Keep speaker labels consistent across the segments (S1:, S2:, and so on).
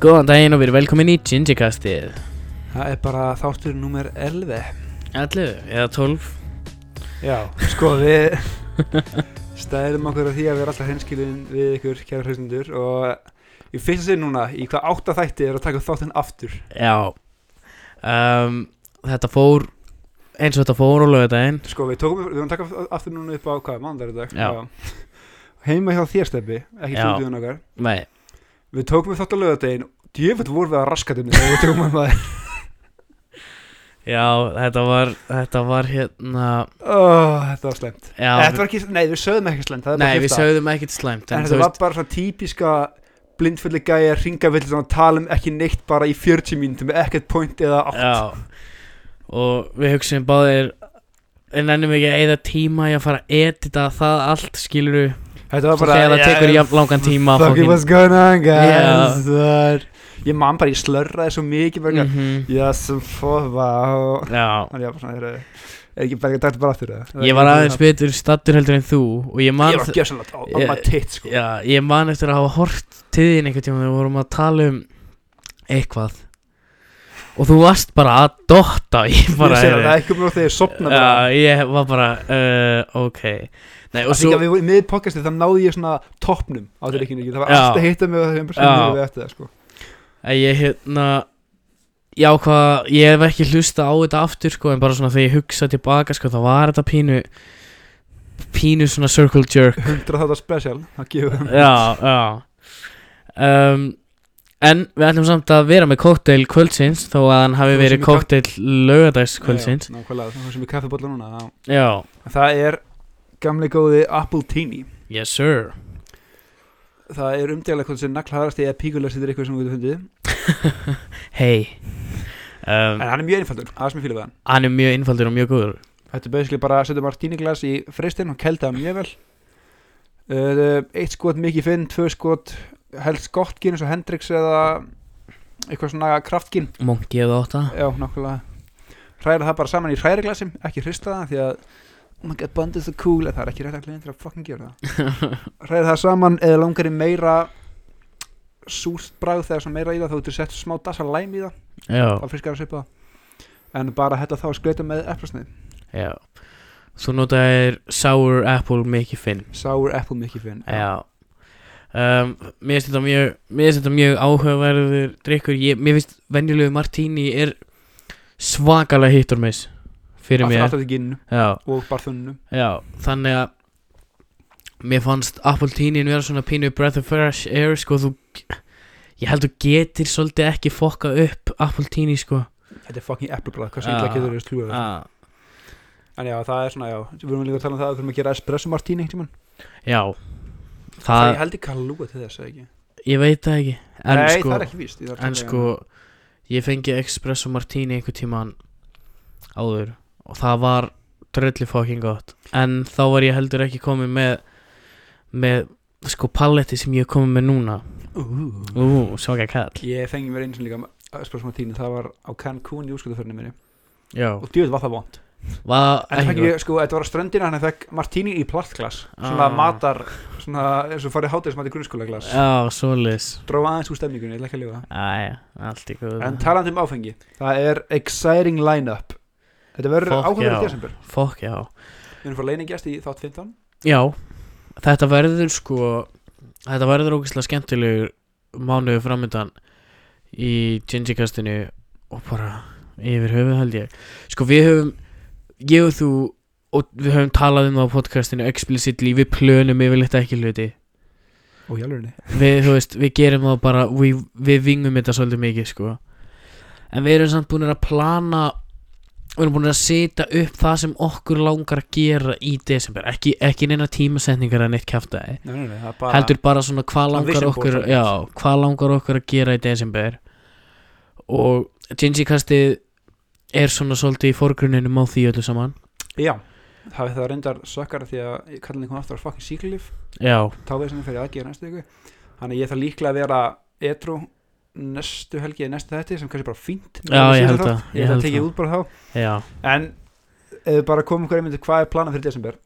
S1: Góðan daginn og við erum velkomin í Gingercastið
S2: Það er bara þáttur númer 11
S1: 11 eða 12
S2: Já, sko við stæðum okkur að því að við erum alltaf hreinskilin við ykkur kæra hlustundur og ég fyrst að segja núna í hvað átta þætti er að taka þáttinn aftur
S1: Já um, Þetta fór eins og þetta fór á lögadaginn
S2: Sko við tókum, við erum að taka aftur núna upp á hvað, mándar í dag
S1: Já.
S2: Heima hjá þér steppi, ekki
S1: Já.
S2: stúdíun okkar
S1: Nei,
S2: Við tókum við þátt á lögadegin Djöfull vorum við að raskatum þegar við tókum við maður
S1: já þetta var þetta var hérna
S2: oh, Þetta var slemt
S1: já,
S2: Þetta var ekki, nei við sögðum ekki slemt það er bara
S1: Nei, við
S2: kjafta.
S1: sögðum ekkert slæmt
S2: En
S1: en,
S2: þetta
S1: þú
S2: var bara svona típiska blindfulli gæja, ringavillir og tala um ekki neitt bara í 40 mínútum með ekkert point eða átt
S1: Já Og við hugsaðum báðir En ennum ekki að eða tíma í að fara að edita það allt skilur
S2: Þetta var bara
S1: Þegar það tekur
S2: yeah,
S1: jafn langan tíma að
S2: Fucking
S1: fucking-
S2: what's going on guys yeah. Ég man bara, ég slörraði svo mikið bara mm.
S1: Mhm.
S2: Yes, for, wow
S1: Já
S2: Þannig að bara svona, er, er ekki bara ekki dært bara aftur eða?
S1: Ég var aðeins betur stattur heldur en þú Og ég man
S2: Ég var gjössanlega á, á
S1: Ég-
S2: maður titt sko
S1: Já, ég man eftir að hafa hort til þín einhvern tíma þegar við vorum að tala um eitthvað og þú varst bara að dotta ég bara
S2: Ég sé það, það er ekki um þegar ég sopna bara
S1: Já, ég var bara uh, ok Nei, og
S2: Það svo...
S1: svo
S2: við vorum með podcastið, þannig náði ég svona toppnum á þeir ekki Það var
S1: Já.
S2: alltaf hitta mig og þeim bara
S1: Já.
S2: sem við eftir það sko
S1: að ég hérna já, hvað, ég hef ekki hlusta á þetta aftur sko, en bara svona þegar ég hugsa tilbaka sko, þá var þetta pínu pínu svona circle jerk
S2: 100 þáttar special, það gefur þeim
S1: Já, já um, En við ætlum samt að vera með kokteil kvöldsins Þó að hann hafi
S2: Þó
S1: verið
S2: sem í kok-
S1: kokteil lögadags kvöldsins
S2: Já, já, Nákvæmlega, það er sem í kaffibólla núna já.
S1: Já,
S2: En Það er gamli góði Apple Teeny
S1: yes sir
S2: Það er umdegilega hvort sem naglhæðrast eða píkulegst þetta er eitthvað sem við getum fundið
S1: Hey um,
S2: En hann er mjög einfaldur, það er sem ég fýla við hann
S1: Hann er mjög einfaldur og mjög góður
S2: Þetta er basically bara að setja martíniglas í freistinn og kelda það mjög vel uh, Eitt skot mikið finn, tvö skot helst gott ginn eins og Hendrix eða eitthvað svona kraftginn
S1: Monkey eða átta
S2: Já, nákvæmlega Hræra það bara saman í hræriglasi, ekki hrista það því að Oh my god, bond is so cool Það er ekki rétt að kliðin til að fucking gera það Hræra það saman eða langar í meira Súrt bragð þegar svona meira í það Þá ertu sett smá dasa læm í það
S1: Já,
S2: Þá friskar að svipa það En bara hella þá að skreita með eplasnið
S1: já Þú notaðir Sour Apple Mickey Finn
S2: Sour apple mikið finn
S1: Já um, Mér finnst þetta mjög Mér finnst þetta mjög áhugaverður drikkur ég, Mér finnst venjulegu Martini er svakalega hittur meis Fyrir
S2: Aftur
S1: mér
S2: aftur til ginnu
S1: Já,
S2: og barþunnu
S1: já, þannig að Mér fannst Appletinin vera svona pínu breath of fresh air Sko þú Ég held þú getir svolítið ekki fokka upp Appletini sko
S2: Þetta er fucking apple bragð,
S1: Já.
S2: hvað sem illa getur þér slúið
S1: ah.
S2: En já, það er svona, já Við erum líka að tala um það að við þurfum að gera espresso martini einhvern tímann
S1: Já
S2: Það
S1: Það,
S2: er heldur kalúa til þess, eða ekki
S1: ég veit það ekki en,
S2: Nei,
S1: sko,
S2: það er ekki víst ég þarf að um
S1: En
S2: taka-
S1: sko, ég fengi espresso martini einhver tíman áður og það var dröllu fucking gott en þá var ég heldur ekki komið með með sko paletti sem ég er komið með núna
S2: Ú.
S1: Ú, svaka kall
S2: Ég fengi mér eins og líka espresso martini Það var á Cancún í úrsköldaferðinu minni
S1: Já,
S2: Og djöð var það vond
S1: var
S2: En það
S1: ekki
S2: fengi, sko, þetta var á ströndina Þannig að fekk martini í plastglas Svona
S1: Ah.
S2: matar, svona eins og farið hátíðismat í grunnskóla glas
S1: Já, svoleiðis
S2: Dróð aðeins úr stemningunni, ég ætla ekki að lifa
S1: Æja, allt í góð
S2: En talandi um áfengi Það er exciting line-up Þetta verður
S1: Fuck,
S2: áhugaður
S1: já.
S2: í desember
S1: Fokk, já
S2: Við erum frá leiningest í þátt 15
S1: Já, þetta verður sko Þetta verður ógeðslega skemmtilegur mánuðu framöndan í Gingikastinu og bara yfir höfuð held ég Sko við höfum, ég og þú og við höfum talað um það á podcastinu explicitly, við plönum yfirleitt ekki hluti
S2: Ó, jálfurinni
S1: við, þú veist, við gerum það bara við, við vingum þetta svolítið mikið sko. en við erum samt búin að plana við erum búin að setja upp það sem okkur langar að gera í desember, ekki, ekki neina tímasetningar en eitt kjaftaði,
S2: Nei, nei, nei, það er bara
S1: heldur bara svona hvað
S2: Svona
S1: langar
S2: vision board
S1: okkur,
S2: svolítið.
S1: já, hvað langar okkur að gera í desember og Gingy kastið er svona svolítið í forgrunninum á því öllu saman
S2: Já, það, það reyndar sökkar því að kallinni kom aftur á fucking síklíf
S1: já,
S2: távesinni fyrir aðgerð næstu viku þannig að ég þarf líklega að vera etru næstu helgi eða næstu þetta sem kannski bara fínt
S1: Já, ég held það,
S2: ég
S1: ég
S2: ætla
S1: held
S2: að tekið
S1: það.
S2: út bara þá
S1: já,
S2: en ef við bara komum hverja myndi hvað er planað fyrir desember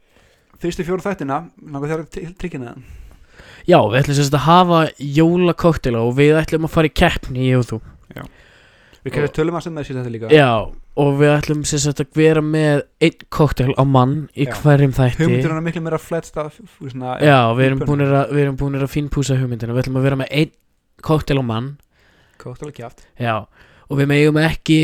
S2: fyrstu fjóru þættina langar þér að tryggina
S1: Já, við ætlum sérst að hafa jólakoktela og við ætlum að fara í keppni ég og þú
S2: Við kannski tölum um að sem með síðan þetta líka
S1: Já, og við ætlum sérst að vera með einn koktel á mann í
S2: Já.
S1: hverjum þætti
S2: Hugmyndir hann er miklu meira fletst af svona,
S1: Já, við erum
S2: Í pönnu.
S1: búinir að, við erum búinir að fínpúsa hugmyndina Við ætlum að vera með einn koktel á mann
S2: Kóttalega kjátt
S1: Já, og við megum ekki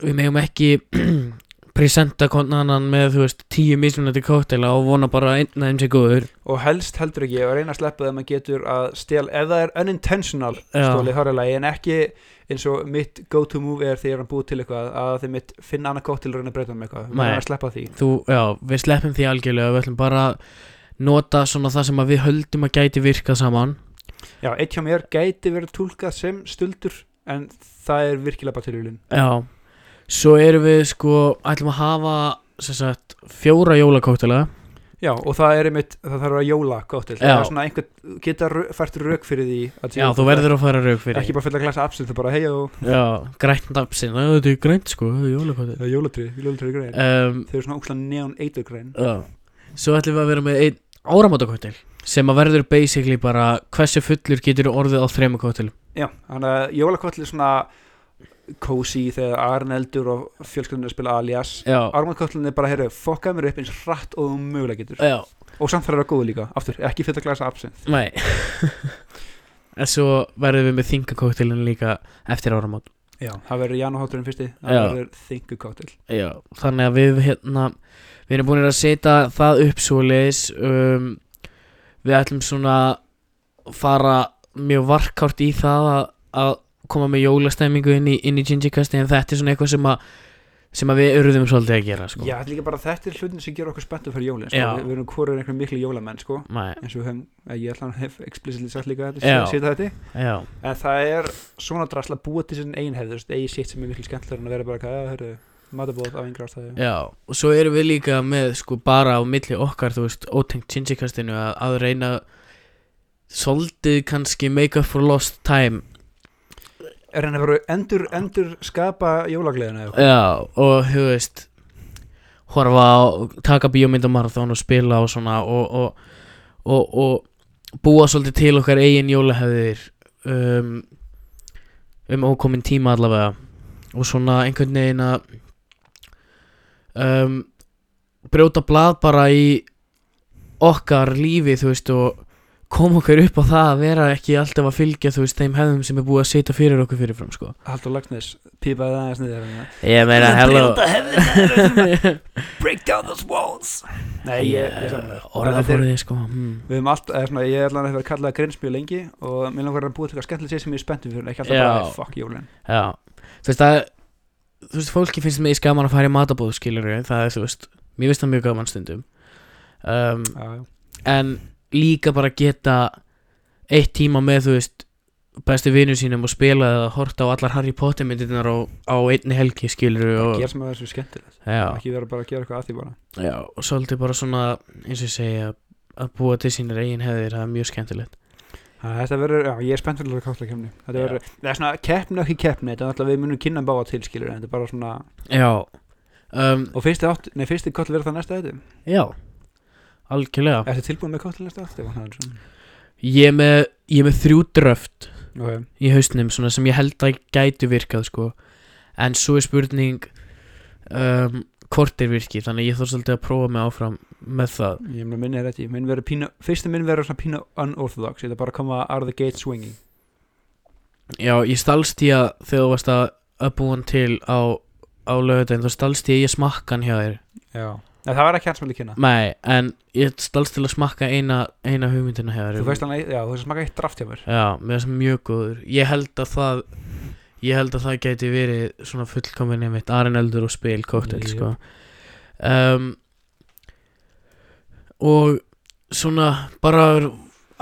S1: Við megum ekki Presenta konan með, þú veist, tíu mismunandi koktela og vona bara að einn að þeim sé góður
S2: Og helst heldur ekki að reyna að sleppa þegar maður getur að stel Ef það er unintentional
S1: Já.
S2: stólið horfilagi En ekki eins og mitt go to move er þegar hann búið til eitthvað Að þeir mitt finna annað kóttil og reyna að breyta um eitthvað Við
S1: Nei.
S2: erum að sleppa því
S1: Þú, já, við sleppum því algjörlega Við ætlum bara að nota svona það sem að við höldum að gæti virkað saman
S2: Já, eitt hjá mér gæti verið túlkað sem stuldur En það er virkilega bara tilvílun
S1: Já, svo erum við sko ætlum að hafa sem sagt, fjóra jólakoktela
S2: Já, og það er einmitt, það þarf að vera jóla kóttil Það
S1: Já.
S2: er svona einhvern, geta rö- fært rauk fyrir því að
S1: Já, þú verður að fara rauk fyrir
S2: Ekki bara fulla glasa absint, það bara hei og
S1: Já, grænt napsin, það þetta er grænt sko jólakottel
S2: Það er jólatrið, jólatrið grein
S1: um,
S2: Þau eru svona ókslega neon eiturgrein
S1: Já, svo ætlum við að vera með einn áramótakottel sem að verður basically bara hversu fullur getur orðið á þremur kottelum
S2: Já, þannig að jólakvöld er svona cozy þegar Arneldur og fjölskyldunir spila alias
S1: Já,
S2: Armandkvöldin er bara, heyrðu, fokkaðu mér upp eins hratt og þú mögulega getur
S1: já,
S2: Og samt þarf að vera góð líka, aftur, ekki fyrir að glasa absint
S1: nei En svo verðum við með þingakottelin líka eftir áramót
S2: Já Það verður janúhátturinn fyrsti,
S1: Já.
S2: það verður þingu káttil
S1: Já, þannig að við hérna við erum búin að setja það upp svo leis um, við ætlum svona fara mjög varkárt í það að, að koma með jólastemmingu inn í, inn í Gingikasti en þetta er svona eitthvað sem að sem að við urðum svolítið að gera sko.
S2: Já, þetta er líka bara, þetta er hlutin sem gerur okkur spenntu fyrir jólin sko.
S1: Já.
S2: Við við erum hvorur einhverjum miklu jólamenn, sko
S1: Mæ,
S2: eins og við höfum, eh, ég ætla að hef explicitly sagt líka
S1: Já.
S2: þetta, sita þetta
S1: já,
S2: En það er svona drasla búa til sinni einhefð, þú veist, eigi sitt sem er miklu skemmtilegur en að vera bara eitthvað, að hörru, matabóð af einhver ástæðu.
S1: já og svo erum við líka með sko bara á milli okkar þú veist, ótengt Gingikastinu að, að reyna svolítið kannski make up for lost time
S2: Er hann að vera endur, endur skapa jólagleðina eða eitthvað?
S1: Já, og þú veist horfa á, taka bíómyndamarathon og spila og svona og, og, og, og búa svolítið til okkar eigin jólahefðir um, um ókomin tíma allavega og svona einhvern veginn að um, brjóta blað bara í okkar lífi þú veist og koma okkur upp á það að vera ekki alltaf að fylgja þú veist þeim hefðum sem er búið að setja fyrir okkur fyrirfram sko
S2: Haldur Lagsnes, pípaði það aðeins niður hérna.
S1: Ég meina, hello
S2: Break down those walls. Nei, ég, ég saman
S1: Orða fór þig sko hmm.
S2: Við höfum allt, eða svona, ég er allan að vera kallað grins mjög lengi og mér langar að búa til eitthvað skemmtileg sér sem ég er spenntum fyrir, ekki alltaf
S1: Já.
S2: bara, fuck jólin.
S1: Já, þú veist að Þú veist, fólki finnst mér skaman að fara í matabóð skilur Það er, þú veist, mér finnst það mjög gaman stundum um,
S2: Já, já.
S1: En líka bara geta Eitt tíma með, þú veist Bestu vinur sínum og spila eða horta á allar Harry Potter myndirnar á, á einni helgi skilur
S2: Bara
S1: og,
S2: gera sem að þessu skemmtilegt.
S1: já,
S2: Ekki vera bara að gera eitthvað að því bara.
S1: já, og svolítið bara svona eins og ég segja að búa til sínir eigin hefðir, það er mjög skemmtilegt
S2: Þannig að Þetta verður, já, ég er spennt fyrir að káttla kemni Þetta
S1: Já.
S2: verður, það er svona keppni og ekki keppni Þetta er alltaf við munum kynna báða til, skilur Þetta er bara svona,
S1: Já um,
S2: og fyrst er átt, nei, fyrst er káttla verður það næsta þetta
S1: Já, algjörlega
S2: Ertu tilbúin með káttla næsta þetta, Stefán Hansson?
S1: Ég er með, ég er með þrjú dröft
S2: Ok,
S1: í hausnum svona sem ég held að gætu virkað sko en svo er spurning um, hvort þeir virki þannig að ég þarf svolítið að prófa mig áfram með það
S2: ég mun að minna þér þetta Minn verður pínu, fyrstu minn verður svona pínu unorthodox Þetta er bara að koma out of the gate swinging
S1: Já, ég stalst í að þegar þú varst að að búin til á, á lögudaginn þá stalst ég að ég smakka hann hjá þér
S2: Já Nei, það var ekki hans með að kynna
S1: Nei, en ég stalst til að smakka eina, eina hugmyndina hjá þér
S2: Þú veist hann, að- já, þú veist að smaka eitt draft hjá mér
S1: Já, mér finnst hann mjög góður Ég held að það Ég held að það gæti verið svona fullkominni mitt Arneldur og spil kóttel
S2: Jú.
S1: sko. um, Og svona bara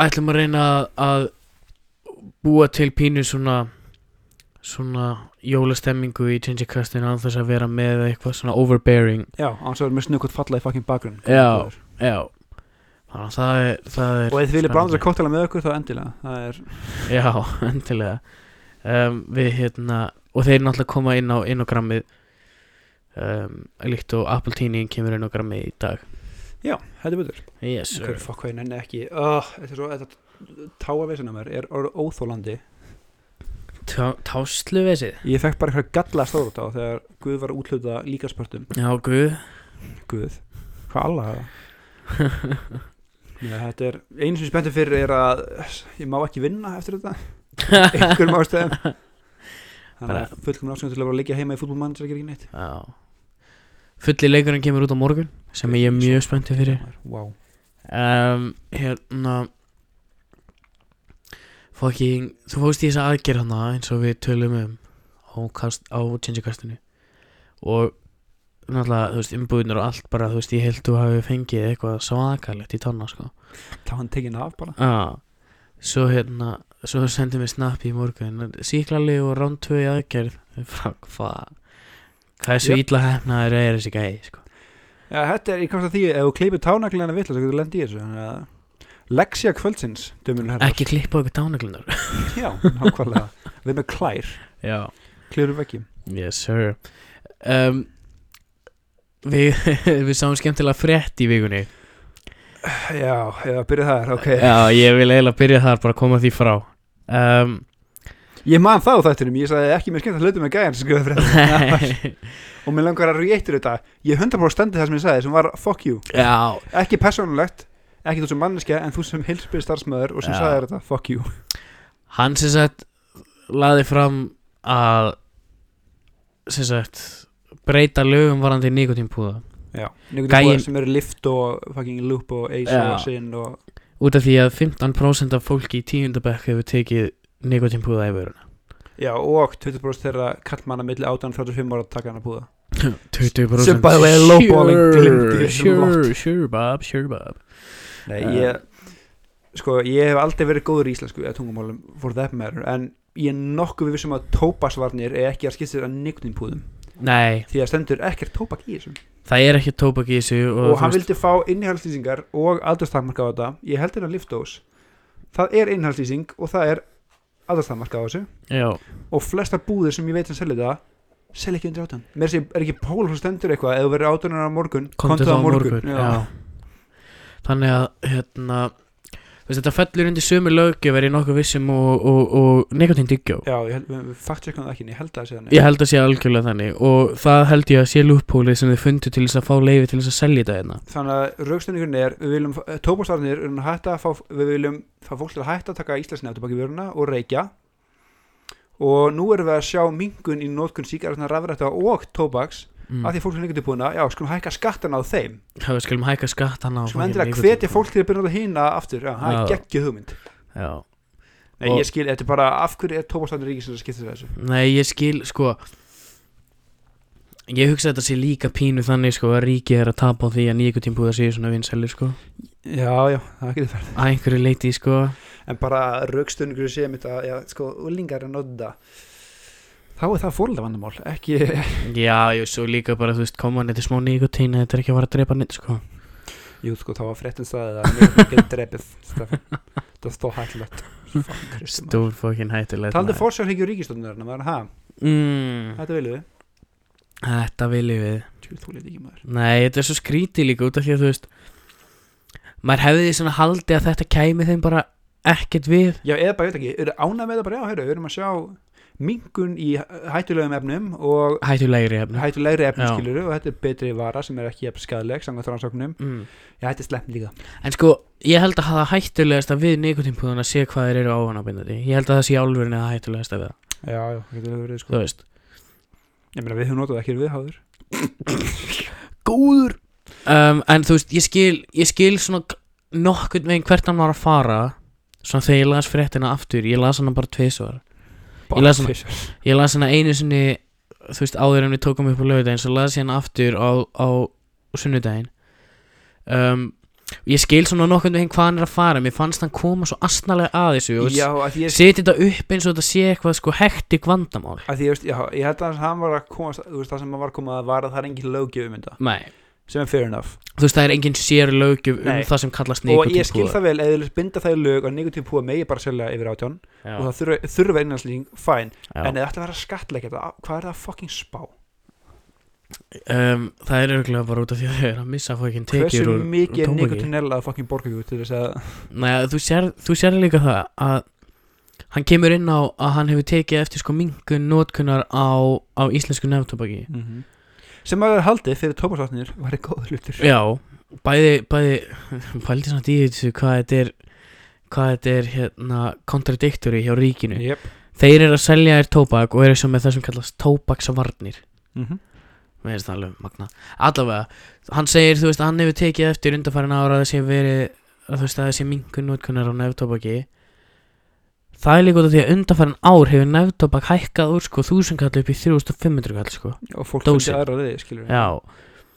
S1: ætlum að reyna að- að búa til pínu svona svona jólastemmingu í Change Castin án þess að vera með eitthvað svona overbearing
S2: Já, án svo er mér snukkot falla í fucking bakgrunn
S1: Já.
S2: Og
S1: Já Þannig að það er, það er
S2: ef þið viljið
S1: spennandi.
S2: bráðum þess með okkur, þá endilega Það er,
S1: Já, endilega um, Við hérna Og þeir náttúrulega koma inn á, inn á grammið um, Líkt og Apple Teening kemur inn á grammið í dag
S2: Já, heldur betur
S1: yes sir
S2: Hver fokk hvað ég nenni ekki oh, Þetta er svo, þetta táavesin að mér er orð óþólandi
S1: Tá- Táslu vesið
S2: Ég fekk bara eitthvað galla stóra á þegar Guð var að útluta líkaspörtum
S1: Já, guð
S2: Guð, hvað alla það Nei, þetta er, einu sem ég spennti fyrir er að ég má ekki vinna eftir þetta einhverjum ástæðum Þannig
S1: Bara-
S2: að fullkomna ástöðum til að vera að liggja heima í fútbolmann sem ekki neitt
S1: Já Fulli leikurinn kemur út á morgun sem ég er mjög spenntið fyrir
S2: wow.
S1: um, Hérna Fucking Þú fórst í þessa aðgerð hana eins og við tölum um á, kast, á changekastinu og náttúrulega, þú veist, umbúðinur og allt bara, þú veist, ég held þú hafi fengið eitthvað svakalegt í tanna, sko
S2: Þá hann tekin af bara
S1: Já, svo hérna Svo sendið mér snappi í morgun Sýklali og rán 2 í aðgerð Frá, hvað Hvað er svo
S2: Jöp.
S1: illa hefnaður er þessi gæði sko.
S2: Já, þetta er, ég komst að því, ef þú kleipir tánaglina vill, þá getur þú lendið í þessu þannig að- Lexía kvöldsins, dömurinn herrar
S1: Ekki klippa okkur dánaglunar
S2: Já, nákvæmlega Við erum með klær,
S1: Já,
S2: klærum veggi
S1: yes sir um, Við, við sáum skemmtilega frétt í vikunni
S2: Já, eða byrja þar, ok
S1: Já, ég vil eiginlega byrja þar bara að koma því frá um,
S2: Ég man þá þættinum, ég sagði ekki mér skemmt að hluta með gæjan sem skrifaði frétt Og mér langar að réttur þetta Ég 100% stendi það sem ég sagði, sem var fuck you
S1: Já,
S2: Ekki persónulegt, ekki þú sem manneskja En þú sem hilsbyrð starfsmöður og sem
S1: Já.
S2: sagði þetta, fuck you
S1: hann sem sagt laði fram að sem sagt breyta lögum varandi nikotínpúða
S2: Já, nefnir
S1: Gæinn-
S2: sem eru lift og fucking loop og ace
S1: Já.
S2: og sin og
S1: út af því að 15% af fólki í tíundabekk hefur tekið nikotínpúða í vöruna
S2: Já, og 20% þeirra kallmanna milli 18 og 35 ára að taka hana púða
S1: 20%
S2: Sem by the way, lowballing
S1: sure,
S2: glimti þessum
S1: sure, sure Bob, sure Bob
S2: Nei,
S1: Eh.
S2: ég Sko, ég hef aldrei verið góður í íslensku eða tungumálum for that matter en ég er nokkuð við vissum að tópasvarnir er ekki að skipta sér að nikotinpúðum
S1: Nei,
S2: því að stendur ekkert tópak í þessum
S1: það er ekki tóbak í þessu og,
S2: og,
S1: þú
S2: hann
S1: veist-
S2: vildi fá innihaldslýsingar og aldurstakmarka á þetta ég held hérna liftdós það er innihaldslýsing og það er aldurstakmarka á þessu
S1: Já,
S2: og flestar búðir sem ég veit sem selja þetta selja ekki undir átján mér sé, er ekki pól sem stendur eitthvað ef þú verður átjánar á morgun
S1: komdu
S2: komdu
S1: þá
S2: á morgun,
S1: Já. Þannig að hérna, þú veist, þetta fellur undir sömu löggjöf er ég nokkuð vissum og, og, og nikotín dyggjó
S2: Já, ég held, við faktum það ekki, en ég held að það sé þannig
S1: Ég held að sé algjörlega þannig og það held ég að sé lúppólið sem þið fundu til þess að fá leifi til þess að selja þetta hérna
S2: þannig að raukstendingunni er við viljum, tópastafnir er að hætta að fá, við viljum fá fólk til að hætta að taka íslensnef tilbaki í vöruna og reykja og nú erum við að sjá mingun í nótkun síkarna rafrætta og tóbaks
S1: mm.
S2: af því að fólk er neikvæmt búin að, já, skulum hækka skattan á þeim
S1: Það við skulum hækka skatt hann á
S2: skulum endilega hvetja fólk til að byrja að hýna aftur, já, það er
S1: Já.
S2: geggjuð hugmynd
S1: Já.
S2: Nei,
S1: Og-
S2: ég skil, þetta er bara, af hverju er tópastafnir ríkisins að skipta sér að þessu?
S1: Nei, ég skil, sko Ég hugsa að þetta sé líka pínu þannig, sko, að ríkið er að tapa á því að nýjökutímpúða séu svona vinsæli, sko
S2: Já, já, það getur verið
S1: Að einhverju leiti, sko
S2: En bara raukstendingur sé mitt að, já, sko, úlingar er að nodda Þá er það fóröldavandamál, ekki,
S1: Já, jú, svo líka bara, þú veist, koma hann eitthvað smá nýjökutín Þetta er ekki að fara að drepa neitt, sko
S2: Jú, sko, þá var fréttin staðið að mér ekki drepið Stefán. Það stóð hættilegt
S1: Stúl fókin hættilegt
S2: Taldu
S1: maður.
S2: fórsjárhyggju ríkistöndunarinn maður, ha,
S1: mm,
S2: þetta viljum við
S1: Þetta viljum við
S2: Tjú, þú leit ekki maður
S1: Nei, þetta er svo skrítið líka út af því að þú veist maður hefði svona haldið að þetta kæmi þeim bara ekkert við
S2: Já, eða bara, ég veit ekki, eru ánægð með það bara, já, heyrðu, við erum að sjá minkun í hættulegum efnum og
S1: hættulegri hefnum
S2: hættulegri efnum
S1: Já.
S2: skilur og þetta er betri vara sem er ekki jafn skadleg samkvæmt rannsóknum,
S1: mm.
S2: já, þetta er slemmt líka
S1: En sko, ég held að það hættulegasta við nikotínpúðan að sé hvað þeir eru áhannabindandi Ég held að það sé álfurinn að hættulegasta við það
S2: Já, já, þetta er verið, sko
S1: Þú veist
S2: Ég meina, við höfum notað ekki viðháður
S1: Góður um, En þú veist, ég skil, ég skil svona g- nokkurn veginn hvert hann var að fara Svona þegar ég las fréttina aftur Ég las hana bara tvisvar Ég las hana-
S2: Fisher.
S1: Ég las hana einu sinni þú veist áður en við tókum upp á laugardaginn svo las ég hana aftur á, á sunnudaginn um, ég skil svona nokkurnu hinn hvað hann er að fara mér fannst hann koma svo astnalega að þessu og
S2: Já, að því ég
S1: seti þetta upp eins og þetta sé eitthvað sko hektik vandamál
S2: að því, ég veist, já, ég held að hann var að koma þú veist, það sem hann var að koma að vara, það er engin löggjöfum þetta,
S1: Nei,
S2: sem er fair enough
S1: þú veist það er engin sér lögjum um
S2: Nei.
S1: það sem kallast
S2: og ég skil
S1: nikotínpúðar
S2: það vel, eða binda það í lög að nikotín púa megi bara selja yfir átján og
S1: Já,
S2: það þurfa, þurfa innanslýsing, fæn
S1: já.
S2: en eða ætla að vera skattleikja þetta, hvað er það að fucking spá
S1: um, það er örgulega bara út af því að þau eru að missa fokkin tekjur
S2: Hversu
S1: úr- úr
S2: mikið er
S1: tóbaki.
S2: nikotinella að fucking borga ykkur til þess að
S1: Nei, þú sér, þú sér líka það að hann kemur inn á að hann hefur tekið eftir sko minkun notkunar á, á íslensku nefntobaki
S2: Mhm. sem að vera haldið fyrir tómasvarnir væri góð hlutur
S1: Já, bæði, bæði pældi samt í þessu hvað þetta er hvað þetta er hérna kontradiktori hjá ríkinu
S2: yep.
S1: Þeir eru að selja þér tóbak og eru svo með það sem kallast tóbaksvarnir
S2: mm -hmm.
S1: Mér finnst það alveg magna Allavega, hann segir, þú veist, að hann hefur tekið eftir undanfærin ára að það sé verið að þú veist, að það sé minkun notkunar á nefntobaki Það er líka út af því að undanfærin ár hefur nefntobak hækkað úr sko 1000 kall upp í 3500 kall sko
S2: og fólk
S1: Dósin.
S2: fundi aðra leið skilur við.
S1: Já,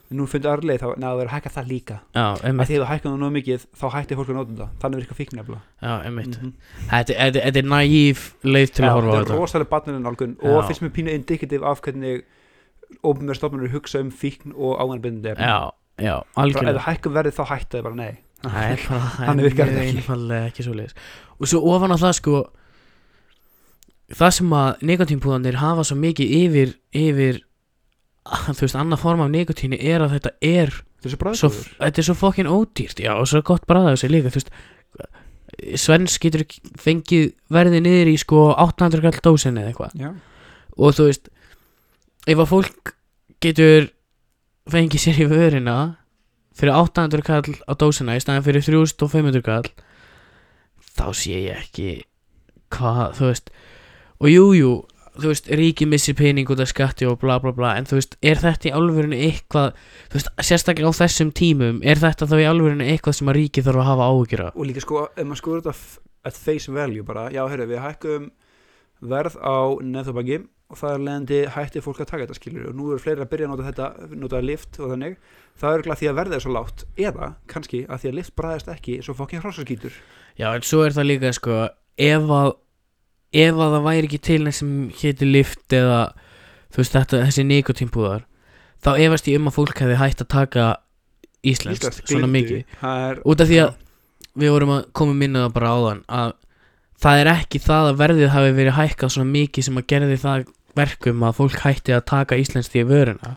S2: nú fundi aðra leið þá neða það verið að hækka það líka
S1: já,
S2: að
S1: emmitt,
S2: því að það hækka það nóg mikið þá hætti fólk að nota það þannig virka fíknefla
S1: já, emmitt
S2: -hmm.
S1: Þetta þetta- þetta er nægíf leið til að horfa á
S2: þetta er
S1: þetta
S2: rosalega barnarinn nálgun
S1: Já.
S2: og finnst mér pínu indikativ af hvernig ofnbjörn stofnarnir hugsa um fíkn og áhengarbindindi
S1: Já, já,
S2: ef það
S1: algjörlega
S2: hækka verið þá hætta það bara nei
S1: Það er bara, það
S2: Þannig
S1: er
S2: virkar þetta
S1: mjög
S2: ekki.
S1: einfaldlega ekki svo Og svo ofan á það sko Það sem að nikotínpúðanir hafa svo mikið yfir Yfir, þú veist, annað form af nikotíni Er að þetta er
S2: þetta er svo
S1: svo,
S2: bræðsóður
S1: Þetta er svo fokkin ódýrt, já, og svo gott bræða þessi líka Þú veist, Svens getur ekki fengið verðið niður í sko 800 kall dósin eða eitthvað
S2: já
S1: og þú veist ef að fólk getur fengið sér í vörina fyrir 800 kall á dósina í staðan fyrir 3500 kall þá sé ég ekki hvað, þú veist og jújú, jú, þú veist, ríki missir pening út af skatti og bla bla bla en þú veist, er þetta í alvörinu eitthvað þú veist, sérstaklega á þessum tímum er þetta þá í alvörinu eitthvað sem að ríki þarf að hafa áhyggjur af
S2: og líka sko, ef maður skoður þetta f- at face value bara, já, heyrðu, við hækkum verð á nefnþóbaki og það er leiðandi hætti fólk að taka þetta skilur og nú eru fleiri að byrja að nota þetta nota lift og þannig, það er örgulega því að verðið er svo lágt eða kannski að því að lift bræðist ekki svo fokkin hrossaskýtur
S1: Já, en svo er það líka sko ef að, ef að það væri ekki til neitt sem héti lift eða þú veist þetta, þessi nikotínpúðar þá efast ég um að fólk hefði hægt að taka íslenskt, svona mikið
S2: það er,
S1: út af því að við vorum að koma minnaða bara áðan að það er ekki það að verðið hafi verið hækkað svona mikið sem að gerði það verkum að fólk hætti að taka íslenskt í vöruna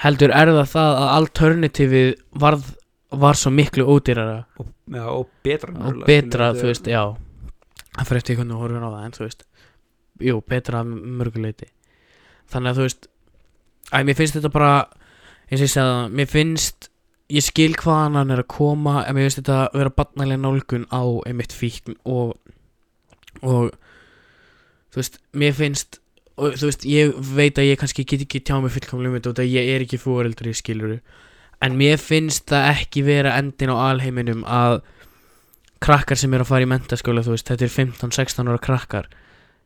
S1: heldur er það það að alternativið varð, var svo miklu ódýrara
S2: og, já, og betra
S1: og
S2: náttúrulega,
S1: betra,
S2: skilur,
S1: þú veist, já það fyrir eftir hvernig horfum á það en þú veist, jú, betra að mörguleiti þannig að þú veist að mér finnst þetta bara eins og ég segði það, mér finnst ég skil hvaðan hann er að koma en mér finnst þetta vera barnalega nálgun á einmitt fíkn og og þú veist, mér finnst og þú veist, ég veit að ég kannski get ekki tjá mig fullkomlega um þetta út að ég er ekki fóreldri skiluru, en mér finnst það ekki vera endin á alheiminum að krakkar sem eru að fara í mentaskóla þú veist, þetta er 15-16 ára krakkar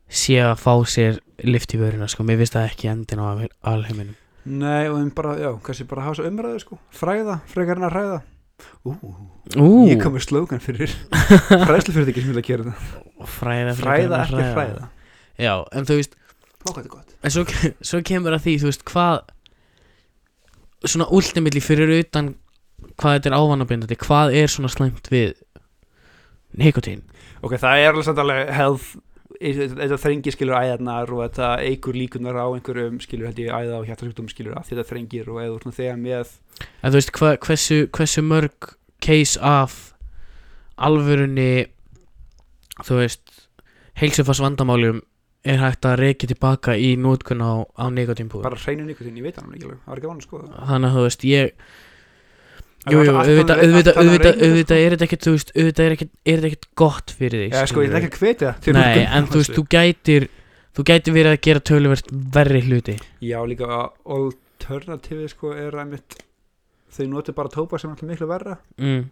S1: sé að fá sér lift í vörina sko, mér finnst það ekki endin á alhe- alheiminum
S2: nei, og um bara, já, kannski bara hafa svo umræðu sko, fræða, frekar en að hræða ú,
S1: Ú,
S2: ég kom með slókan fyrir fræðslu fyrir ekki sem vil að gera þetta
S1: fræða,
S2: fræða
S1: frekar en að
S2: ekki hræða,
S1: Já, en þú veist,
S2: Ó, hvað þetta er gott
S1: en svo, ke- svo kemur að því þú veist, hvað svona últimilli fyrir utan hvað þetta er ávanabindandi, hvað er svona slæmt við nikotín
S2: Ok, það er alveg samt alveg health þetta þrengir skilur æðarnar og þetta eigur líkunar á einhverjum skilur held ég æða og hjartasjúkdóm skilur að þetta þrengir og eða úr svona þegar með
S1: En þú veist, hva, hversu, hversu mörg case af alvörunni, þú veist, heilsufars vandamálum er hægt að reykja tilbaka í nótkun á, á nikotínpúður.
S2: bara hreinu nikotín, ég veit hann ekki alveg, það var ekki vana sko
S1: Þannig að þú veist, ég, jú, jú, auðvitað, auðvitað, auðvitað, auðvitað er þetta ekkert, þú veist, auðvitað er ekkert, er þetta ekkert gott fyrir þig.
S2: sko. Já, sko, ég er ekki að hvetja til
S1: Nei,
S2: notkun.
S1: en þú veist, þú gætir, þú gætir verið að gera töluvert verri hluti.
S2: Já, líka að alternativið sko er að mitt þau noti bara tópa sem er alltaf miklu verra
S1: Mm.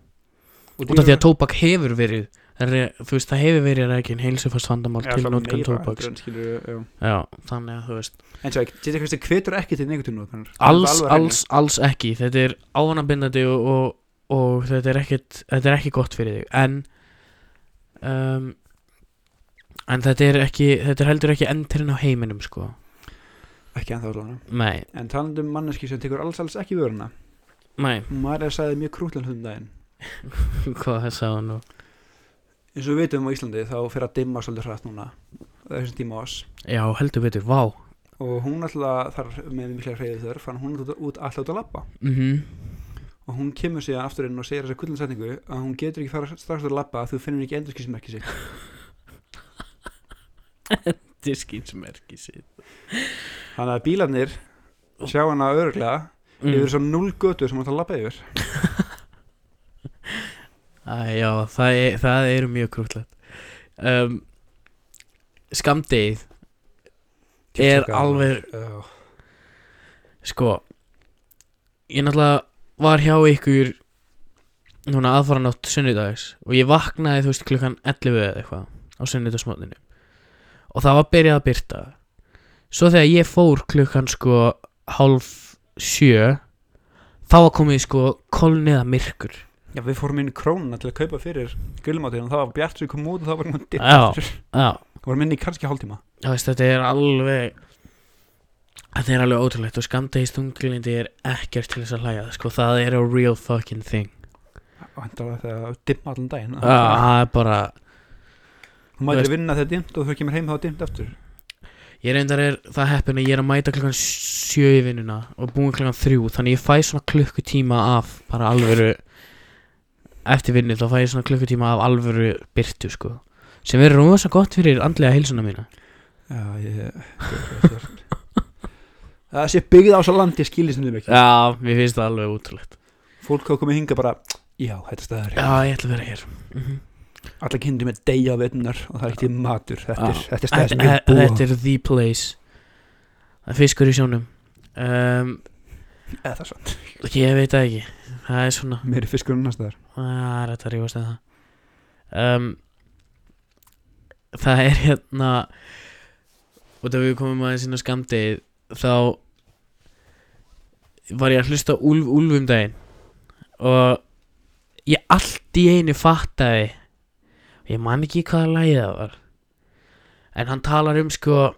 S1: Út af því að tóbak hefur verið, re, þú veist, það hefur verið reikin heilsufars vandamál til nótkun tóbaks.
S2: tópaks
S1: Já, þannig að þú veist
S2: En svo, þetta er hvetur ekki til nikotín notkunar
S1: Alls, alls, alls ekki Þetta er ávanabindandi og, og, og þetta, er ekkit, þetta er ekki gott fyrir þig En um, En þetta er ekki Þetta er heldur ekki endurinn á heiminum sko
S2: Ekki en þá alveg
S1: Nei,
S2: En talandum manneski sem tekur alls alls ekki vöruna
S1: nei,
S2: Maður er sagði mjög krútlan hlutum daginn
S1: hvað það sagði hann nú
S2: eins og við veitum á Íslandi þá fyrir að dimma svolítið hratt núna á þessum tíma á oss
S1: Já, heldur betur, vá
S2: og hún alltaf þar með mikla hreyðu þörf hann hún alltaf út alltaf út að labba
S1: mm
S2: og hún kemur síðan aftur inn og segir þessa kullinsetningu að hún getur ekki fara strax út að labba að þú finnur ekki endurskismerki sig
S1: Diskinsmerki sitt
S2: þannig að bílarnir sjá hana öruglega yfir
S1: mm.
S2: þessar núl götu sem hún alltaf labba yfir
S1: Æ, Já, það, er, það eru mjög krútlegt um, Skamdegið er
S2: Tjóka,
S1: alveg
S2: já.
S1: Sko Ég náttúrulega var hjá ykkur Núna aðfara nátt sunnudags Og ég vaknaði þú veist klukkan 11 eða eitthvað Á sunnudagsmótninu Og það var byrjað að byrta Svo þegar ég fór klukkan sko Hálf sjö Þá var komið sko Kolniða myrkur
S2: já, við fórum inn í krónuna til að kaupa fyrir gulmáttinu og það var bjart sem kom út og það var hún dimt
S1: Já.
S2: eftir.
S1: Já,
S2: vorum inn í kannski hálftíma
S1: þú veist þetta er alveg Þetta er alveg ótrúlegt Og skamdegist unglindi er ekkert til þess að hlæja Sko það er a real fucking thing
S2: og hendur að það dimma allan daginn
S1: Já, Það er bara
S2: hún
S1: þú
S2: mætir að vinna þegar dimt og þú kemur heim þá er dimt eftir
S1: Ég reyndar er það heppin að ég er að mæta klukkan sjö í vinnuna og búin klukkan þrjú þannig ég fæ svona klukkutíma af bara alvöru eftir vinnu þá fæ ég svona klukkutíma af alvöru byrtu sko sem er rosa gott fyrir andlega heilsuna mína
S2: já, ég það sé byggð á svo landi skilir sem þau mikið
S1: Já, mér finnst það alveg útrúlegt
S2: fólk hafa komið hinga bara já, þetta er staður
S1: Já, ég ætla að vera hér mm -hmm.
S2: allar kindur með deyja á vetnar og það er ekki matur þetta er,
S1: Já.
S2: þetta er staður sem ég vil búa
S1: Þetta er the place Það er fiskur í sjónum um,
S2: eða það er sant
S1: Ég veit það ekki Það er svona
S2: mér er fiskur annars staðar
S1: Það er hægt að rífast um það um, Það er hérna Og þegar við komum aðeins inn á skamdið Þá Var ég að hlusta á úlf, úlf um daginn Og Ég allt í einu fattaði Ég man ekki hvaða lagið það var En hann talar um sko að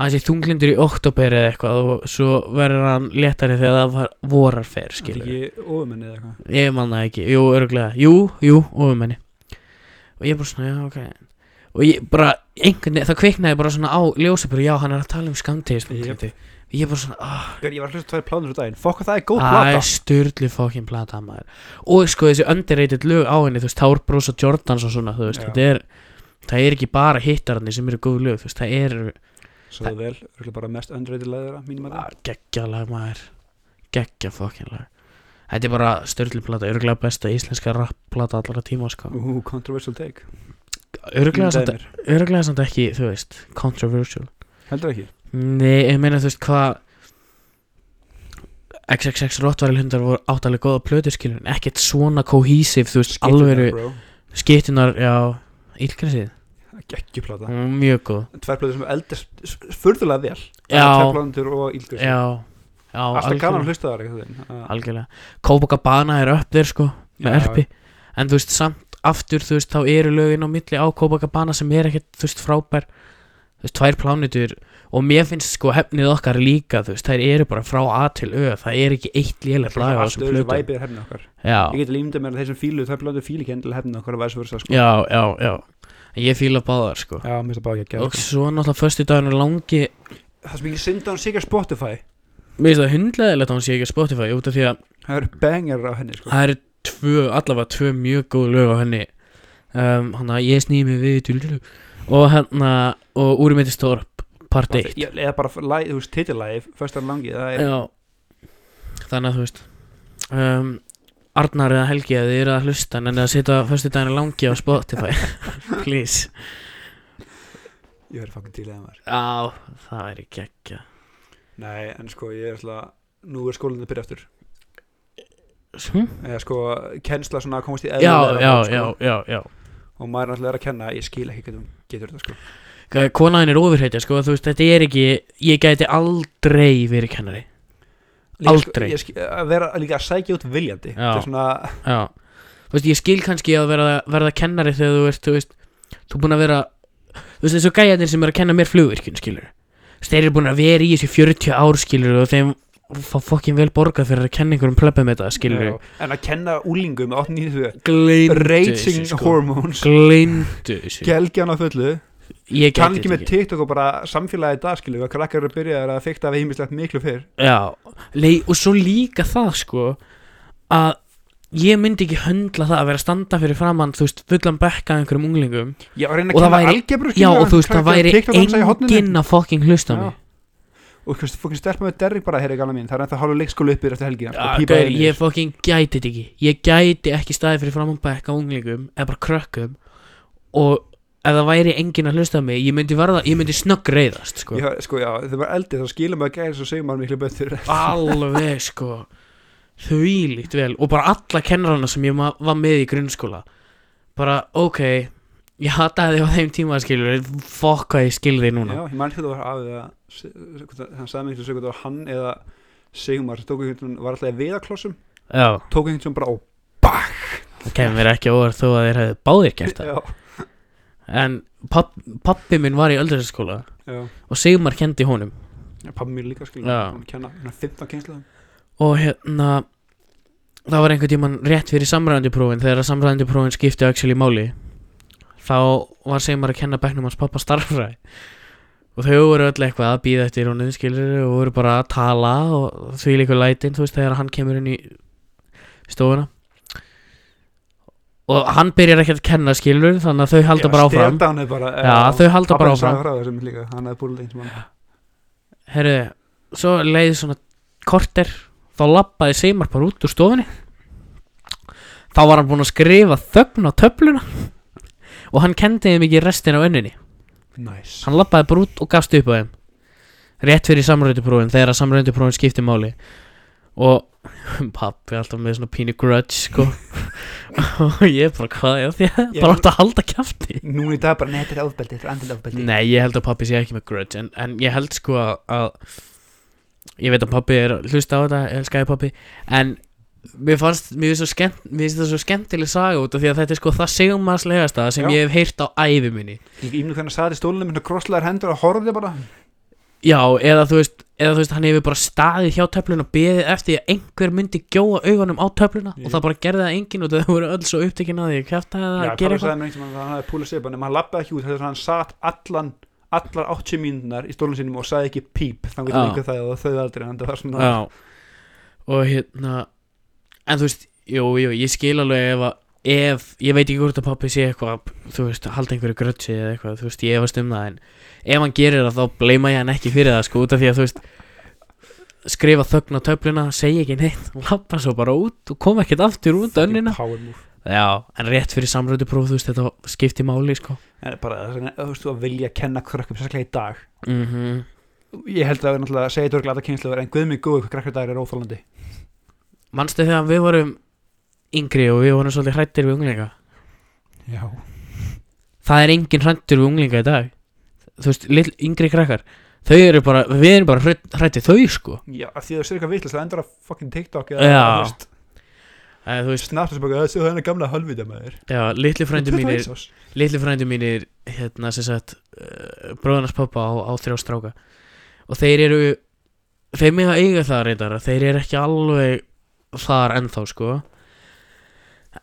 S1: Hann sé þunglindur í oktober eða eitthvað Og svo verður hann léttari þegar það var vorarfer
S2: þetta er
S1: skilur
S2: ekki ofumenni eða eitthvað
S1: Ég man það ekki, jú, örgulega Jú, jú, ofumenni Og ég bara svona, já, ok Og ég bara, einhvern veginn, það kviknaði bara svona á ljósabur Já, hann er að tala um skamtegist
S2: Jep.
S1: Og ég bara svona, ah,
S2: Gör, ég var að hlusta tvær plánu svo daginn fokk að það er góð
S1: það
S2: plata
S1: er styrli fokkin plata maður Og sko, þessi underrated lög á henni Þú veist, Tárbros og Jordans og svona, þú veist
S2: Já.
S1: Þetta er, það er ekki bara hittararnir sem eru góð lög Þú veist, það eru
S2: svo það vel örugglega bara mest underrated leðara mínum að
S1: ah, geggja lag maður Geggja fokkin lag Þetta er bara styrli plata, örgulega besta íslenska rapplata allra tíma, sko
S2: það ú, controversial take
S1: Örgulega samt
S2: Myndaði mér.
S1: örglega samt ekki, þú veist, controversial
S2: heldur ekki
S1: Nei, ég meina, þú veist, hvað XXX Rottvæl hundar voru áttalega góða plötuskilur en ekkert svona cohesive, þú veist,
S2: Skiptir
S1: alvöru
S2: það, bro.
S1: skittunar, já, ílgræsið
S2: geggju plata
S1: Hún var mjög góð
S2: tvær plöður sem eldast s- s- furðulega vel tvær
S1: Já,
S2: plöður og ílgur
S1: já, já
S2: sko. alltaf gaman að hlusta þar einhvern veginn. Að-
S1: algjörlega Kópakabana er upp þér, sko, með
S2: Já,
S1: erpi en þú veist, samt aftur, þú veist, þá eru lögin á milli á Kópakabana sem er ekkert, þú veist, frábær þú veist, tvær plánitur og mér finnst sko hefnið okkar líka, þú veist, þær eru bara frá A til Ö, það er ekki eitt lélegt
S2: Það er
S1: lag á
S2: allt
S1: þessum
S2: öðru
S1: plötum
S2: væpið er hefnið okkar
S1: já,
S2: Ég get límdið mér að þeir sem fílu Það er blöndu fíli ekki endilega hefnið okkar að væsa verið sko.
S1: já, já, já En ég fíla báðar, sko
S2: Já, mér finnst það bara ekki að
S1: og svo náttúrulega föstu dagarnir langi
S2: Það sem ekki synda hann sigur Spotify
S1: mér finnst það hundleðilegt að hún sé ekki á Spotify út af því að
S2: Það eru bengar á henni sko.
S1: það eru tvö, allavega tvö mjög góð lög á henni um, hann að ég snýði mig við djúllu. og hérna, og úr mitt stórp part 1
S2: Ég- Eða bara lag- þú veist, titilæði Föstar langi, það er
S1: Já Þannig að þú veist um, Arnar eða Helgi eða þið eru að hlusta en að setja fyrstu daginn langi á Spotify Please
S2: Ég verður fangin til eða maður
S1: Já, það væri geggja
S2: Nei, en sko, ég er alltaf Nú er skólinni að byrja aftur
S1: hm?
S2: Eða sko, kennsla svona að komast í
S1: já,
S2: eðlilega
S1: já, já,
S2: form,
S1: já,
S2: sko.
S1: já, já
S2: Og maður er alltaf að kenna Ég skil ekki hvernig hún getur þetta sko.
S1: Hvað- Konaðin er ofurheitja, sko, þú veist, þetta er ekki Ég gæti aldrei verið kennari
S2: líka, sko,
S1: Aldrei.
S2: ég skil- Að vera líka að sækja út viljandi
S1: Já.
S2: Það er svona
S1: Já, þú veist, ég skil kannski að verða, verða kennari þegar þú ert, þú veist Þú er búin að vera, þú veist, þessu gæjarnir sem er að kenna mér flugvirkjun, skilur Þú veist, þeir eru búin að vera í þessu 40 ár, skilur Og þeim fá fokkin vel borgað fyrir að kenna einhverjum plebum þetta, skilur
S2: Já. En að kenna úlingum 892
S1: Gleimdu
S2: sko. Raging hormones
S1: Gleimdu þessu
S2: Gelgjan á fullu
S1: sko. Ég
S2: Kann
S1: gæti
S2: ekki
S1: þetta
S2: með
S1: ekki
S2: TikTok og bara samfélagi í dag skilu að krakkar eru að byrja að fykta af heimislegt miklu fyrr
S1: Já, Lei, og svo líka það sko að ég myndi ekki höndla það að vera að standa fyrir framann þú veist, fullan bekka af einhverjum unglingum
S2: Já, og reyna
S1: Og það
S2: að kenna
S1: væri-
S2: algebru
S1: Já, og þú veist, það væri
S2: engin
S1: enginn að fucking hlusta á
S2: Já.
S1: mig
S2: Og þú veist, fókin stelpa með Derrick bara, heyri gana mín Það er ennþá hálfa leikskólu uppir eftir helgina sko,
S1: Já, gaur, Ég fucking gæti þetta ekki Ég gæti ekki staðið fyrir framann bekka af unglingum eða bara krökkum og ef það væri enginn að hlusta á mig ég myndi, verða, ég myndi snögg reyðast sko.
S2: Já, sko, já, þau var eldið, þá skilum maður gæðis og segir maður miklu betur
S1: Ah, alveg sko þvílíkt vel og bara alla kennarana sem ég ma- var með í grunnskóla bara ok ég hataði þig á þeim tíma skilur fokk hvað ég skil þig núna
S2: Já, ég mann ekki hvað það var afið að hann sagði mig ekki hvað það var hann eða Sigmar sem tók einhvern veginn, var alltaf í veðaklossum
S1: já,
S2: tók einhvern veginn bara á
S1: það kemur mér ekki óvart þó að þeir hefðu báðir gert það
S2: Já,
S1: en papp, pappi minn var í öldræðskóla
S2: já, já,
S1: og Sigmar kendi honum
S2: pabbi mín líka skilur
S1: Já.
S2: hann kenna, hann er 15 kynsluðum
S1: og hérna það var einhvern tímann rétt fyrir samræðandi prófin þegar samræðandi prófin skipti Axel í máli þá var Seymar að kenna bekknum hans pappa starfræði og þau voru öll eitthvað að býða eftir honum skilur og voru bara að tala og því líka lætin þú veist þegar hann kemur inn í stofuna og hann byrjar ekki að kenna skilur þannig að þau halda bara áfram
S2: Stefán er bara
S1: Já, þau halda bara áfram.
S2: Pabbi sagði frá þessum líka, hann hefði búið leins mann
S1: Herru, svo leiði svona korter Þá lappaði Seymar bara út úr stofunni Þá var hann búinn að skrifa þögn á töfluna Og hann kendi þeim ekki restin á önninni
S2: Næs
S1: Hann lappaði bara út og gafst upp á þeim Rétt fyrir samrönduprófin Þegar að samrönduprófin skipti máli Og pappi alltaf með svona pínu grudge sko Og ég bara hvað er því
S2: Ég-
S1: Bara átt að halda kjafti
S2: Núna í dag bara, nei, þetta er ofbeldi, þetta er andil ofbeldi
S1: Nei, ég held að pappi sé ekki með grudge en, en ég held sko að, að Ég veit að pappi er að hlusta á þetta Ég elska þig pappi En mér fannst, mér finnst, svo skemmt, mér finnst það svo skemmtileg saga út af Því að þetta er sko það segjumarslegasta sem
S2: Já.
S1: ég hef heyrt á ævi minni
S2: Ég ímlu hvernig saði stólunum minna krosslaðar hendur og horfði bara
S1: Já, eða þú veist, eða þú veist hann hefur bara staðið hjá töfluna og beðið eftir því að einhver myndi gjóa augunum á töfluna
S2: Jú.
S1: og það bara gerði það enginn og þau voru öll svo upptekin að því að kæfta það
S2: Já,
S1: að
S2: Palli
S1: gera
S2: sagði
S1: eitthvað
S2: mér einhvern veginn að hann hefði púlað sér bara nema hann lappaði ekki út þess að hann satt allan allar 80 mínunar í stólun sínum og sagði ekki píp þannig
S1: Já.
S2: að líka það og þau aldrei en það var svona
S1: Já Og hérna En þú veist, jú, jú, ég skil alveg ef að Ef, ég veit ekki hvort að pappi sé eitthvað Þú veist, halda einhverju grötsi eða eitthvað Þú veist, ég efast um það en Ef hann gerir það þá bleima ég hann ekki fyrir það sko Út af því að þú veist Skrifa þögn á töfluna, segja ekki neitt Lappa svo bara út og kom ekkert aftur út
S2: Fucking
S1: Önnina
S2: power move.
S1: Já, en rétt fyrir samröndupróf Þú veist, þetta skipti máli sko
S2: en bara þess vegna, þú veist þú að vilja kenna krökkum sérstaklega í dag
S1: mm
S2: ég held að það er náttúrulega að segja dörglega að það kynsluður en guð mig góð hvað krökkur dagar er óþálandi
S1: Manstu þegar við vorum yngri og við vorum svolítið hrættir við unglinga
S2: já
S1: það er engin hrættur við unglinga í dag þú veist, lill, yngri krakkar þau eru bara, við erum bara hrætti þau sko
S2: já af því að þú sér eitthvað vitlis það endur að fucking TikTok
S1: Já.
S2: eða
S1: eða þú veist,
S2: snart þessu baka þessu hennar gamla halvvita maður
S1: já, litli frændi
S2: Þetta var
S1: mínir
S2: eins árs.
S1: litli frændi mínir, hérna, sem sagt uh, bróðarnas pappa á, á þrjá stráka og þeir eru þeir mig að eiga það reyndar að þeir eru ekki alveg þar ennþá sko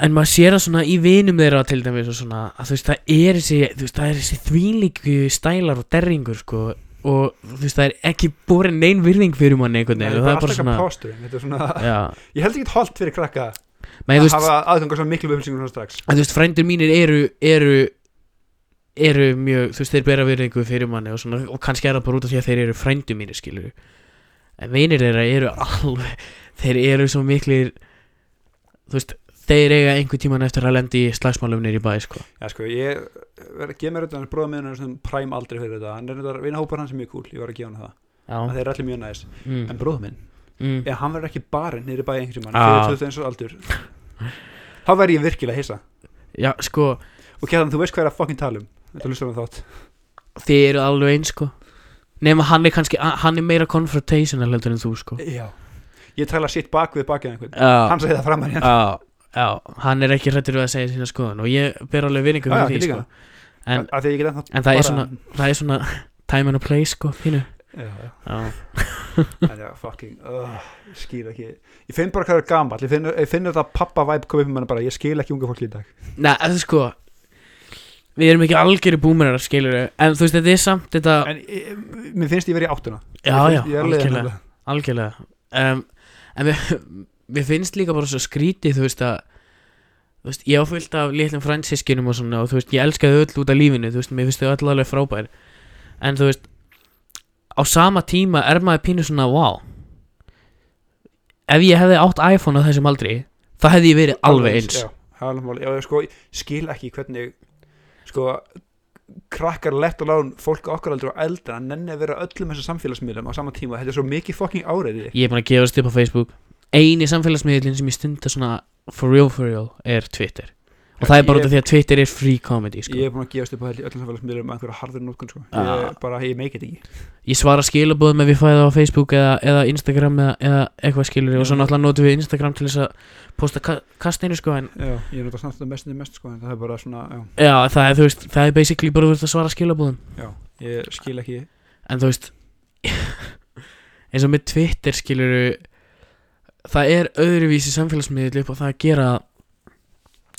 S1: en maður sér það svona í vinum þeirra til dæmis og svona að þú veist það er þessi, þú veist, það er þessi þvílíku stælar og derringur sko og þú veist það er ekki borin nein virðing fyrir manni einhvern
S2: Nei,
S1: veginn og það er bara
S2: alltaf
S1: svona
S2: eitthvað posturinn, þetta er svona-
S1: já,
S2: ég held ekki holdt fyrir krakka
S1: menn
S2: að
S1: þú veist,
S2: hafa aðganga svo miklu upplýsingum svona strax
S1: að þú veist frændur mínir eru eru eru mjög, þú veist þeir bera virðingu fyrir manni og svona og kannski er það bara út af því að þeir eru frændur mínir skilur en vinir þeirra eru alveg þeir eru svo miklir þú veist þeir eiga einhvern tíman eftir að lendi í slagsmálum nýri bæ sko
S2: Já sko, ég verð að gefa mér auðvitað, hann bróða með hann præm aldrei fyrir þetta, hann er auðvitað vinahópar hans er mjög cool, ég var að gefa hann það, að
S1: já,
S2: þeir eru allir mjög næs,
S1: mm,
S2: en bróða minn,
S1: mm.
S2: ef hann verður ekki barinn niður í bæði einhverjum mann,
S1: Ah.
S2: fyrir 21 árs aldur, þá verð ég virkilega hissa,
S1: já sko
S2: og Kjartan, þú veist hvað er að fucking tala um, þetta lustar hann þátt,
S1: þið eru alveg eins sko nema hann er kannski, hann er meira confrontational heldur en þú sko
S2: já, ég tala sitt bak við bakið einhvern,
S1: já,
S2: hann segi það framan hérna,
S1: já, já hann er ekki hrættur við að segja sína skoðan og ég ber alveg vinningu
S2: Já,
S1: fyrir
S2: ég
S1: því sko
S2: líka.
S1: en,
S2: af því að ég get ennþá
S1: en það,
S2: bara-
S1: er svona, það er svona time and a place sko pínu
S2: já, já,
S1: já,
S2: en já, fucking, uh, skýr ekki, ég finn bara hvað það er gamall, ég finn, ég finn þetta pappa vibe komið upp um hann bara, ég skil ekki unga fólk í dag,
S1: neða, sko Við erum ekki algjöru búmerar skilur En þú veist þetta er samt þetta
S2: En eh, mér finnst ég verið í áttuna
S1: Já,
S2: Mér
S1: já,
S2: finnst ég er leiðin
S1: algjörlega
S2: þarna.
S1: Algjörlega um, En við, við finnst líka bara svo skrítið Þú veist að Þú veist, ég á fullt af litlum fransískinum og svona og þú veist, ég elskaði öll út af lífinu þú veist, mér finnst þau öll alveg frábær en þú veist, á sama tíma er maður pínu svona, wow ef ég hefði átt iPhone á þessum aldri, það hefði ég verið alveg eins
S2: já, alveg máli. já, ég sko, ég skil ekki hvernig sko, krakkar lett og lán fólk á okkar aldrei og eldra nenni að vera á öllum þessum samfélagsmiðlum á sama tíma þetta er svo mikið fucking áreiti
S1: Ég er búin að gefast upp á Facebook Eini samfélagsmiðlinn sem ég stunda svona For real for real er Twitter Og
S2: Já,
S1: það er bara
S2: ég-
S1: út af því að Twitter er free comedy sko.
S2: ég er búin að gefast upp á held í öllum samfélagsmiðlum með einhverja harður nótkun sko.
S1: Ah.
S2: ég, bara, ég meikið ekki
S1: Ég svara skilabóðum ef ég fæði það á Facebook eða, eða Instagram eða, eða eitthvað skilur Og svo
S2: Já.
S1: náttúrulega notum við Instagram til þess að Posta ka kastinu sko en
S2: já, ég er náttúrulega snart mest en mest sko, en það er bara svona, já,
S1: Já það er þú veist Það er basically bara þú veist að svara skilabóðum
S2: já, ég skil ekki
S1: En þú veist Eins og með Twitter skilur Það er öðruvísi samfélagsmiðl upp á það að gera að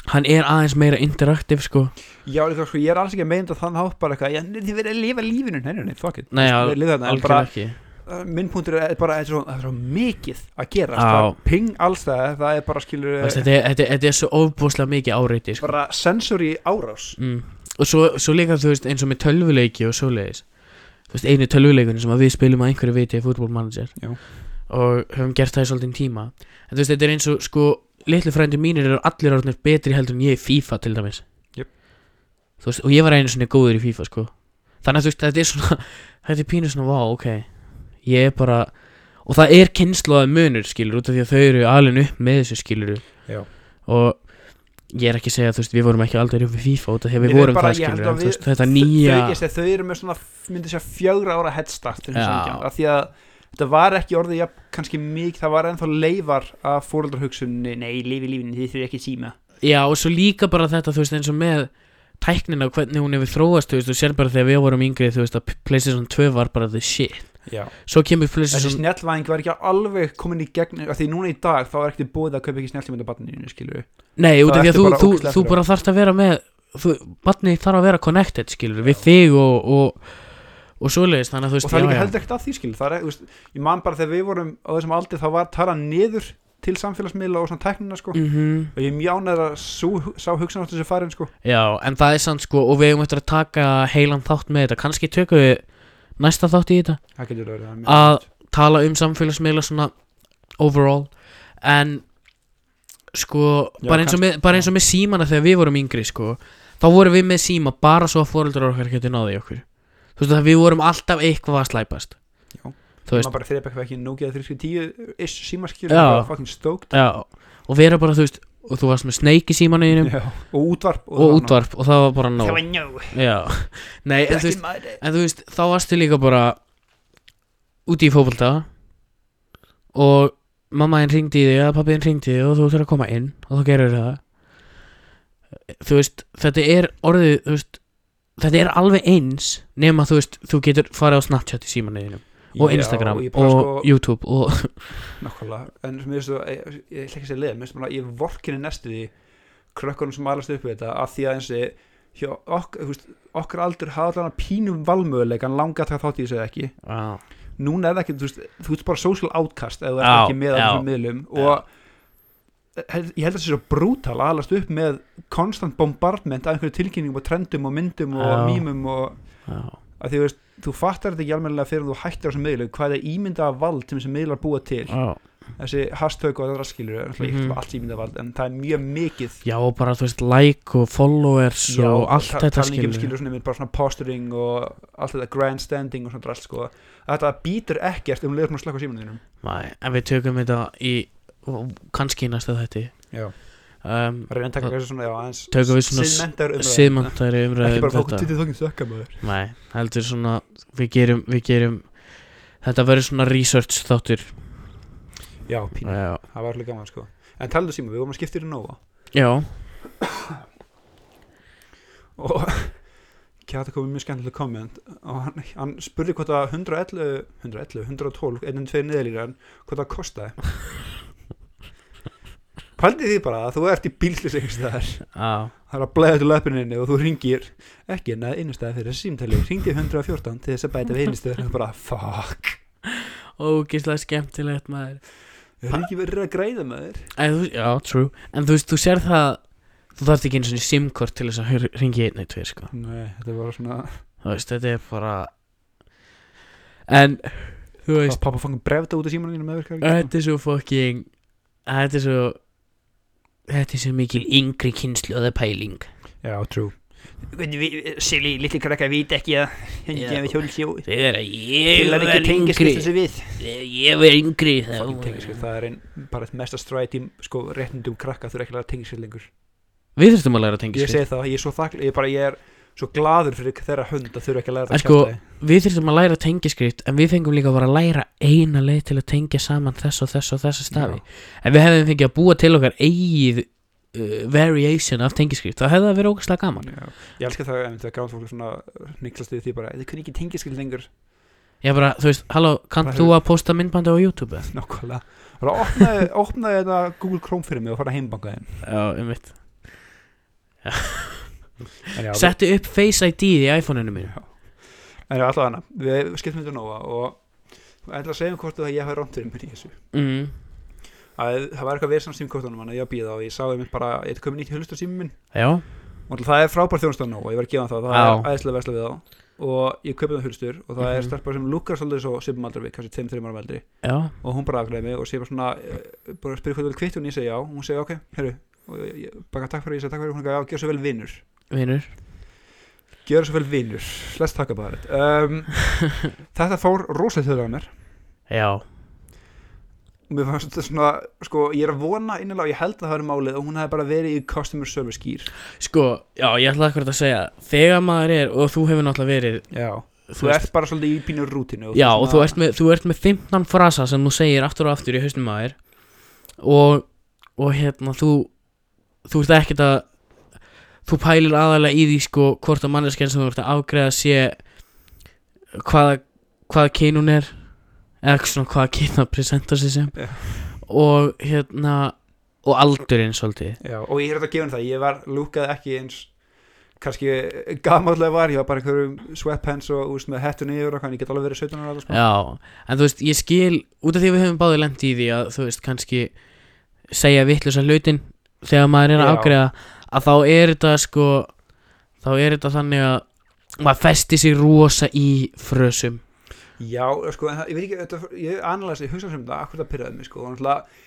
S1: Hann er aðeins meira interaktiv sko
S2: já, líka, sko, ég er alls ekki að meina þetta á þann hátt bara eitthvað, ég, þið verið að lifa lífinu nei, nei, nei, fuck it,
S1: Nei, já,
S2: Ég lifa þetta, en bara,
S1: Algjörlega ekki
S2: Uh, minn punktur er bara þetta er svo, það er svo mikið að gera
S1: Já.
S2: það er ping allstæði, það er bara skilur
S1: Þú veist, Þetta er- þetta er- þetta er svo óbúslega mikið áreiti sko.
S2: bara sensory árás
S1: mm. Og svo, svo líka þú veist eins og með tölvuleiki og svoleiðis Þú veist einu tölvuleikun sem að við spilum að einhverju viti í fútbolmanager
S2: Já.
S1: Og höfum gert það í svolítinn tíma En þú veist þetta er eins og sko Litlu frændur mínir eru allir orðnir betri heldur en ég í FIFA til dæmis
S2: Jöp.
S1: Þú veist og ég var einu svona góður í FIFA sko Þannig að þú veist þetta er svona Þetta er pínu svona vá ok Ég er bara Og það er kynnslóða munur skilur út af því að þau eru alveg upp með þessu skilur
S2: Já.
S1: og ég er ekki að segja þú veist við vorum ekki aldrei upp við FIFA út af því að
S2: Ég
S1: við
S2: veit
S1: vorum
S2: bara,
S1: það
S2: ég held
S1: skilur
S2: að
S1: en,
S2: við-
S1: þú veist, þetta
S2: Þau-
S1: nýja
S2: þau, ég sé, þau eru með svona, myndi segja fjögra ára headstart til þess
S1: Já.
S2: að samkjæmd, af því að þetta var ekki orðið jafn, kannski mikið, það var ennþá leifar af fóreldarhugsunni, nei, lifi lífinu þið þurfið ekki síma
S1: já og svo líka bara þetta þú veist eins og með tæknina og hvernig hún hefur þróast þú veist og sér bara þegar við vorum yngri þú veist að PlayStation 2 var bara the shit
S2: Já.
S1: svo kemur
S2: þessi
S1: PlayStation
S2: snjallvæðing var ekki alveg komin í gegn af því núna í dag þá er ekkert búið að kaupa ekki snjallvæðindabarninu skilur
S1: nei út
S2: það
S1: af því að þú,
S2: ertu bara
S1: þú,
S2: ógeðslega
S1: þú
S2: fyrir.
S1: bara þarft að vera með þú, barnið þarf að vera connected skilur við þig og, og, og svoleiðis þannig að þú
S2: og
S1: veist
S2: það er líka
S1: já, já.
S2: heldur ekkert að því skil það er, þú veist, ég man bara þegar við vorum á þessum aldri þá var talað niður til samfélagsmiðla og svona tæknina sko
S1: Mhm.
S2: og ég er mjög ánægður að sú, sá hugsanáttu sem farin sko
S1: Já, en það er samt sko og við hefum eftir að taka heilan þátt með þetta kannski tökum við næsta þátt í þetta
S2: það getur verið það er mjög
S1: Að-
S2: gott.
S1: tala um samfélagsmiðla svona overall en sko
S2: Já,
S1: bara, eins og
S2: kannski,
S1: með, bara eins og með símana þegar við vorum yngri sko þá vorum við með síma bara svo að fóreldrar okkar getur náði okkur þú veist að við vorum alltaf eitthvað að slæpast
S2: Já.
S1: þú veist
S2: maður bara þreip eitthvað ekki núgeða 3.10 ish símaskil
S1: Já.
S2: bara fucking stoked
S1: já, og vera bara þú veist og þú varst með snake í símanu þínum
S2: Já. og útvarp
S1: og útvarp og það var bara
S2: no.
S1: nóg
S2: það var no
S1: já, nei en þú
S2: Back
S1: veist
S2: in my day.
S1: En þú veist, þá varstu líka bara úti í fótbolta og mamma henn ringdi í þig eða pappi henn ringdi í þig og þú þurfir að koma inn og þú gerir það þú veist, þetta er orðið þú veist, þetta er alveg eins nema þú veist, þú getur farið á Snapchat í símanuðinum og
S2: Já,
S1: Instagram
S2: ég
S1: og,
S2: bara sko-
S1: YouTube og
S2: Nákvæmlega, en mér finnst þú, ég, ég ætla ekki að segja leið, mér finnst bara, ég vorkinni næstu því krökkunum sem alast upp við þetta, af því að eins og, hjá ok, þú veist, okkar aldur hafa allan pínum valmöguleikan langa að taka þátt í þessu eða ekki.
S1: Já,
S2: Núna er það ekki, þú veist, þú veist bara social outcast eða þú
S1: Já,
S2: ert ekki með á
S1: já,
S2: þessum miðlum og held- ég held að það sé svo brútal að alast upp með konstant bombardment af einhverju tilkynningum og trendum og myndum og
S1: Já.
S2: mýmum og
S1: já,
S2: að því þú veist, þú fattar þetta ekki almennilega fyrir en þú hættir á þessum miðlum, hvað er ímynda vald sem þessum miðlar búa til
S1: já
S2: þessi hashtag og það raskilur mm
S1: Mhm.
S2: -hmm. allt ímyndavald en það er mjög mikið
S1: Já, og bara þú veist, like og followers og allt
S2: ta-
S1: þetta
S2: talandi ekki um
S1: skilur
S2: skilur svona, mynd, bara svona posturing og allt þetta grandstanding og svona drast sko þetta býtur ekkert um leiður svona slakka símaninum
S1: Nei, en við tökum þetta í kannski í næsta þetta
S2: já
S1: um,
S2: reyna að taka þessu svona já aðeins
S1: Tökum við svona
S2: siðmenntar umræður.
S1: siðmantæri
S2: ekki
S1: umræði
S2: bara
S1: um
S2: fólk
S1: þetta
S2: til þókinn þökka maður
S1: Nei, heldur svona við gerum, við gerum þetta verður svona research þáttur
S2: já pínu
S1: já,
S2: það var alveg gaman sko en talaðu síma við vorum að skipta þér í Nova
S1: já,
S2: og Kjata komið mjög skemmtilega komment og hann, hann spurði hvort að 111, um 111, 112, 112 niðurlýran hvort það kostaði Paldið því bara að þú ert í bílslis einhvers staðar
S1: á,
S2: Það er að blæða til löpuninni og þú ringir ekki en að innstæða fyrir þessi símtali Ringdi 114 til þess að bæta við einnistöður og bara fuck
S1: ógislega skemmtilegt maður
S2: Það er ekki verið að græða maður
S1: en, þú, Já, true En þú veist, þú sér það Þú þarft ekki einu svona simkort til þess að ringi einn eitt tveir, sko
S2: Nei, þetta var svona
S1: Þú veist, þetta er bara En, þú veist
S2: Pappa fangum brefta út af símanum mínum meðverkar ekki
S1: Þetta er svo fucking Þetta er svo Þetta er svo mikil yngri kynslu og það er pæling
S2: Já, trú Sili, litli krakka vít ekki
S1: Já.
S2: að hengi að hjólsjó
S1: Þegar ég verð yngri
S2: við
S1: Þegar ég verð yngri þá
S2: Það er ein, bara eitt mesta stræti sko, réttindum krakka þú er ekki að tengja sér lengur
S1: Við þurfum að læra
S2: Ég
S1: tengiskrið
S2: segi það, ég er svo þakkl Ég, bara, ég er svo gladur fyrir þeirra hund að þurfa ekki að læra
S1: En
S2: það
S1: sko,
S2: kjaftaði.
S1: Við þurfum að læra tengiskrið En við fengum líka bara að læra eina leið til að tengja saman þess og þess og þessa stafi En við hefðum fengið að búa til okkar eigið uh, variation af tengiskrið Það hefði það verið ógæslega gaman
S2: Já. Ég elska það en það gáðum fólk svona nýklast við því bara, þið kunni ekki tengja skil lengur
S1: Ég bara, þú veist, halló, kannt
S2: Bara-
S1: þú að posta myndbandi á YouTube?
S2: Nákvæmlega Bara opnaði, opnaði þetta Google Chrome fyrir mig og fara heimbanka þeim
S1: Já, um mitt
S2: En já, við-
S1: Settu upp Face ID í iPhone-inu mínu
S2: Já. En já, alltaf hana, við skiptum þetta nóga og ég ætla að segja um hvort að ég hafi rámt fyrir mér í þessu
S1: mm.
S2: að það var eitthvað verið samt símkortunum hann að ég að býða og ég sá einmitt bara, ég er komin nýtt hlustu símum minn
S1: Já,
S2: og náttúrulega það er frábær þjónustan nóg og ég var að gefa hann það, það
S1: Já.
S2: er æðislega versla við þá og ég kaupi um það hulstur og það er
S1: Mhm.
S2: starpa sem lukkar svolítið svo sem aldrei við, kannski 2-3 ára veldri
S1: já,
S2: og hún bara afgræði mig og segir bara svona eh, bara spyrir hvað þú vil kvitt og ég segja já og hún segir ok, herru og ég- ég- bara takk fyrir, ég segi takk fyrir, hún segir já, gjör svo vel vinnur
S1: vinur
S2: gjör svo vel vinnur, let's talk about it um, þetta fór rosalega þauðlega mér
S1: Já,
S2: og mér fannst þetta svona, sko, ég er að vona innilega, og ég held að það verið málið og hún hefði bara verið í customer service gear
S1: sko, já, ég ætla akkur að segja Þegar maður er, og þú hefur náttúrulega verið
S2: já,
S1: Þú,
S2: þú
S1: veist,
S2: ert bara svolítið í pínu rútinu
S1: Já, og þú ert, með, þú ert með 15 frasa sem þú segir aftur og aftur í hausnum maður Og, og hérna, þú Þú ert ekkert að Þú pælir aðalega í því, sko, hvort að manneskjan sem þú ert að afgreða sé Hvaða, hvaða kyn hún er Eða svona hvaða kyn það presenta sig sem
S2: Já.
S1: Og hérna Og aldurinn svolítið
S2: já, og ég er þetta að gefa henni það, ég var lúkað ekki eins kannski gamallega var, ég var bara einhverjum sweatpants og úst með hettu niður og hann, ég get alveg verið 17 ára að það sko
S1: Já, en þú veist, ég skil út af því að við höfum báði lendi í því að þú veist, kannski segja vittlusa hlutin þegar maður er að
S2: Já.
S1: ágreða að þá er þetta sko þá er þetta þannig að maður festi sig rosa í frösum
S2: Já, sko, en það, ég veit ekki, þetta, ég analysi, ég hugsa sem þetta, akkur það pyrraði mig, sko, og náttúrulega,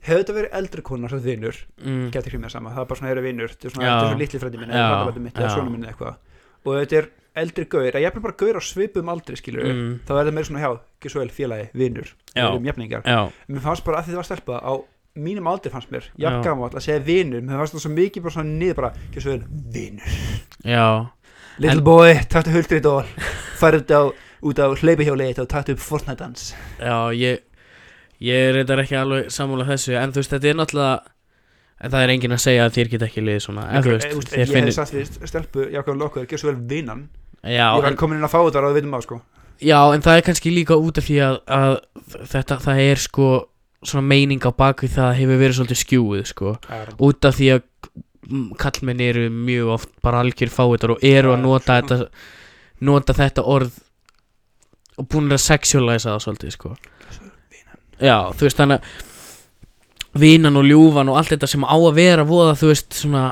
S2: hefði þetta verið eldri konar sem vinnur,
S1: mm.
S2: getur ekki með sama, það er bara svona, eru vinnur, þetta er
S1: Já.
S2: svona, þetta er svona litli frændi minn, eða
S1: Já,
S2: frændabæti mitt, eða
S1: já.
S2: svona minn eða eitthvað, og þetta er eldri gaur, að jafnir bara gaur á svipum aldri, skilur við,
S1: Mm.
S2: þá er þetta meira svona, já, ekki svo vel félagi, vinnur, við
S1: Já.
S2: erum jafningar,
S1: Já,
S2: mér fannst bara að því það var stelpa á mínum aldri fannst mér,
S1: Já.
S2: jafn gamall að segja vinnur, mér fannst það svo mikið bara svona niður bara, ekki svo vel, vinnur,
S1: já,
S2: little
S1: En-
S2: boy, taktu huldrið dól, farið á, út á hlaupihjólið þitt og taktu upp Fortnite dans.
S1: já, ég ég er reyndar ekki alveg sammála þessu en þú veist, þetta er náttúrulega en það er enginn að segja að þér get ekki liðið svona en þú
S2: Eh,
S1: veist,
S2: ég
S1: þér
S2: hef
S1: finnir
S2: sagt við stelpu Jakob Lokkur, gjör svo vel vinnan
S1: já,
S2: ég
S1: en-
S2: var komin inn að fá þetta og við veitum á sko
S1: Já, en það er kannski líka út af því að, að þetta, það er sko svona meining á bakvið það hefur verið svolítið skjúið sko út af því að mm, kallmenn eru mjög oft bara algjör fáiðar og eru að
S2: Já,
S1: nota
S2: sko.
S1: þetta, nota þetta orð og búin að sexualæsa það svolítið sko Já, þú veist þannig að vinan og ljúfan og allt þetta sem á að vera voða þú veist svona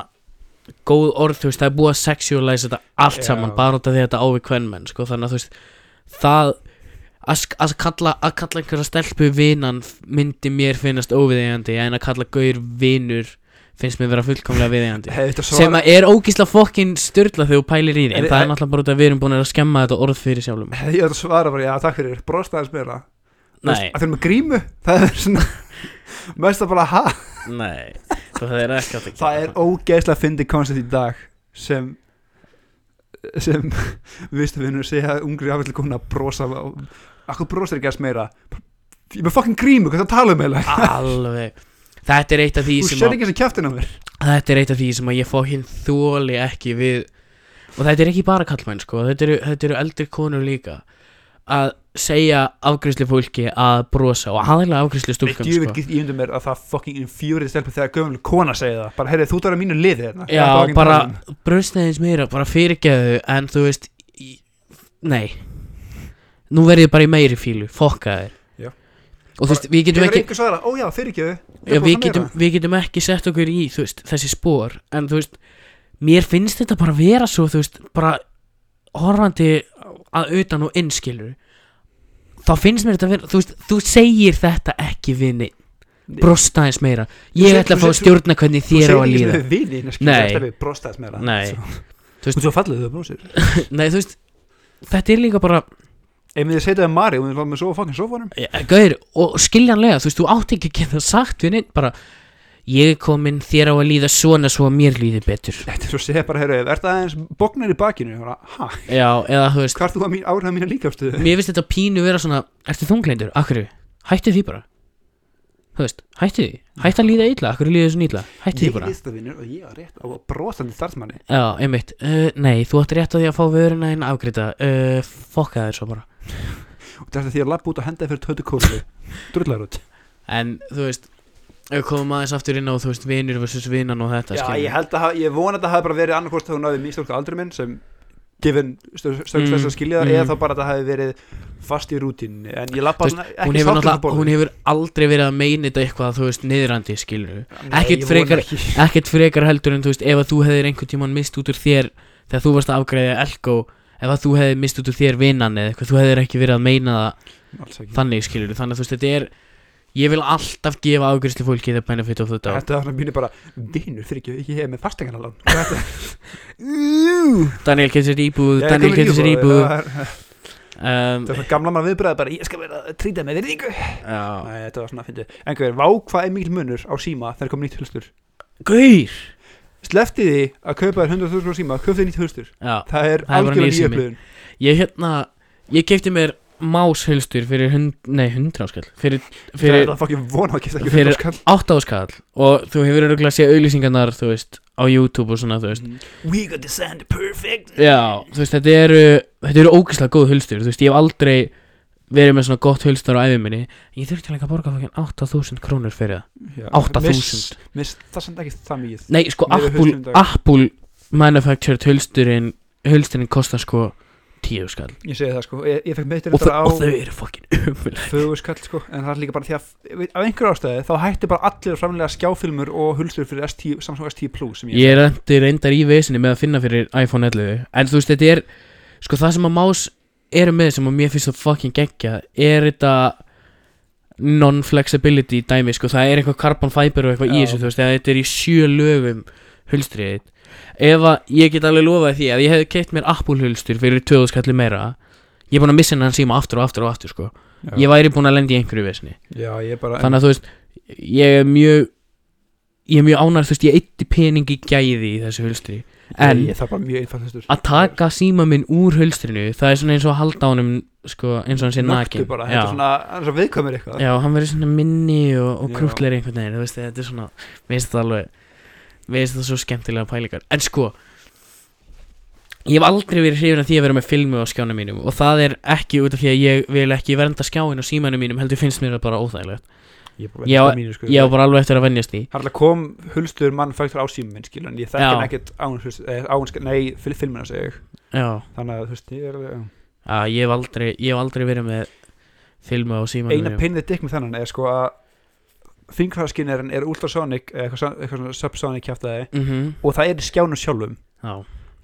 S1: góð orð þú veist það er búið að sexualæsa þetta allt
S2: Já.
S1: saman bara út af því að þetta ávi kvenmenn sko þannig að þú veist það að, sk- að, kalla, að kalla einhverja stelpu vinan myndi mér finnast óviðeigandi en að kalla gaur vinur finnst mér vera fullkomlega viðeigandi
S2: hefði þetta
S1: sem
S2: svara
S1: að er ógísla fokkin styrla þegar þú pælir í því en
S2: En-
S1: það er
S2: en-
S1: náttúrulega bara út af að við erum búin að skemma þetta orð fyrir sjálfum
S2: hefði þetta svara bara, já takk fyrir, brost aðeins meira Þú veist,
S1: Nei,
S2: að þeir eru með grímu, það er svona mest að bara ha,
S1: nei, það er ekki átt að gera
S2: það er ógeðslega fyndið koncept í dag sem sem viðstufinnur segja ungri afall kona að brosa akkur brosir ekki aðeins meira ég er með fucking grímu, hvað það tala um eiginlega
S1: Alveg Þetta er eitt af því
S2: þú
S1: sem
S2: sér
S1: að
S2: ekki þessi kjæftin á mér
S1: Þetta er eitt af því sem að ég fokkin þóli ekki við Og þetta er ekki bara kallmenn sko Þetta eru, þetta eru eldri konur líka Að segja afgriðslu fólki að brosa og aðalega afgriðslu
S2: Ég
S1: stúlkan
S2: vil
S1: sko.
S2: ekki ímynda mér að það fucking infjúrið stelpur þegar gömul kona segir það Bara, heyrðu, þú ert að vera mínu liði hérna
S1: Já,
S2: Þetta var ekki
S1: bara
S2: málum.
S1: bröstneðins meira, bara fyrirgeðu en þú veist í, nei, nú verðið bara í meiri fílu, fokka þér
S2: Já.
S1: og þú veist, við
S2: Ég
S1: getum
S2: er
S1: ekki
S2: einhvers aðra, ó já, fyrirgeðu Ég
S1: já,
S2: er búin að
S1: við,
S2: meira.
S1: getum, við getum ekki sett okkur í þú veist, þessi spór en þú veist, mér finnst þetta bara vera svo þú veist, bara horfandi að utan og innskilur þá finnst mér þetta vera þú veist, þú segir þetta ekki vinni brosta eins meira ég
S2: segir-
S1: ætla að
S2: þú
S1: fá að
S2: segir-
S1: stjórna hvernig þér á að líða
S2: Þú segir ekki sem þau vinir, skilur,
S1: Nei.
S2: þetta við brostaðis meira
S1: Nei.
S2: Svo-
S1: Þú veist-
S2: Og svo fallið þau brosir
S1: nei, þú veist, þetta er líka bara
S2: Ef mér setjaði Mari og mér var með svo fucking sofanum
S1: Ja, Gaur, og skiljanlega, þú veist, þú átt ekki að geta sagt við neitt, bara ég er komin þér á að líða svona svo að mér líði betur
S2: Þetta er svo segja bara, heyrðu, er það aðeins bóknar í bakinu? Ég bara, Ha,
S1: Já, eða þú veist,
S2: hvað er þú að mín áhrifða mína líkafstöðu?
S1: mér finnst þetta pínu vera svona Ertu þungleindur? Akkur, hættu því bara Þú veist, hættu því Hættu að líða illa, akkur líða svona illa Hættu því
S2: Ég er
S1: bara
S2: listavinnur og ég á rétt á brosandi starfsmanni
S1: Já, einmitt, uh, nei, þú átt rétt á því að fá vöruna en afgreita uh, Fokka þér svo bara
S2: og þetta er því að lappa út og henda þér fyrir tötu kólu drullar út
S1: En, þú veist, ef við komum aðeins aftur inn á, þú veist, vinur versus vinan og þetta
S2: Já,
S1: skilur.
S2: ég held að, ha- ég vona að það hafi bara verið annarkvort þegar hún náði mistólka aldrei minn sem gefin stöðsvess
S1: Mm,
S2: að skilja það
S1: mm.
S2: eða þá bara að það hafi verið fast í rútin en ég
S1: Þú
S2: lappa svona
S1: hún
S2: ekki um
S1: hefur,
S2: sáttur
S1: náttúrulega- hún hefur aldrei verið að meina þetta eitthvað þú veist niðrandi skilur ekkert frekar- ekkert frekar heldur en þú veist ef að þú hefðir einhvern tíman mist út úr þér þegar þú varst að afgræða elko ef að þú hefðir mist út úr þér vinnan eða eitthvað þú hefðir ekki verið að meina það
S2: Þannig
S1: þannig skilur þannig að þú veist þetta er ég vil alltaf gefa afgræðslu fólki the benefit of the doubt
S2: Þetta var svona mínu bara, vinur, fyrir ekki, ég hef með fastegnarlán
S1: Daniel getur sér íbúð Daniel getur sér íbúð
S2: Það
S1: um,
S2: var svona gamla mann viðbræði bara, ég skal vera að trýta með virðingu
S1: já.
S2: Nei, þetta var svona að fyndi En hver, vá hvað er mikil munur á síma þegar kom nýtt hulstur
S1: Gaur
S2: Sleftið því að kaupa þér 100.000 krónur síma, kaupið þér nýtt hulstur
S1: já.
S2: Það er
S1: Það er bara
S2: algjörlega
S1: nýr sími.
S2: nýjöflöðun
S1: Ég hérna Ég kefti mér máshulstur fyrir hund, Nei, hundra áskall Fyrir,
S2: fyrir,
S1: fyrir
S2: það er fucking von á að kemst ekki
S1: fyrir-
S2: fyrir skall
S1: átta áskall Og þú hefur öruglega séð auðlýsingarnar Þú veist, á YouTube og svona, þú veist
S2: we got the sound perfect
S1: Já, þú veist, þetta eru Þetta eru ógeðslega góð hulstur Þú veist, ég hef aldrei verið með svona gott hulstur á æfi minni Ég þurfti líka að borga fokkinn 8000 krónur fyrir það 8000.
S2: miss það sem ekki það mikið
S1: Nei, sko,
S2: Meira hulstur í
S1: Apple,
S2: dag.
S1: Apple manufactured hulsturinn Hulsturinn kostar sko 10 skall
S2: ég segi það sko ég, ég fekk meitur
S1: og, þau-
S2: þetta á
S1: og þau eru fokkinn umfyl
S2: fögur skall sko en það er líka bara því að við- af einhverju ástæði þá hætti bara allir að framlega skjáfilmur og hulstur fyrir S10, Samsung S10 Plus sem ég
S1: Ég rendi reyndar í vesinni með að finna fyrir iPhone 11 En þú veist, þetta er Sko það sem að Más eru með sem að mér finnst að fucking gegja Er þetta non-flexibility dæmi Sko það er eitthvað carbon fiber og eitthvað í
S2: Já.
S1: þessu Þú veist, eða þetta er í sjö lögum hulstriðið Ef að ég get alveg lofað því að ég hef keitt mér Apple hulstur fyrir 2000 kalli meira Ég er búin að missa hennan síma aftur og aftur og aftur sko Ég væri búin að lenda í einhverju vesinni
S2: já ég bara
S1: þannig að þú veist ég er mjög ég er mjög ánægð, þú veist, ég eitti pening í gæði í þessu hulstri, en
S2: ég, það er bara mjög einfalt hulstur
S1: að taka síma minn úr hulstrinu, það er svona eins og að halda á honum sko, eins og hann sé nakin
S2: bara
S1: já.
S2: þetta er svona það er svo viðkvæmur eitthvað
S1: já, hann verður svona minni og, og
S2: Já.
S1: krútleiri einhvern veginn, þú veist, þetta er svona veist það alveg, veist það svo skemmtilega pælingar, en sko ég hef aldrei verið hrifin af því að vera með filmu á skjánum mínum og það er ekki út af því að ég vil ekki vernda skjáin og símanum mínum, heldur finnst mér það bara óþægilegt
S2: ég bara
S1: Já,
S2: þetta mínu, sko.
S1: ég á bara alveg eftir að venjast því
S2: Það er alltaf kom hulstur mann fæktur á símum minn skilur en ég þekki
S1: Já.
S2: hann ekkert án hulstur, eh, án, sk- nei, fil- filmuna segja ég
S1: já.
S2: þannig að þú veist, ég er alveg, já.
S1: Já, ég hef aldrei, ég hef aldrei verið með filmu á símanum
S2: eina
S1: mínum.
S2: pinnið dikk með þennan er sko að þingfæðaskinnirinn er ultrasonic eða eitthvað, son- eitthvað svona subsonic kjæftæði
S1: Mhm,
S2: og það er í skjánum sjálfum
S1: Já,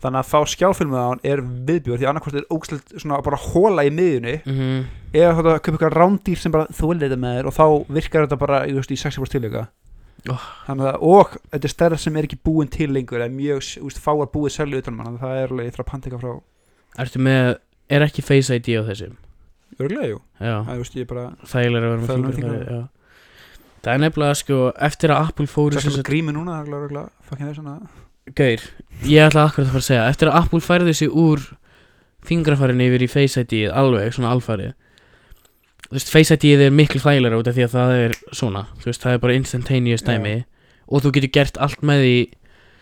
S2: þannig að fá skjáfilmið á hann er viðbjörn því annarkvort er ógslegt svona bara hóla í miðjunni
S1: mhm,
S2: eða þetta köpa eitthvað rándýr sem bara þólir þetta með þér og þá virkar þetta bara þú veist, í 60% tilíka
S1: Oh.
S2: þannig að og þetta er stærð sem er ekki búin til lengur eða mjög þú veist, fáar búið selju utan mann það er alveg, ég þarf að panta eitthvað frá
S1: ertu með, er ekki Face ID á þessum?
S2: örglega, jú
S1: Já,
S2: það, þú veist, ég bara
S1: þægilega að vera með
S2: Það er með
S1: fingrafæri,
S2: fingrafæri.
S1: já Það er nefnilega, sko, eftir að Apple fóru
S2: Það
S1: sem
S2: er
S1: sagt,
S2: grími núna, það er örglega, fucking þeir svona
S1: Gaur, ég ætla akkurat að fara að segja Eftir að Apple færði sig úr fingrafærinu yfir í Face ID alveg, svona alfarið Þú veist, Face ID er miklu þægilega út af því að það er svona Þú veist, það er bara instantaneous
S2: Já.
S1: dæmi Og þú getur gert allt með því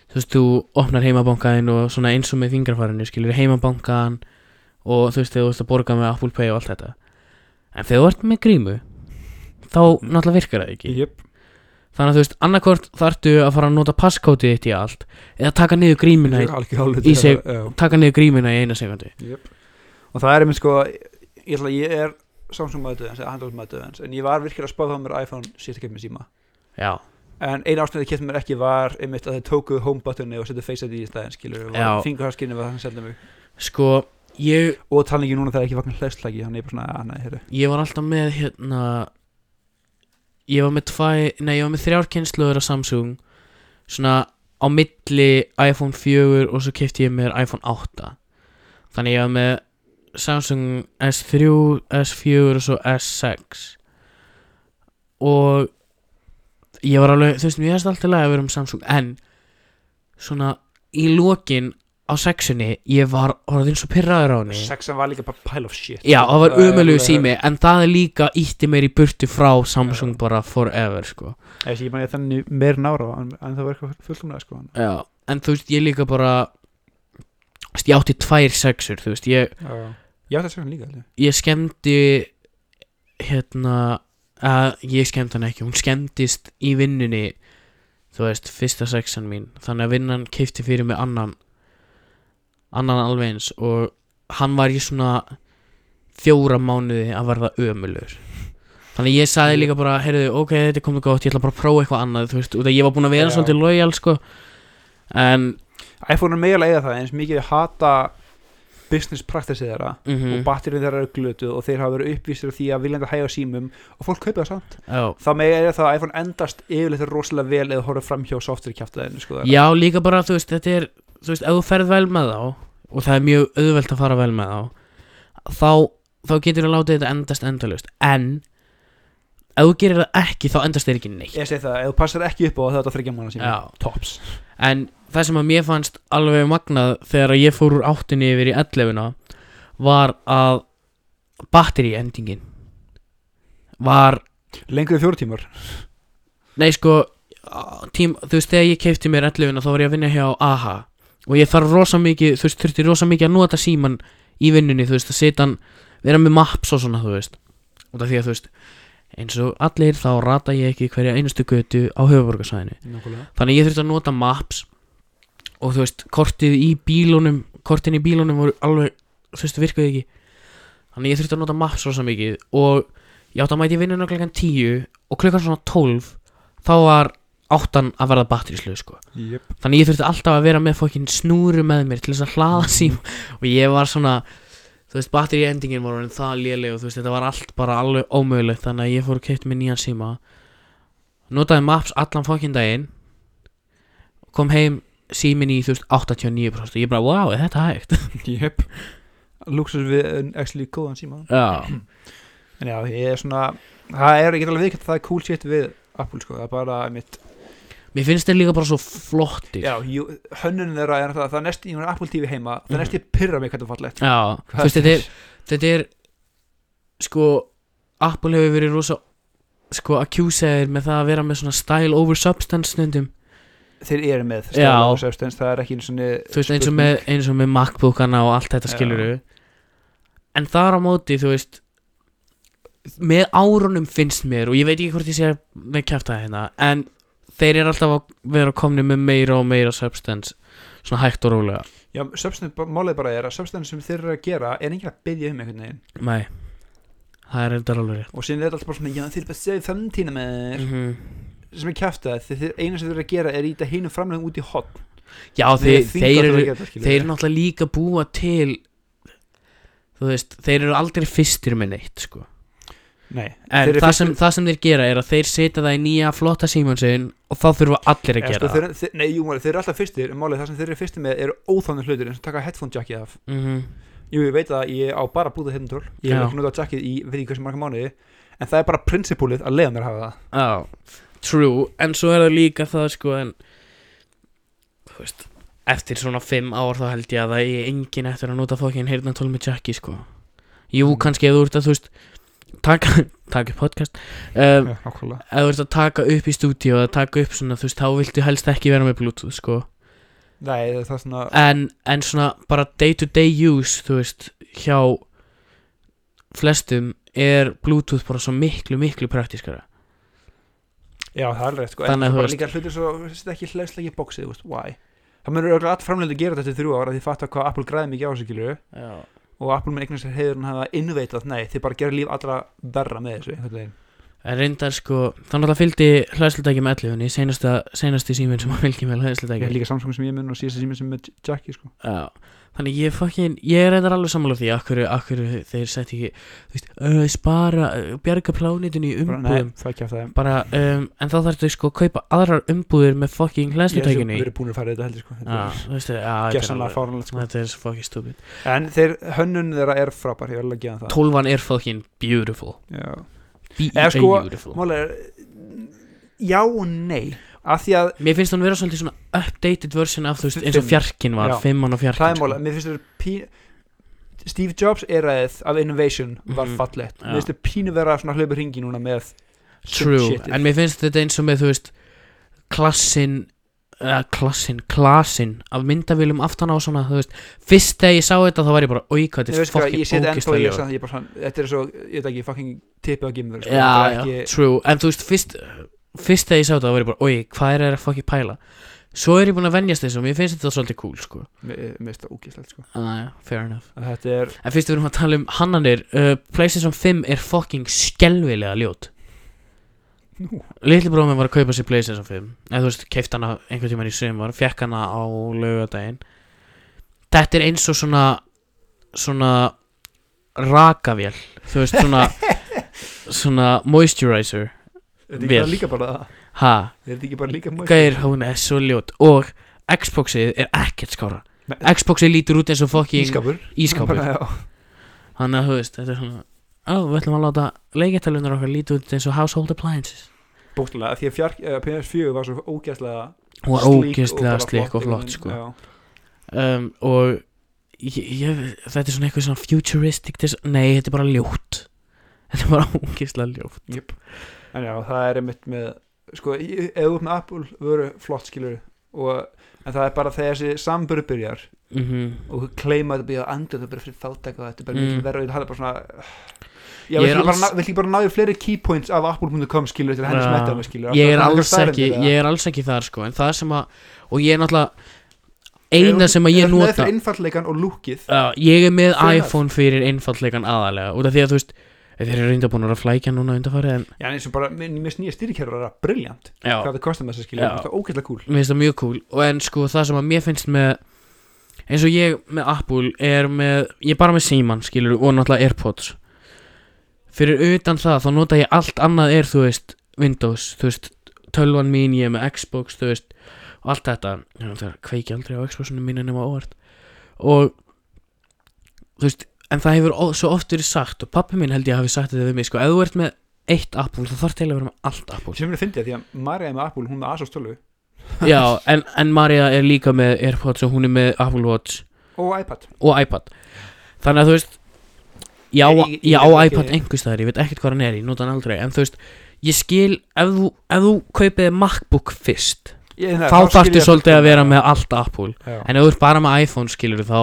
S1: þú veist, þú opnar heimabankaðin og svona eins og með fingrafærinu, skilur heimabankaðan og þú veist, þegar þú veist að borga með Apple Pay og allt þetta en þegar þú ert með grímu þá náttúrulega virkar það ekki
S2: Jöp
S1: þannig að þú veist, annarkvort þarftu að fara að nota passkótið þitt í allt eða taka niður grímuna í, í sig- taka niður grímuna í eina sekundi
S2: Jöp Og það er einmitt sko Ég ætla að ég er Samsung maður döðans eða Handheld maður döðans En ég var virkilega að spáða á mér iPhone síðast að kemur með síma
S1: já,
S2: En eina ástæðan ég kemur mér ekki var einmitt að þau tóku home buttoni og settu Face ID í stæðin skilur
S1: Já.
S2: og fingurharskinni var það sem seldi mig
S1: sko ég,
S2: og talningi núna það er ekki vakna hlæslægi hann er bara svona að nei, heyrðu
S1: ég var alltaf með hérna ég var með tvæ nei, ég var með þrjár kynsluður af Samsung svona á milli iPhone 4 og svo kefti ég mér iPhone 8 þannig ég var með Samsung S3 S4 og svo S6 og ég var alveg, þú veist, mér erst alltaf lega að vera um Samsung, en svona í lokin á sexunni ég var orðin svo pirraður á henni
S2: sexan var líka bara pile of shit
S1: Já, það var
S2: er
S1: umölu
S2: alveg-
S1: sími En það er líka ítti mér í burtu frá Samsung bara forever sko.
S2: Ég sé, ég man ég þannig meir nára en, en það var eitthvað fullkomlega sko
S1: Já, en þú veist, ég líka bara þú veist, Ég átti tvær sexur Þú veist, ég,
S2: Já, ég átti að segja hann líka held ég.
S1: ég skemmdi Hérna að, Ég skemmdi hann ekki, hún skemmdist í vinnunni Þú veist, fyrsta sexan mín Þannig að vinnan keipti fyrir mig annan Annan alveg eins Og hann var í svona Fjóra mánuði að verða ömulur Þannig að ég sagði líka bara Heyrðu, ok, þetta er komið gott, ég ætla bara að prófa eitthvað annað Þú veist, út að ég var búin að vera
S2: Já.
S1: svolítið lojal sko. En
S2: iPhone er meira leiða það eins mikið þau hata business practice þeirra
S1: mm
S2: og batterið þeirra eru glötuð og þeir hafa verið uppvísir af því að viljandi hægja á símum og fólk kaupa það samt
S1: já.
S2: þá meira er það að iPhone endast yfirleitt rosalega vel eða horfður fram hjá software kjáftæðinu sko, þeirra.
S1: Já, líka bara, þú veist, þetta er Þú veist, ef þú ferð vel með þá Og það er mjög auðvelt að fara vel með þá Þá, þá getur þú látið þetta endast endalust En Ef þú gerir það ekki, þá endast þeir ekki neitt
S2: ég segi það, ef þú passar ekki upp á það þá er þetta þryggja mánu sími
S1: Já.
S2: tops
S1: En það sem að mér fannst alveg magnað Þegar ég fór úr áttinni yfir í 11 Var að Battery endingin Var
S2: lengur en fjóru tímar
S1: Nei sko á- tím, Þú veist þegar ég keipti mér 11 Þá var ég að vinna hjá AHA Og ég þarf rosa mikið Þú veist þurfti rosa mikið að nota síman Í vinnunni þú veist að setja hann Vera með maps og svona þú veist Og það því að þú veist Eins og allir þá rata ég ekki hverja einustu götu Á höfuborgarsæðinu
S2: Nákvæmlega.
S1: Þannig ég þurfti að nota maps Og þú veist kortið í bílunum Kortin í bílunum voru alveg Þú veist virkuði ekki Þannig ég þurfti að nota maps rosa mikið Og ég átti að mæti vinnuna klokkan 10 Og klukkan svona 12 Þá var áttan að verða batteríslu sko.
S2: Jep.
S1: Þannig ég þurfti alltaf að vera með fokkin snúru með mér Til þess að hlaða sím Og ég var svona Þú veist, batteri endingin var orðin það léleg og þú veist, þetta var allt bara alveg ómögulegt þannig að ég fór og keitt mér nýjan síma notaði maps allan fokkin daginn kom heim símin í, þú veist, 89% og ég bara, wow, er þetta hægt?
S2: Jep. luxus við en actually góðan síma
S1: Já,
S2: en já, ég er svona það er, ég get alveg viðkjönt að það er cool shit við Apple sko, það er bara mitt
S1: mér finnst þetta líka bara svo flottir
S2: Já, jú, hönnun þeirra er það, það er næst, ég er Apple TV heima, það er næst
S1: Mhm.
S2: ég pyrra mig hvernig fallegt.
S1: Já, þú veist, þetta er, þetta er sko, Apple hefur verið rosa sko, accúsaðir með það að vera með svona style over substance stundum,
S2: Þeir eru með
S1: Já.
S2: stæla og substance, það er ekki eins og
S1: þú veist, eins og með, eins og með MacBookana og allt þetta
S2: Já.
S1: skiluru en þar á móti, þú veist með árunum finnst mér, og ég veit ekki hvort ég sé með kæfta hérna, en þeir eru alltaf að vera komni með meira og meira substance, svona hægt og rólega
S2: Já, substance, bara- málið bara er að substance sem þeir eru að gera er enginn að byggja um einhvern veginn
S1: nei, það er reyndar alveg rétt
S2: og síðan er þetta alltaf bara svona, já þeir eru bara að segja framtína með þeir
S1: mm
S2: sem er kæft að þeir, þeir eina sem þeir eru að gera er íta hinum framlegum út í hot
S1: já, þeir, þeir eru þeir
S2: þeir
S1: eru náttúrulega líka búa til þú veist, þeir eru aldrei fyrstir með neitt sko.
S2: Nei,
S1: en
S2: Þeir eru
S1: það,
S2: fyrstir-
S1: sem, það sem þeir gera er að þeir setja það í nýja flotta símansin og þá þurfa allir að
S2: eða
S1: gera
S2: sko, þeir, þeir, nei, jú, málið, þeir eru alltaf fyrstir en málið það sem þeir eru fyrstir með eru óþáðnir hlutir eins og taka headphone jackið af
S1: það mm -hmm.
S2: Jú, ég veit að ég á bara að búta hérna tól Ég hef
S1: Já.
S2: ekki notað jackið í, veit ekki hversu marga mánuði En það er bara prinsipúlið að leiða mér að hafa það
S1: Já, true En svo er það líka það sko en Þú veist Eftir svona 5 ár þá held ég að það er engin eftir að nota fokkin heyrna tól með Jackie sko Jú,
S2: Mm.
S1: kannski ef þú ert að þú veist Taka, taka upp podcast um,
S2: Já, nákvæmlega
S1: Ef þú ert að taka upp í stúdíu Eða taka upp svona, þú veist, þá viltu helst ekki vera með Bluetooth sko
S2: Nei, það er það svona
S1: en, en svona bara day to day use þú veist hjá flestum er Bluetooth bara svo miklu, miklu praktískara
S2: Já, það er alveg rétt sko
S1: Þannig að
S2: Þannig
S1: þú
S2: að
S1: veist-
S2: Líka hlutir svo, þessi ekki hlæslega í bóksið, þú veist, why? Það mörgur örugglega all framlega að gera þetta til þrjú ára því fattu hvað Apple græði mikið á þessu gilur
S1: Já,
S2: og Apple mun eignast sér heiður en hafa innveitað, nei, þið bara gera líf allra verra með þessu, einhvern veginn
S1: En reyndar sko, þannig að fylgdi hlæðslutæki með 11 senasta, senasti síminn sem að fylgdi með
S2: Það er
S1: hlæðslutæki
S2: líka Samsung sem ég mun og síðast sem ég mun með Jackie, sko
S1: Já, þannig ég fokkin, ég er reyndar alveg sammála því Akkur, akkur þeir setti ekki, þú veist, uh, spara, uh, bjarga plánitinu í
S2: Bara, Nei,
S1: umbúðum
S2: það er ekki af það
S1: Bara, um, en þá þarf þau sko að kaupa aðrar umbúðir með fokkin
S2: Ég hef
S1: hlæðslutækinu í
S2: verið búin að fara í þetta heldur, sko
S1: Já,
S2: Þetta
S1: þú veist, já,
S2: er
S1: þetta Ah, er
S2: Gersanlega
S1: alveg-
S2: fáránlegt, sko
S1: þetta er svo fokkin stúpid
S2: En þeir, hönnun þeirra er frábær, ég vil að gefa þeim það
S1: 12 er fokkin beautiful E
S2: Já. Eða sko-
S1: Beautiful
S2: Mál er, já og nei Af því að
S1: Mér finnst hún vera svolítið svona updated version af þú veist eins og
S2: Fimm.
S1: fjarkinn var,
S2: Já.
S1: fimmann og fjarkinn sko.
S2: hræðmála, mér finnst þetta pí... Steve Jobs eraðið af Innovation var
S1: Mhm,
S2: fallegt,
S1: já.
S2: mér finnst þetta pínu vera svona hlaupa hringi núna með
S1: True, en mér finnst þetta eins og með þú veist klassin eða klassin, klassin af myndavélum aftan á svona, þú veist fyrst þegar ég sá þetta þá var ég bara, oi hvað
S2: ég
S1: þetta er
S2: veist hvað, ég set
S1: fokkin
S2: ennþá í
S1: ógislega
S2: þessu ég er bara svona, þetta er svo, ég veit ekki, fucking tipið á sko. gimur,
S1: Já, já, true, en þú veist fyrst, fyrst þegar ég sá þetta þá var ég bara, oi hvað er það að fokkin pæla Svo er ég búin að venjast þessu og mér finnst þetta svolítið cool sko
S2: mér mér finnst þetta ógæslegt sko,
S1: ah, Fair enough
S2: að þetta er
S1: En fyrst við erum að tala um hannanir uh, Playstation 5 er fucking skelvilega ljót
S2: Nú.
S1: Litli bróðum minn var að kaupa sér Playstation 5 Eða þú veist, keift hana einhvern tímann í sumar Fekk hana á laugardaginn Þetta er eins og svona Svona Rakavél Þú veist, svona Svona moisturizer
S2: þetta er ekki
S1: Vel.
S2: bara líka bara það,
S1: Ha,
S2: þetta er ekki bara líka mjög
S1: gæðir hún er svo ljót Og Xboxið er ekkert skára
S2: Nei.
S1: Xboxið lítur út eins og fucking
S2: ískapur,
S1: ískápur
S2: Já.
S1: Þannig að þú veist, þetta er svona Ó, við ætlum að láta leikjartalunar okkar líti út eins og household appliances
S2: bókstlega, því að fjark, uh, PS4 var svo ógæslega
S1: Hún var ógeðslega slik og flott sko. um, Og ég, ég, þetta er svona eitthvað svona futuristic dis- Nei, þetta er bara ljótt Þetta er bara ógeðslega ljótt
S2: Jöp. En já, það er einmitt með sko, í- ef þú ert með Apple vöru flott skilur og, en það er bara þegar þessi sambur byrjar
S1: mm
S2: og þú kleima þetta byrja að andur þetta er bara fyrir þáttæk og þetta er bara
S1: Mm.
S2: mikil verra og það er bara svona
S1: Ég
S2: Já,
S1: er
S2: vill ekki
S1: alls-
S2: bara, vill ekki bara náðu fleiri keypoints af apple.com skilur til henni
S1: Já.
S2: smetta með skilur
S1: Ég er alls ekki Ég er alls ekki þar sko En það sem að Og ég er náttúrulega Eina sem að ég
S2: Það er
S1: nota
S2: fyrir einfalleikan og lúkið
S1: Já, ég er með
S2: Fair enough.
S1: iPhone fyrir einfallegan aðalega Út af því að þú veist Þeir eru reynda búin að flækja núna undarfæri en
S2: Já, en eins og bara, mér mér finnst nýja stýrikerra vera briljant
S1: Já,
S2: hvað það kostar með þessu
S1: Já.
S2: skilur, það er ógætlega cool
S1: mér finnst það mjög cool og en sko það sem að mér finnst með eins og ég með Apple er með ég er bara með síman skilur og náttúrulega Airpods fyrir utan það þá nota ég allt annað er þú veist Windows, þú veist tölvan mín, ég er með Xbox, þú veist og allt þetta, ég náttúrulega kveiki aldrei á Xboxinu mínu nema óvart og þú veist en það hefur ó- svo oft verið sagt og pappi minn held ég hafi sagt þetta við mig sko, ef þú ert með eitt Apple þá þarf til að vera með allt Apple
S2: sem mér finnst ég að því að Marja er með Apple, hún er með Asos 12
S1: Já, en, en Maria er líka með Airpods og hún er með Apple Watch
S2: og iPad
S1: og iPad Þannig að þú veist Ég á,
S2: Ég-
S1: ég,
S2: ég- ég
S1: á
S2: veit ekki-
S1: iPad einhvers staðar, ég veit ekkert hvað hann er, ég nota hann aldrei En þú veist, ég skil, ef þú, ef þú kaupið MacBook fyrst
S2: Ég- það-
S1: Þá
S2: skil ég
S1: þarftu
S2: þetta,
S1: svolítið
S2: sko.
S1: að vera með allt Apple
S2: Já.
S1: En ef þú ert bara með iPhone skilur þá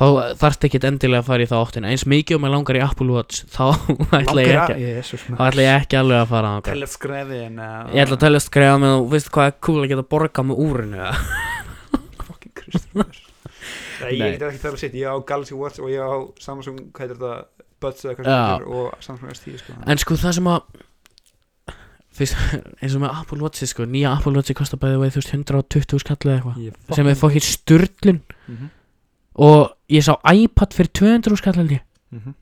S1: Þá þarftu ekkert endilega að fara í þá áttina Eins mikið og maður langar í Apple Watch Þá ætla ég ekki, þá ætla ég ekki alveg að fara þangað.
S2: Til að skrefi en
S1: Ég ætla að telja skræða með þú veist hvað er cool að geta borgað með úrinu eða?
S2: Fucking Kristur Nei,
S1: Nei.
S2: ég get ekki að tala sitt Ég á Galaxy Watch og ég á Samsung Hvað er þetta? Buds eða hvað
S1: Já.
S2: sem þetta er Og Samsung S10 sko
S1: En sko það sem að fyrst, eins og með Apple Watch sko, nýja Apple Watch kostar bæðið veið 120 skall eða eitthvað
S2: Ég
S1: sem er fokkið styrlun
S2: Mhm,
S1: og ég sá iPad fyrir 200 skall held ég
S2: mhm.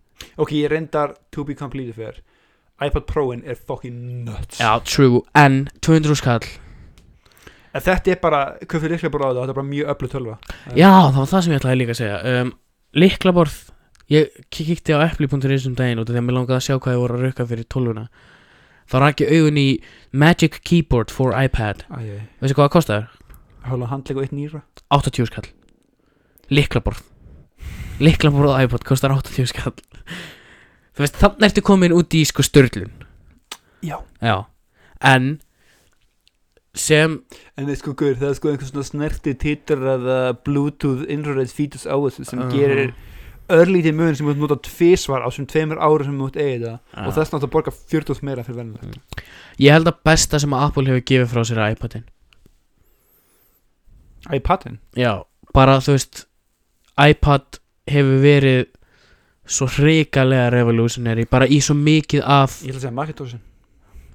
S2: Ok, ég reyndar To be completed fyrir iPad Pro-in er fucking nuts
S1: Já, true, en 200 skall
S2: En þetta er bara Kuffið líklega bara á þetta Þetta er bara mjög öflu tölva
S1: Já, það var það sem ég ætlaði líka að segja um, Liklaborð Ég kikti á epli.is um daginn út af því að mér langaði að sjá hvað ég voru að rukka fyrir tóluna Þá rak ég augun í Magic Keyboard for iPad
S2: Æjæj
S1: Veistu hvað það kostar?
S2: Hála handlega og eitt nýra
S1: 80 skall Liklaborð Liklaborð og iPod kostar 80 skall Þú veist, þannig ertu komin út í sko störlun
S2: Já.
S1: Já En sem
S2: En við sko guður, það er sko einhver svona snerti titrað uh, Bluetooth infrared features á þessu sem
S1: Mhm.
S2: gerir örlítið mun sem þú ert nota tvísvar á þessum tveimur árum sem þú ert eigið það og
S1: Já.
S2: þess náttúrulega borga 40 meira fyrir vennilega
S1: Ég held að besta sem að Apple hefur gefið frá sér að iPadin
S2: iPadin
S1: Já, bara þú veist iPad hefur verið svo hrikalega revolutionary bara í svo mikið af
S2: Ég ætla að segja Macintoshin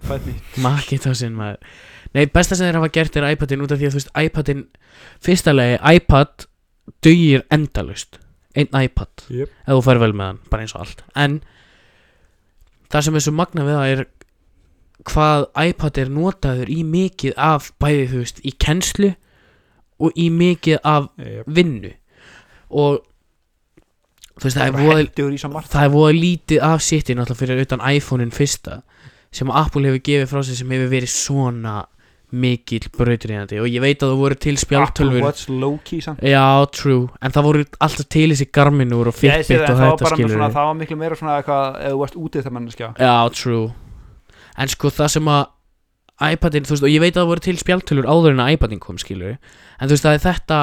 S2: Fæt mér
S1: Macintoshin maður Nei, besta sem þeir hafa gert er iPadin út af því að þú veist iPadin, fyrsta lagi iPad dugir endalust einn iPad,
S2: Jöp.
S1: ef þú fær vel með hann bara eins og allt, en það sem er svo magna við það er hvað iPad er notaður í mikið af bæði þú veist í kennslu og í mikið af
S2: Jöp.
S1: vinnu og þú veist það er
S2: Bara
S1: voða
S2: hendur í svo margt
S1: það er voða lítið af sittin alltaf fyrir utan iPhone-in fyrsta sem Apple hefur gefið frá sér sem hefur verið svona mikill brautriðandi og ég veit að það voru til
S2: Apple
S1: spjáltölfur
S2: Watch low-key samt
S1: já, true, en það voru alltaf til þessi garminur og
S2: Ég sé
S1: fitbit
S2: það,
S1: og
S2: það var
S1: þetta
S2: bara með
S1: skilur
S2: svona, það var miklu meira svona eitthvað ef þú varst útið það manneskja
S1: Já, true En sko það sem að iPadin, þú veist, og ég veit að það voru til spjaltölur áður en að iPadin kom, skilur En þú veist, það er þetta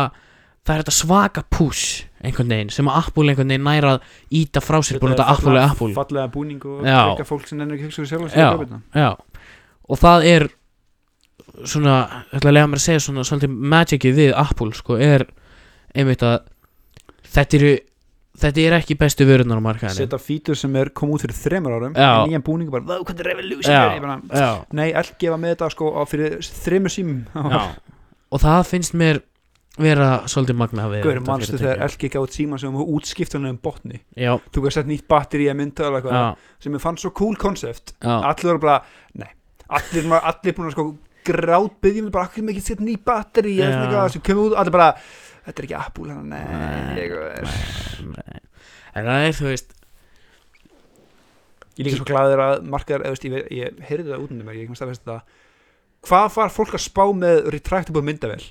S1: Það er þetta svaka push, einhvern veginn Sem að Apple einhvern veginn næra að íta frá sér Búin að þetta Apple er Apple
S2: Fallega búning og
S1: Já.
S2: ekki fólk sem ennur ekki hugsa um sér sjálf
S1: Já. Já, og það er svona, ég ætla að lega mér að segja svona svolítið magicið við Apple sko, er einmitt að þetta eru, þetta er ekki bestu vörunar á markaðinu.
S2: Seta fítur sem er kom út fyrir þremur árum
S1: Já.
S2: en nýjan búning og bara, vau, hvernig revolution
S1: Já.
S2: er ég bara,
S1: Já,
S2: Nei, allt gefa með þetta sko á fyrir þremur símum
S1: Já, og það finnst mér vera svolítið magnað við
S2: Hver
S1: þetta
S2: mannstu
S1: fyrirtæki.
S2: þegar LG gátt síma sem var útskiptunum um botni
S1: Já,
S2: Þú gæst sett nýtt batteri að mynda eða
S1: já,
S2: eitthvað sem ég fann svo cool konsept
S1: já,
S2: Allir voru bara, nei Allir, var- allir búin að sko grát byggjum bara, akkur með ekki sett nýtt batteri eða
S1: Já.
S2: svona eitthvað sem kemur út, allir bara Þetta er ekki Apple, hann, nei,
S1: Nei,
S2: ég er
S1: nei. En það er, þú veist
S2: Ég er líka svo glæður að markaðar, eða veist, ég, ve- ég heyrði það út um mér, ég ekki maður staðfesta það. Hvað var fólk að spá með retractable myndavel?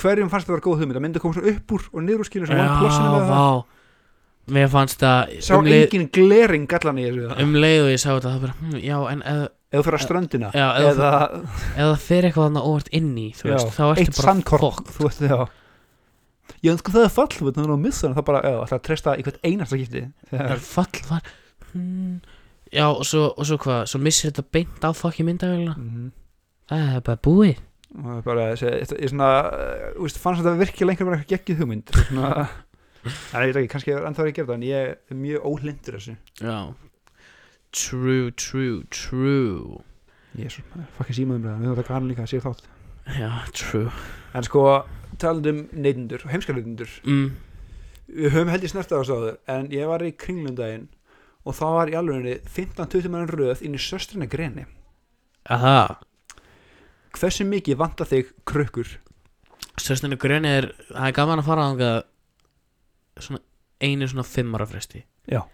S2: Hverjum fannst það vera góð hugmynd? Að mynda kom svona upp úr og niður úr skilur sem
S1: Já,
S2: var plossinu með það.
S1: vá Mér fannst það
S2: Sá
S1: um leið,
S2: engin glering gallan í þessu það.
S1: um leið og ég sá þetta það bara, hm, Já, en eða
S2: Ef þú fyrir að ströndina,
S1: Já, ef þú
S2: eða
S1: ef það fer eitthvað þannig óvart inn í þú veist, þá
S2: já,
S1: ertu
S2: eitt
S1: bara
S2: sandkorn,
S1: fucked.
S2: þú veist, já. Ég önsku það er fall, þú veit, þannig að missa hann, það bara, já, ætla að treysta í hvert einasta skipti.
S1: Það er
S2: Þegar-
S1: fall var hmm, Já, og svo, og svo hvað Svo missir þetta beint á fokki myndavélina
S2: Mhm.
S1: Það er bara búið
S2: Og það er bara, þessi- þetta er svona, uh, þú veist, fannst þetta virkilega einhver verið eitthvað geggið hugmynd. Svona, Nei, ég veit ekki, kannski er ennþá er ég að gera það, en ég er mjög óhlindur þessu.
S1: Já True, true, true
S2: Jésu, fucking símaðumræðan, við þurfum að taka hann líka, séu þátt
S1: Já, true
S2: En sko, talandi um neytendur, heimskarneytendur
S1: mm,
S2: Við höfum held ég snert á þessu áður En ég var í kringlundaginn Og þá var í alvegurinni 15-20 mann röð inn í söstrina greni
S1: Aha
S2: Hversu mikið vantar þig krukkur?
S1: Sjöstinu gröni er, það er gaman að fara þangað svona einu svona fimm ára fresti
S2: Já.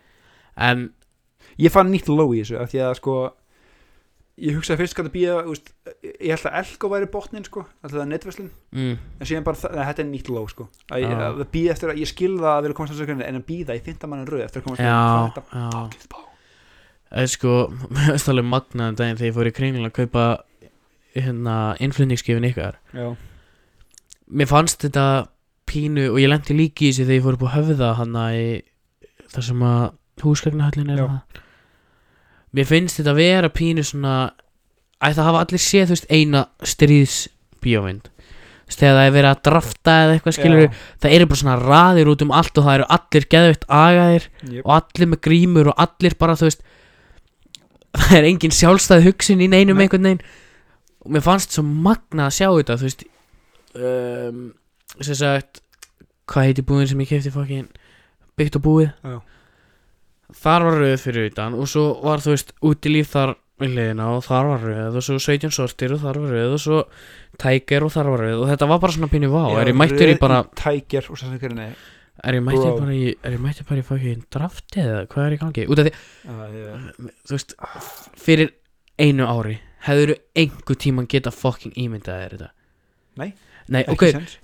S1: En,
S2: Ég fann nýtt ló í þessu af Því að sko Ég hugsaði fyrst hvað að býja úst, Ég held að elko væri botnin sko Alltaf það er netverslun
S1: mm,
S2: En síðan bara, þa- nei, þetta er nýtt ló sko Að ég,
S1: Já.
S2: að býða eftir að ég skilða að vilja komast að þessu greni En að býða í 15 mann röð eftir að komast
S1: já,
S2: að
S1: já
S2: þetta Fucking
S1: Það er sko, mér veist alveg magnaðan daginn þegar ég fór í kringlun að kaupa hérna, innflutningsskifin ykkar
S2: spá. Já.
S1: Mér fannst þetta pínu og ég lendi líki í þessu þegar ég fór upp á höfða hana í þar sem að húsgagnahallin er
S2: Já.
S1: það Mér finnst þetta vera pínu svona Æ, það hafa allir séð, þú veist, eina stríðsbíómynd Þú veist, þegar það er verið að drafta eða eitthvað skilur
S2: Já.
S1: það eru bara svona raðir út um allt og það eru allir geðveitt agaðir
S2: Jep.
S1: og allir með grímur og allir bara þú veist það er engin sjálfstæð hugsun í neinum
S2: Nei.
S1: einhvern veginn og mér fannst svo magna að sjá þetta þú veist um, sem sagt hvað heiti búðin sem ég kefti fokkin byggt og búið
S2: Já.
S1: þar var rauð fyrir utan og svo var þú veist út í líf þar við hliðina og þar var rauð og svo 17 sortir og þar var rauð og svo tækir og þar var rauð og þetta var bara svona pínu vá
S2: Já,
S1: er ég mættur í
S2: röð
S1: bara
S2: Tiger og sannsakerinni
S1: Er ég mættið
S2: Bro.
S1: bara í, er ég mættið bara í fucking drafti eða hvað er í gangi? Út af því, þú veist, fyrir einu ári hefur þú einhver tíman geta fucking ímyndað þér þetta?
S2: Nei,
S1: Nei, ok,
S2: Ekki sens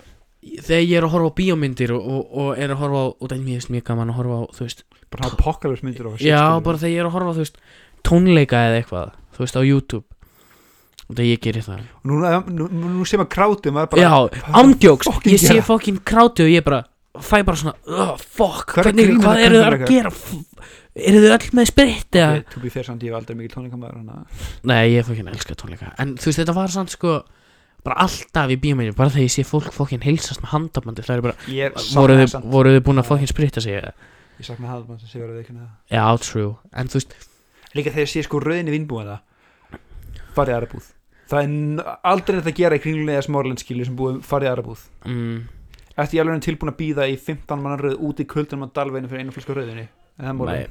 S1: þegar ég er að horfa á bíómyndir og, og, og er að horfa á, og það er mjög, mjög gaman að horfa á, þú veist,
S2: Bara hafa pokalaus myndir á
S1: já, bara þegar ég er að horfa á, þú veist, tónleika eða eitthvað, þú veist, á YouTube, og þegar ég gerir það.
S2: Nú, nú, nú, nú sem að krátum var bara
S1: já, ándjóks,
S2: fucking
S1: ég sé
S2: gera.
S1: fucking krátu og ég bara, fæ bara svona oh, fuck,
S2: Hvað er
S1: hvernig,
S2: grínið
S1: hvað
S2: að
S1: eru þið að
S2: tónleikar?
S1: gera eru þið öll með spritt eða
S2: Ég- To be fair samt, ég hef aldrei mikið tónleikamæður Þannig
S1: Nei, ég fokkin elska tónleika En þú veist, þetta var samt sko Bara alltaf í bíóminu, bara þegar ég sé fólk fokkin heilsast með handabandi Það er bara,
S2: að ég
S1: voru
S2: sakna
S1: þið,
S2: samt
S1: voru þið búin að fokkin sprita sig eða?
S2: Ég sakna hafðmann sem sé verið að veikina það
S1: Já, true En þú veist,
S2: Líka þegar ég sé sko rauðinni vinnbúana Farið í aðra búð Það er n- aldrei þetta að gera í kringlunni eða smárlindskilu sem búið farið í aðra búð
S1: mm,
S2: Eftir ég alveg er tilbúin að býða í 15 manna rauð út í kuldunum á dalveginu fyrir einu flösku af rauðinni En það
S1: nei
S2: móli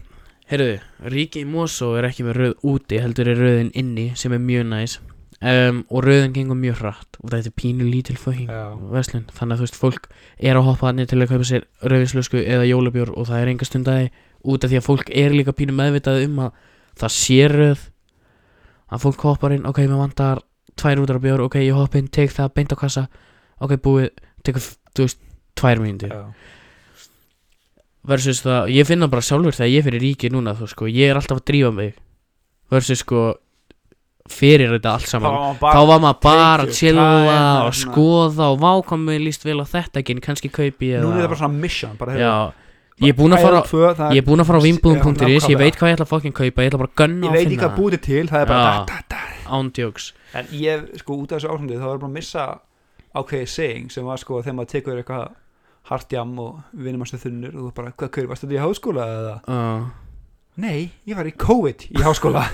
S1: Heyrðu, Ríki í Mosó er ekki með rauð úti Heldur er rauðin inni, sem er mjög næs um, Og rauðin gengur mjög hratt Og þetta er pínu lítil fokkin
S2: Já.
S1: Veslun, þannig að þú veist, fólk er að hoppa hann til að kaupa sér rauðinslösku eða jólabjór og það er enga stundæði út af því að fólk er líka pínu meðvitað um að það sé rauð að fólk hoppar inn, ok, mér vantar tvær útar af bjór, ok, ég hopp inn, tek það beint á kassa, ok, búið tekur, þú veist, tvær mínútur
S2: Já.
S1: versus það, ég finna bara sjálfur þegar ég fyrir ríki núna, þú sko, ég er alltaf að drífa mig versus sko fyrir þetta allt
S2: Þá
S1: saman
S2: var maður
S1: þá
S2: bara-
S1: var maður bara að
S2: Tekið, það er
S1: chilla
S2: það
S1: og
S2: svona.
S1: skoða og vákomi líst vel á þetta ekki, en kannski kaupi ég
S2: Núna er það bara svona mission bara, heyrðu,
S1: já, ég er búin að fara á-
S2: tvö, það,
S1: ég er búin að fara á
S2: Já,
S1: vimbúðum.is ég
S2: nákvæmlega.
S1: veit hvað ég ætla að fokkin kaupa, ég ætla bara að
S2: ég
S1: gunna og
S2: veit ekki
S1: finna
S2: hvað búið er til það er bara
S1: Já.
S2: da, da, da.
S1: það ándjóks,
S2: en ég sko út af þessu ásandi þá var ég bara að missa ákveði saying sem var sko þegar maður tekur eitthvað hart jam og vinnum hans þunnur og þú bara hvað kaur, varstu þetta í háskóla eða
S1: uh,
S2: nei, ég var í COVID í háskóla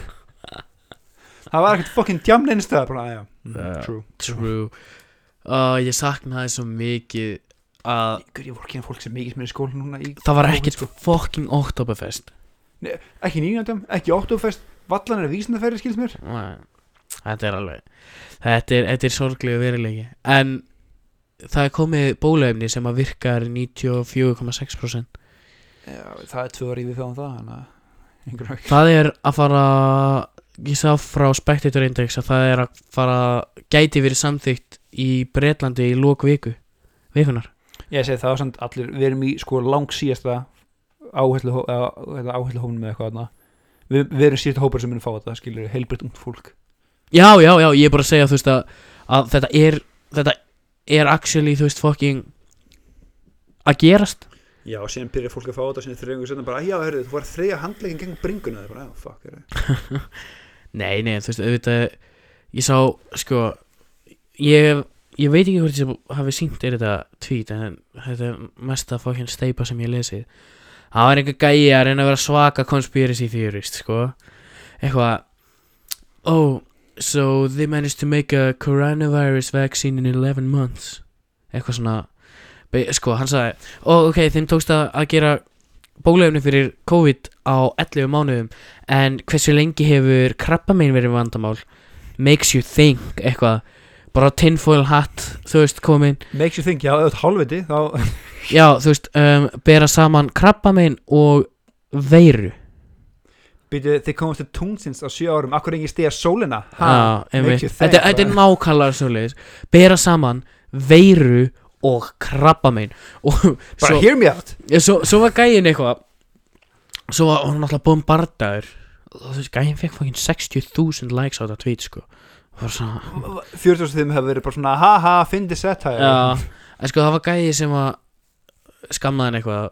S2: það var ekkert fokkin jam neinstöð bara, já,
S1: Já.
S2: yeah. true
S1: true uh, ég saknaði svo mikið að
S2: Guð, ég voru ekki að fólk sem mikið sem er í skóla núna í,
S1: það var
S2: Covid,
S1: ekkert
S2: sko.
S1: fokkin Oktoberfest
S2: ekki nýjöndum, ekki óttúfest vallan er vísindaferði skilst mér
S1: Nei, Þetta er alveg Þetta er, þetta er sorglegu verilegi En það er komið bólefni sem að virkar 94,6%
S2: já, það er tvö orðið við þáum það þannig að einhvern veginn
S1: Það er að fara Ég sá frá Spectator Index að það er að fara Gæti verið samþygt í Bretlandi í lók viku Vikunar
S2: Ég segi það var samt allir, við erum í sko eh, lang síðasta áhætlu hófnum með hérna, eitthvað þarna við, við erum síðasta hópar sem munum fá þetta, skilur heilbritt ungt fólk
S1: Já, já, já, ég er bara að segja þú veist að, að þetta er Þetta er actually þú veist fucking Að gerast
S2: Já, og síðan byrjar fólk að fá þetta síðan þrjöngu sérna bara, já, hörðu, þú var þriðja handlegin gegn bringuna það er bara, já, fuck, hörðu
S1: Nei, nei, þú veist, auðvitað Ég sá, sko Ég, ég veit ekki hvort ég hafi sínt er þetta tweet En þetta er mesta fókinn steipa sem ég lesið Það var einhver gæi að reyna að vera svaka conspiracy theorist, sko Eitthvað Oh, so they managed to make a coronavirus vaccine in 11 months Eitthvað svona Be- Sko, hann sagði Oh, ok, þeim tókst að, að gera bólefni fyrir COVID á 11 mánuðum en hversu lengi hefur krabba mín verið vandamál makes you think eitthvað bara tinfoil hat, þú veist, komin
S2: Makes you think, já, auðvitað hálfviti, þá
S1: já, þú veist, um, bera saman krabba mín og veiru
S2: byrju, þið komast til tungsins á sjö árum, akkur engin stiga sólina
S1: Já, einmitt.
S2: makes you think
S1: þetta þetta er nákvæmlega svoleiðis bera saman veiru og krabba mín og
S2: bara
S1: svo,
S2: hear me out
S1: Já, svo, svo var gæin eitthvað Svo var hún alltaf bombardaður Og þú veist, gæin fekk fokkin 60.000 likes á þetta tweet, sko Það var svona
S2: 40 þeim hefur verið bara svona, haha, fyndi setta
S1: Já, en sko það var gæði sem að skammaði hann eitthvað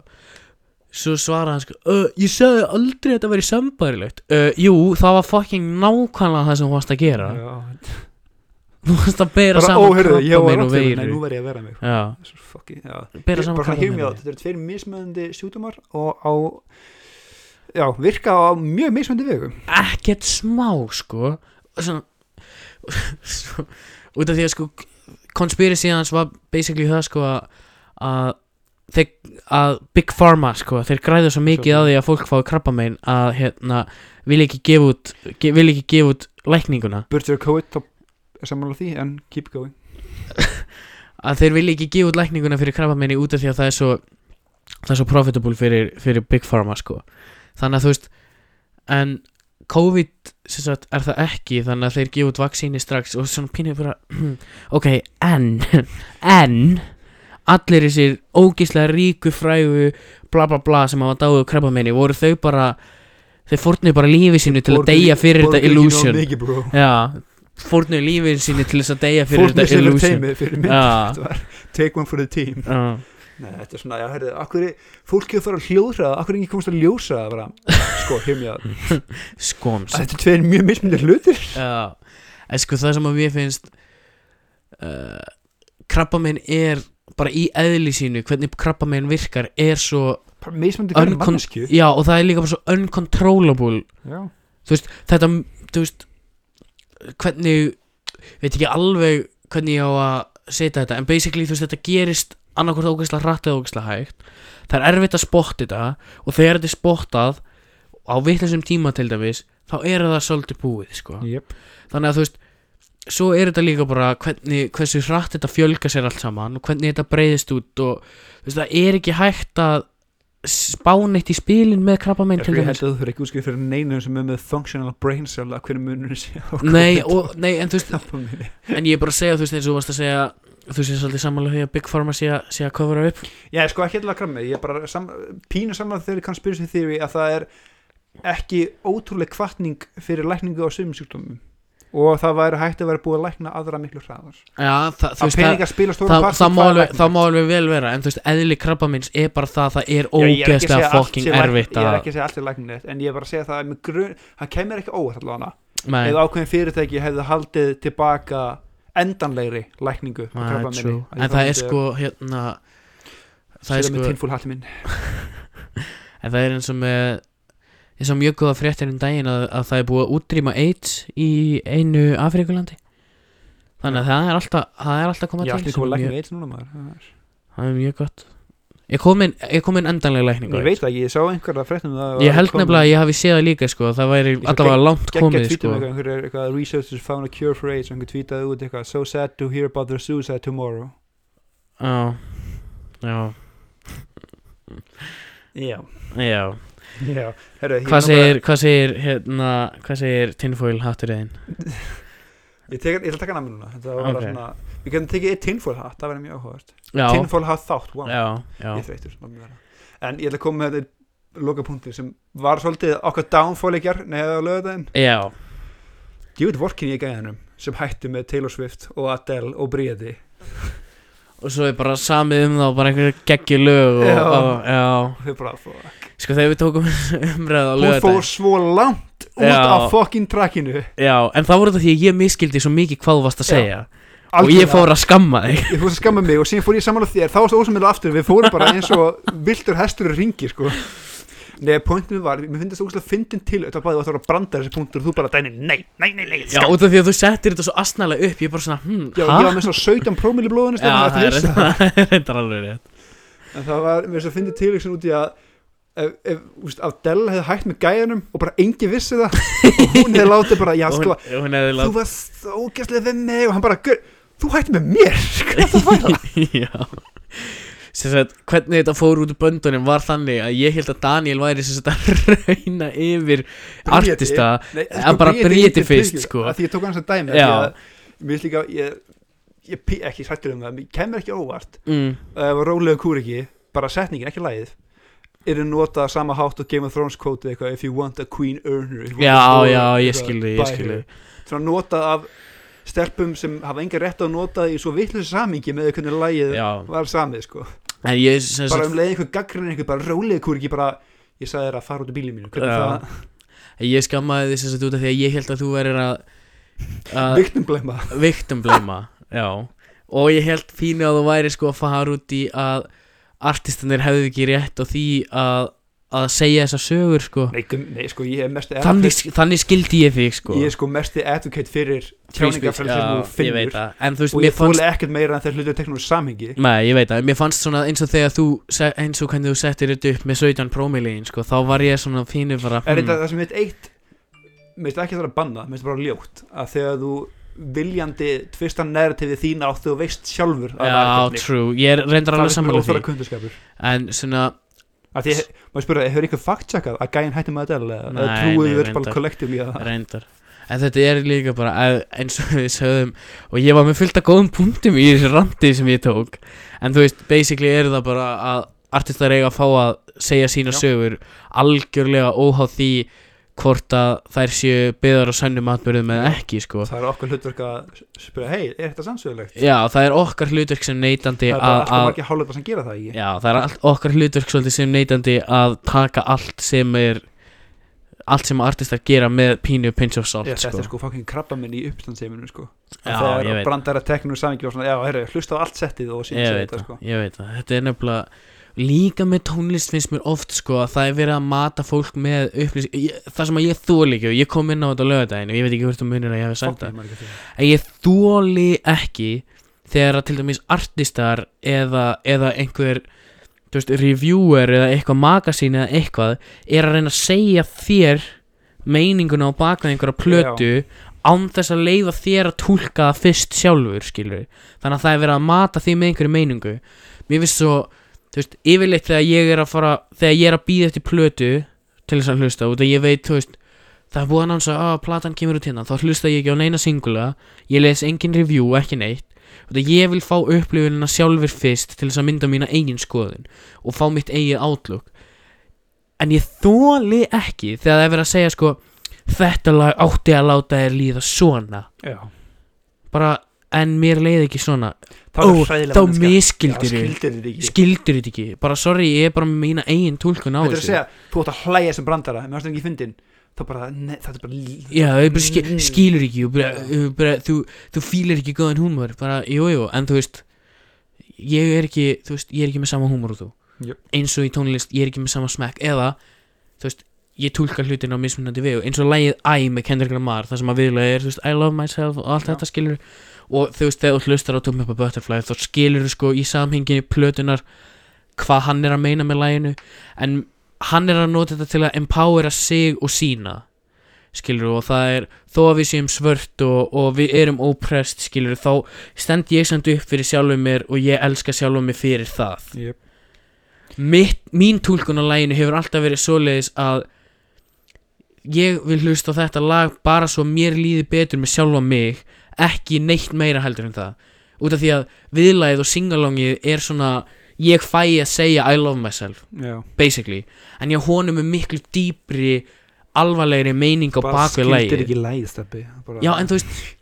S1: Svo svaraði hann sko uh, Ég sagði aldrei að þetta væri sambarilegt uh, Jú, það var fucking nákvæmlega það sem þú varst að gera Þú varst að bera
S2: bara, ó,
S1: saman
S2: hörðu, ég
S1: krabba
S2: var
S1: minn og
S2: rátt fyrir, nei,
S1: veiru
S2: nú verð ég að vera mig
S1: Já,
S2: Svo fucking, já
S1: bera
S2: bara
S1: saman hérna.
S2: svona
S1: krabba
S2: hear me
S1: minn
S2: out, þetta eru tveir mismöðandi sjúkdómar og á já, virka á mjög mismöðandi vegu
S1: Ekkert smá sko Svona svo- Út af því að sko Conspiracy hans var basically það sko að- að þeir- að Big Pharma sko, þeir græðu svo mikið á því að fólk fái krabbamein að hérna, vil ekki gefa út ge, vil ekki gefa út lækninguna
S2: Burger Coit, þá er sammála því en keep going
S1: að þeir vil ekki gefa út lækninguna fyrir krabbameini út af því að það er svo það er svo profitable fyrir, fyrir Big Pharma sko. þannig að þú veist en COVID sem sagt, er það ekki þannig að þeir gefa út vaksíni strax og svona pínir bara ok, en en allir þessir ógíslega ríku frægu bla bla bla sem hafa dáið krabbameini voru þau bara þeir fórnuðu bara lífi sínu til að
S2: Borguðu-
S1: deyja fyrir
S2: borguðu
S1: þetta
S2: ekki nógu
S1: illusion
S2: mikið, bro.
S1: já, fórnuðu lífi sínu til þess að deyja fyrir
S2: fólk með
S1: þetta
S2: silver
S1: illusion
S2: teimi fyrir mynd
S1: já
S2: take one for the team
S1: Já.
S2: Nei, þetta er svona, já, herrið, akkur er fólkið að fara að hljóðraða, akkur er ekki komast að ljósa að vera, sko, heimja
S1: Skoms
S2: Þetta er tveir mjög mismundir hlutir
S1: Já, en sko það sem að mér finnst uh, krabbamein er bara í eðli sínu, hvernig krabbamein virkar er svo,
S2: Bara mismundir hvernig
S1: Uncon-
S2: mannesku
S1: já og það er líka bara svo uncontrollable,
S2: Já,
S1: þú veist þetta, þú veist hvernig, veit ekki alveg hvernig ég á að setja þetta en basically þú veist þetta gerist annarkvort ógæsla hratt eða ógæsla hægt það er erfitt að spotta þetta og þegar þetta er spottað á vitlisum tíma til dæmis þá er það svolítið búið sko
S2: jöp
S1: þannig að þú veist svo er þetta líka bara hvernig, hversu hratt þetta fjölga sér allt saman og hvernig þetta breyðist út og þú veist það er ekki hægt að spána eitt í spilin með krabbamein
S2: Ég
S1: til
S2: held að
S1: þess
S2: þú þurfi ekki útskrift fyrir neinu sem er með functional brain cell að hvernig munur sé á
S1: nei,
S2: COVID
S1: og, nei, en þú veist
S2: krabbameini.
S1: en ég er bara að segja þú veist eins og þú varst að segja þú sé svolítið sammála því að Big Pharma sé að, sé að kofra upp
S2: Já, sko, ekki alltaf krammi, ég er bara sam, pínu saman þegar conspiracy theory að það er ekki ótrúleg kvartning fyrir lækningu á sömum sjúkdómum og það væri hægt að vera búið að lækna aðra miklu hraðar
S1: já, það, þú
S2: að
S1: veist það
S2: peningar spila stóra
S1: Það,
S2: part
S1: það,
S2: í
S1: má
S2: hvað er
S1: alveg,
S2: lækning.
S1: það má alveg vel vera en þú veist, eðli krabba minns er bara það það er
S2: Já, ég er ekki að segja
S1: ógeðslega
S2: allt sé
S1: fokking
S2: læk-
S1: erfitt
S2: Ég er
S1: að,
S2: ekki að segja allt er læknilegt en ég er bara að segja það að með grun, það kemur ekki óvart allavega
S1: nei,
S2: eða ákveðin fyrirtæki hefði haldið tilbaka endanlegri lækningu á
S1: nei,
S2: krabbameini.
S1: true.
S2: Að ég
S1: en það er
S2: myndi
S1: sko hérna það er
S2: setja með
S1: sko
S2: tinnfúl hattin minn
S1: En það er eins og með eins og mjög góða fréttir um daginn að, að það er búið að útrýma AIDS í einu Afrikulandi Þannig að það er alltaf, það er alltaf komað
S2: ég
S1: til sem
S2: ætti
S1: er
S2: ekki að lækna
S1: mjög,
S2: eitt núna maður Það er-
S1: Það er mjög gott Ég kom inn, ég kom inn endanlega lækningu
S2: ég veit það ekki, ég sá einhverja fréttum um það
S1: sko. Ég held nefnilega að ég hafi séð það líka sko Það væri
S2: Ég
S1: allavega langt
S2: geggja
S1: komið
S2: tvítum
S1: sko
S2: eitthvað, einhverjir um eitthvað researchers found a cure for AIDS og einhver tvítaði út eitthvað so sad to hear about their suicide tomorrow
S1: Já, já,
S2: já,
S1: já
S2: já Herra, ég
S1: Hvað
S2: er
S1: segir, hvað segir, hérna, hvað segir tinfoil hatturinn?
S2: náttúrulega- ég, tek, ég ætla að taka namn núna þetta var bara
S1: Ok.
S2: svona við getum tekið eitt tinfoil hat, það verður mjög áhugavert
S1: Já,
S2: tinfoil hat þátt, wow
S1: já, já
S2: ég er þreytur látum vera. en ég ætla að koma með þetta lokapunkti sem var svolítið okkar downfall ekki neða á lögðaðin
S1: Já,
S2: djúið vorkin ég gæðanum sem hætti með Taylor Swift og Adele og Bríði
S1: og svo er bara samið um það bara einhverja geggi lög og,
S2: Já.
S1: og, já
S2: og þau bara fuck
S1: Sko þegar við tókum umræða á
S2: hún fór
S1: lögadaginn
S2: svo langt út
S1: Já.
S2: af fucking trackinu
S1: Já, en það voru þetta því að ég miskildi svo mikið hvað þú varst að
S2: Já,
S1: segja Og ég fór að skamma þig
S2: ég fór að skamma mig og síðan fór ég saman á þér þá varst ósamlega aftur, við fórum bara eins og viltur hestur í ringi sko Nei, pointinu var, mér finnst það óslega fyndin til þetta bæði að það var að branda þessi punktur og þú bara dæni, nei, nei, nei, nei,
S1: Já,
S2: skam.
S1: út af því að þú settir þetta svo asnalega upp Ég er bara svona, hm,
S2: Já,
S1: ha?
S2: ég var með svona 17 prómil í blóðinu sko,
S1: Já, það
S2: stefnum, þetta
S1: er
S2: vissi
S1: reyndar- það er reyndar alveg rétt
S2: en það var, mér finnst það fyndin til ykkur út í að ef, ef, úst, af Dell hefði hægt með gæjanum og bara engi vissi það og hún hefði látið bara, já,
S1: Og
S2: sko,
S1: hún, hún hefði
S2: þú varst svo ógæslega við mig og hann bara, "Gaur, þú hætti með mér hvað það var það?
S1: látt Já Sem sagt, hvernig þetta fór út úr böndunum var þannig að ég held að Daniel væri sem sagt að reyna yfir artista
S2: Nei,
S1: En bara Bríeti
S2: er
S1: fyrst,
S2: Bríeti,
S1: sko.
S2: að Því ég tók hans að dæmi
S1: Já.
S2: Já Mér finnst líka Ég, ég pí- ekki sættur um það Mér kemur ekki á óvart eh,
S1: mm,
S2: Það var rólega kúr ekki Bara setningin, ekki lagið Er það notað á sama hátt og Game of Thrones kótið eitthvað If you want a queen earner if you want
S1: Já,
S2: a lord,
S1: já, ég
S2: eitthvað,
S1: skildi,
S2: buy
S1: ég skildi
S2: her. Svona notað af stelpum sem hafa enga rétt á að nota í svo vitlusi samingi með hvernig lagið
S1: Já,
S2: var samið sko
S1: en ég sem sagt
S2: Bara um leið einhver gaggrinni einhver bara rólega kúr ekki bara Ég sagði þér að fara út í bílið mínu Hvernig
S1: Já.
S2: það,
S1: Ég skammaði því sem sagt út af því að ég held að þú verður að, að
S2: viktum blemma
S1: Victim blama Já Og ég held fínu að þú væri sko að fara út í að Artistanir hefðu ekki rétt og því að Að segja þessa sögur sko
S2: Nei, gum- nei, sko, ég er mest
S1: Þannig, þannig skildi ég þig sko
S2: Ég er sko mesti advocate
S1: Free
S2: fyrir
S1: speech,
S2: tjáningafrelsi sem þú
S1: já, Ég veit
S2: finnur
S1: það En þú veist,
S2: og
S1: mér
S2: ég fóli
S1: fannst
S2: ekkert meira en þeir hlutu að tekna úr samhengi
S1: Nei, ég veit það, mér fannst svona eins og þegar þú se- eins og hvernig þú settir þetta upp með 17 promilín sko, þá var ég svona fínu bara
S2: Er þetta
S1: hmm,
S2: það sem heit eitt Mér finnst ekki það að banna, mér finnst bara ljótt að þegar þú viljandi tvistan narrativið þína átt þú veist sjálfur að það er
S1: Já,
S2: hvernig.
S1: true, ég er reyndar alveg
S2: það er bara
S1: sammála því
S2: óþara kundaskapur
S1: En svona,
S2: að því, maður spurði, hefur ykkur fakt checkað að gæinn hætti með Adele eða- eða
S1: Nei,
S2: trúið
S1: nei,
S2: við bara
S1: reyndar.
S2: kollektífli að það
S1: reyndar en þetta er líka bara að, eins og við sögðum og ég var með fullt af góðum punktum í þessu randi sem ég tók en þú veist, basically er það bara að artistar eiga að fá að segja sína
S2: Já.
S1: sögur algjörlega óháð því hvort að þær séu byggðar á sannum atbyrðum eða ekki sko.
S2: það er okkur hlutverk að spyrja hei, er þetta sannsögulegt?
S1: já, það er okkar hlutverk sem neytandi
S2: það er bara
S1: að,
S2: alltaf
S1: að
S2: margir hálfleipar sem gera það ekki
S1: já, það er all, okkar hlutverk svolítið sem neytandi að taka allt sem er allt sem artistar gera með pínu pinch of salt
S2: Já, þetta
S1: sko.
S2: er sko fokkin krabba minn í uppstandsheiminu sko.
S1: Já,
S2: já, þegar
S1: ég
S2: að
S1: veit.
S2: brandar að teknum samingi og svona, já, herru, hlusta á allt settið og síðan
S1: ég
S2: segja
S1: veit
S2: þetta
S1: það,
S2: sko.
S1: ég veit það þetta er nefnilega líka með tónlist finnst mér oft sko að það er verið að mata fólk með upplýsing ég- það sem að ég þóli ekki og ég kom inn á þetta á lögadaginn og ég veit ekki hvort þú munir að ég hefði sagt
S2: Fokkin,
S1: það
S2: ég man ekki eftir því.
S1: en ég þóli ekki þegar að til dæmis artistar eða, eða einhver þú veist, reviewer eða eitthvað magasín eða eitthvað er að reyna að segja þér meininguna á bakað einhverja plötu án þess að leiða þér að túlka það fyrst sjálfur skilur þannig að það er verið að mata því með einhverju meiningu mér finnst svo þú veist, yfirleitt þegar ég er að fara þegar ég er að býða eftir plötu til þess að hlusta út að ég veit, þú veist það er búin hans að, að platan kemur út hérna þá hlusta ég ekki á neina singula ég les engin review, ekki neitt Þú veist, ég vil fá upplifunina sjálfur fyrst til þess að mynda mína eigin skoðun og fá mitt eigið outlook en ég þóli ekki þegar það er verið að segja sko þetta lag átti að láta þér líða svona
S2: Já.
S1: bara en mér leiði ekki svona
S2: Þá
S1: Ó,
S2: er hræðilega
S1: þá
S2: manneskja.
S1: miskildir
S2: Já,
S1: þið
S2: skildir þið ekki
S1: skildir þetta ekki, bara sorry ég er bara með mína eigin tólkun á
S2: Þetta er að
S1: þessu
S2: segja, þú átt að hlæja sem brandara en mér varst ekki fyndin þá bara, ne, þetta er bara lí-
S1: já, þau bara skil,
S2: Mm.
S1: skilur ekki og bara, og bara, þú, þú fílar ekki góðan húmor bara, jú, jú, en þú veist ég er ekki, þú veist, ég er ekki með sama húmor og þú,
S2: Jú.
S1: eins og í tónlist ég er ekki með sama smekk, eða þú veist, ég tólka hlutin á mismunandi vegu eins og lægið I með Kendrick Lamar það sem að viðlega er, þú veist, I love myself og allt
S2: Já.
S1: þetta skilur og þú veist, þegar þú hlustar á Tum Up a Butterfly þá skilur þú sko í samhenginu plötunar hvað hann er að meina með læginu en hann er að nota þetta til að empowera sig og sína skilur og það er þó að við séum svört og, og við erum óprest skilur þá stend ég samt upp fyrir sjálfum mér og ég elska sjálfum mér fyrir það
S2: Jöp.
S1: Mitt, mín túlkun á læginu hefur alltaf verið svoleiðis að ég vil hlusta á þetta lag bara svo mér líði betur með sjálfa mig ekki neitt meira heldur en það út af því að viðlagið og singalongið er svona ég fæ að segja I love myself
S2: Já,
S1: basically en já honum er miklu dýpri alvarlegri meining á
S2: bara
S1: bakvið
S2: skildir
S1: lægi
S2: ekki læð steppi bara,
S1: já en þú veist þó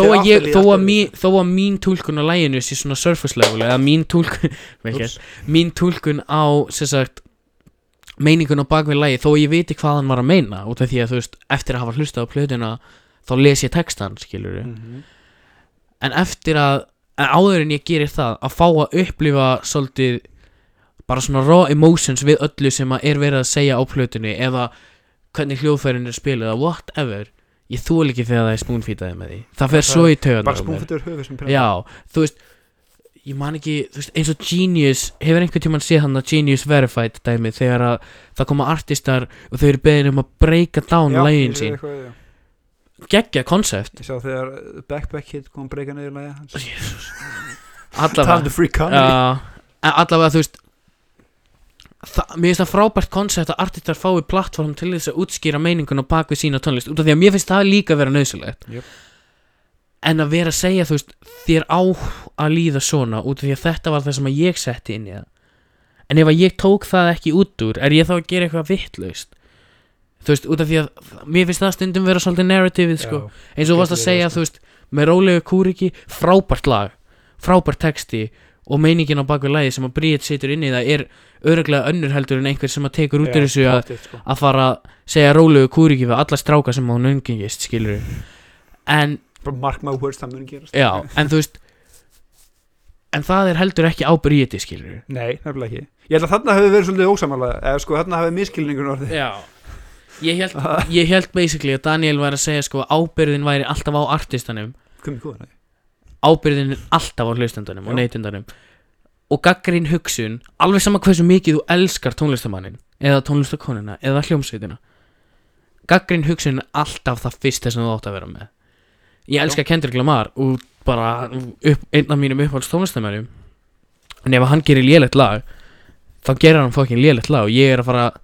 S2: Þau
S1: að, ég,
S2: áttu líka
S1: þó, að
S2: alltaf við
S1: mín, þó að mín tólkun á læginu sé svona surface level eða mín tólkun vel gert,
S2: Úps.
S1: mín tólkun á sem sagt meiningun á bakvið lægi þó að ég viti hvað hann var að meina út af því að þú veist eftir að hafa hlustað á plötuna þá les ég textan skilur
S2: Mhm.
S1: en eftir að en áður en ég gerir það að fá að upplifa svolítið bara svona raw emotions við öllu sem að er verið að segja á plötunni eða hvernig hljóðfærin er spiluð eða whatever ég þól ekki þegar það er spoonfeetaði með því það fer
S2: Það
S1: svo í töðan
S2: bara spúnfættur höfuð sem pirrar.
S1: já, þú veist ég man ekki, þú veist, eins og Genius hefur einhvern tímann séð hann að Genius Verified dæmi þegar að það koma artistar og þau eru beðin um að breyka down
S2: Já, ég
S1: lægin
S2: sé
S1: sín,
S2: eitthvað, já.
S1: geggja koncept
S2: Ég sá þegar uh, Backpack Kid kom að breyka niður lægja hans
S1: allavega
S2: to free
S1: Já, en allavega þú veist það, Mér finnst það frábært koncept að artistar fái plattform til þess að útskýra meiningun og bak við sína tónlist út af því að mér finnst það líka vera nöðsilegt
S2: Jöp.
S1: En að vera að segja þú veist þér á að líða svona út af því að þetta var það sem að ég setti inn í það En ef að ég tók það ekki út úr er ég þá að gera eitthvað vittlaust Þú veist, út af því að mér finnst það stundum vera svolítið narrativið sko eins og þú varst að
S2: Getur verið
S1: segja,
S2: það,
S1: þú veist, með rólegu kúriki frábært lag, frábært texti og meiningin á bakvið lagi sem að Bríett situr inn í það er öruglega önnur heldur en einhver sem að tekur út úr þessu að,
S2: sko.
S1: að fara að segja rólegu kúriki við alla stráka sem hún umgengist, skilur en,
S2: bara mark my words, það mun gerast
S1: já, en þú veist en það er heldur ekki á Bríetti, skilur
S2: nei, nefnilega ekki ég held að þarna hefði verið svolítið ósamalega eða sko þarna hefði miskilningun orðið
S1: já Ég held, ég held basically að Daniel væri að segja sko að ábyrðin væri alltaf á artistanum
S2: komið góðan að
S1: ábyrðin er alltaf á hlustendunum og
S2: Já.
S1: neytendunum og gaggrín hugsun alveg sama hversu mikið þú elskar tónlistamannin eða tónlistakonuna eða hljómsveitina gaggrín hugsun er alltaf það fyrsta sem þú átt að vera með ég elska Kendrick Lamar og bara upp, einn af mínum uppáhalds tónlistamannum en ef hann gerir lélegt lag þá gerir hann fokkin lélegt lag og ég er að fara að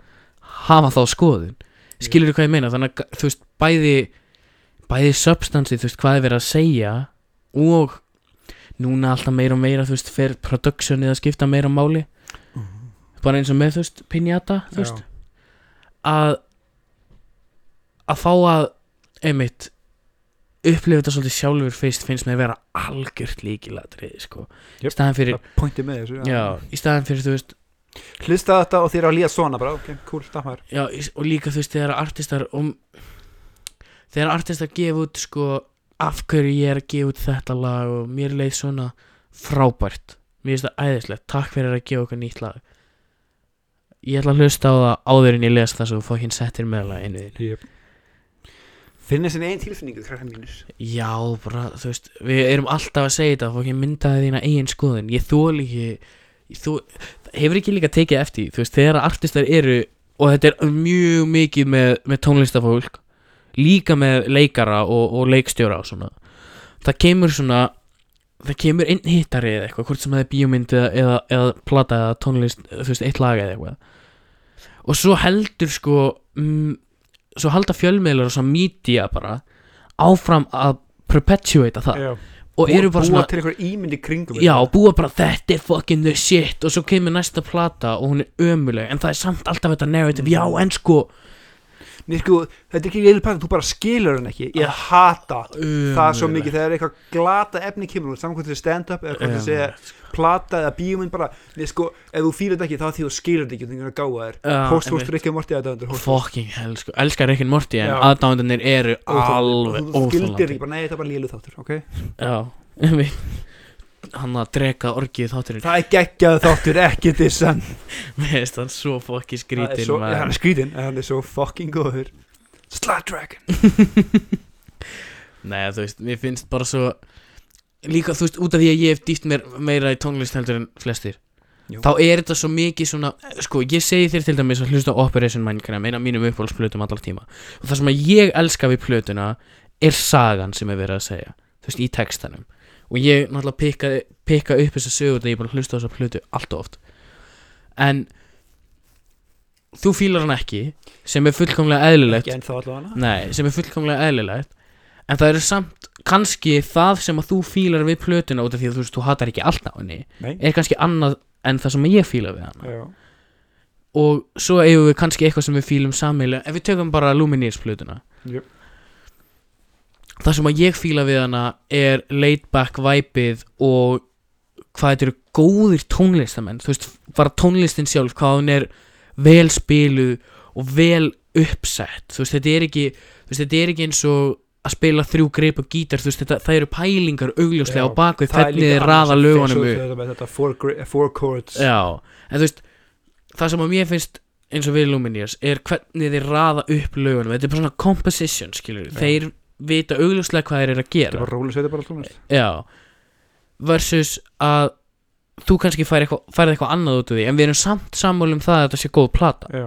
S1: hafa þá skoðun skilur þú hvað ég meina þannig að þú veist bæði bæði substansi þú veist hvað er verið að segja og núna alltaf meira og meira þú veist fer productionið að skipta meira máli bara eins og með þú veist pinjata þú veist að að fá að einmitt upplifa þetta svolítið sjálfur fyrst finnst mér að vera algjört líkilatriði sko.
S2: Jöp.
S1: í staðan fyrir
S2: það pointi með þessu
S1: já, í staðan fyrir þú veist
S2: hlusta þetta og þér á að líða svona bara, ok, cool, takk maður
S1: já, í- og líka þú veist þegar artistar og þegar artistar gefa út sko af hverju ég er að gefa út þetta lag og mér leið svona frábært mér finnst það æðislegt, takk fyrir að gefa okkur nýtt lag ég ætla að hlusta á það áður en ég les það svo fá hinn settir með lag einu þín
S2: yep. finna sinni einn tilfinningu krakkar mínus
S1: já, bara, þú veist, við erum alltaf að segja þetta, fá hinn myndaði þína eigin skoðin ég þól ekki þú, hefur ekki líka tekið eftir því, þú veist, þegar artistar eru og þetta er mjög mikið með, með tónlistafólk líka með leikara og, og leikstjóra og svona það kemur svona það kemur inn hittari eða eitthvað hvort sem það er bíómynd eða, eða, eða plata eða tónlist, þú veist, eitt lag eða eitthvað og svo heldur sko mm, svo halda fjölmiðlar og svo mídía bara áfram að perpetuata það
S2: já.
S1: og eru bara svona
S2: búa til einhver ímynd í kringum
S1: Já, búa bara þetta er fucking the shit og svo kemur næsta plata og hún er ömuleg en það er samt alltaf þetta narrative, já en sko
S2: Mér sko, þetta er ekki liðið pænt, þú bara skilur hann ekki
S1: Ah.
S2: Ég hata það svo mikið þegar eitthvað glata efni kemur úr Saman hvort þið stand-up eða hvort þið segja plata eða bíómynd bara Mér sko, ef þú fýlar þetta ekki þá því þú skilur þetta ekki Þannig að gáða þér
S1: Já,
S2: Hóst
S1: einmitt.
S2: hóst Rikki Morti að döndur
S1: Fucking hell, sko, elskar Rick and Morty en
S2: Já.
S1: aðdáðanir eru alveg
S2: Þú skildir
S1: óþólandi
S2: ekki bara, nei þetta er bara lélu þáttur, ok
S1: Já, einmitt. hann að dreka orgið þátturinn
S2: Það er geggjað þáttur, ekki dissan
S1: Mér finnst hann svo fucking
S2: Það er
S1: skrítin
S2: svo-
S1: maður.
S2: Hann er skrítin, en hann er svo fucking góður Slut Dragon
S1: Nei, þú veist, mér finnst bara svo Líka, þú veist, út af því að ég hef dýtt mér meira í tónlist heldur en flestir
S2: Jú.
S1: Þá er þetta svo mikið svona Sko, ég segi þér til dæmis að hlusta á Operation Minecraft Eina af mínum uppáhaldsplötum allar tíma Og það sem að ég elska við plötuna Er sagan sem er verið að segja Þú veist, í textanum Og ég náttúrulega pikka, pikka upp þessa sögur Þegar ég er búin að hlusta á þessa plötu allt of oft En Þú fílar hann ekki Sem er fullkomlega eðlilegt
S2: Ekki en þá allavega
S1: Nei, sem er fullkomlega eðlilegt En það eru samt kannski það sem að þú fílar við plötuna út af því að þú veist, þú hatar ekki allt á henni
S2: Nei
S1: er kannski annað en það sem ég fíla við hana
S2: Já.
S1: og svo eigum við kannski eitthvað sem við fílum sammeila ef við tökum bara Lumineers plötuna
S2: Jöp.
S1: það sem að ég fíla við hana er laid back væpið og hvað þetta eru góðir tónlistamenn þú veist, bara tónlistin sjálf hvað hún er vel spiluð og vel uppsett þú veist, þetta er ekki, þú veist, þetta er ekki eins og að spila þrjú greip og gítar þú veist, þetta, það eru pælingar augljóslega
S2: Já,
S1: á bakvið
S2: Það er
S1: hvernig
S2: líka
S1: þið
S2: annað
S1: raða
S2: sem fer
S1: lögunum
S2: svo
S1: upp
S2: þetta með Þetta four, gr- eh, four chords
S1: Já, en þú veist Það sem að mér finnst eins og við Lumineers Er hvernig þeir raða upp lögunum Þetta er bara svona composition, skilur
S2: Já.
S1: Þeir vita augljóslega hvað þeir eru að
S2: Þetta
S1: gera
S2: var róli sveita bara tónlist
S1: Já Versus að Þú kannski færði eitthvað, færð eitthvað annað út úr því En við erum samt sammálum það að þetta sé góð plata
S2: Já,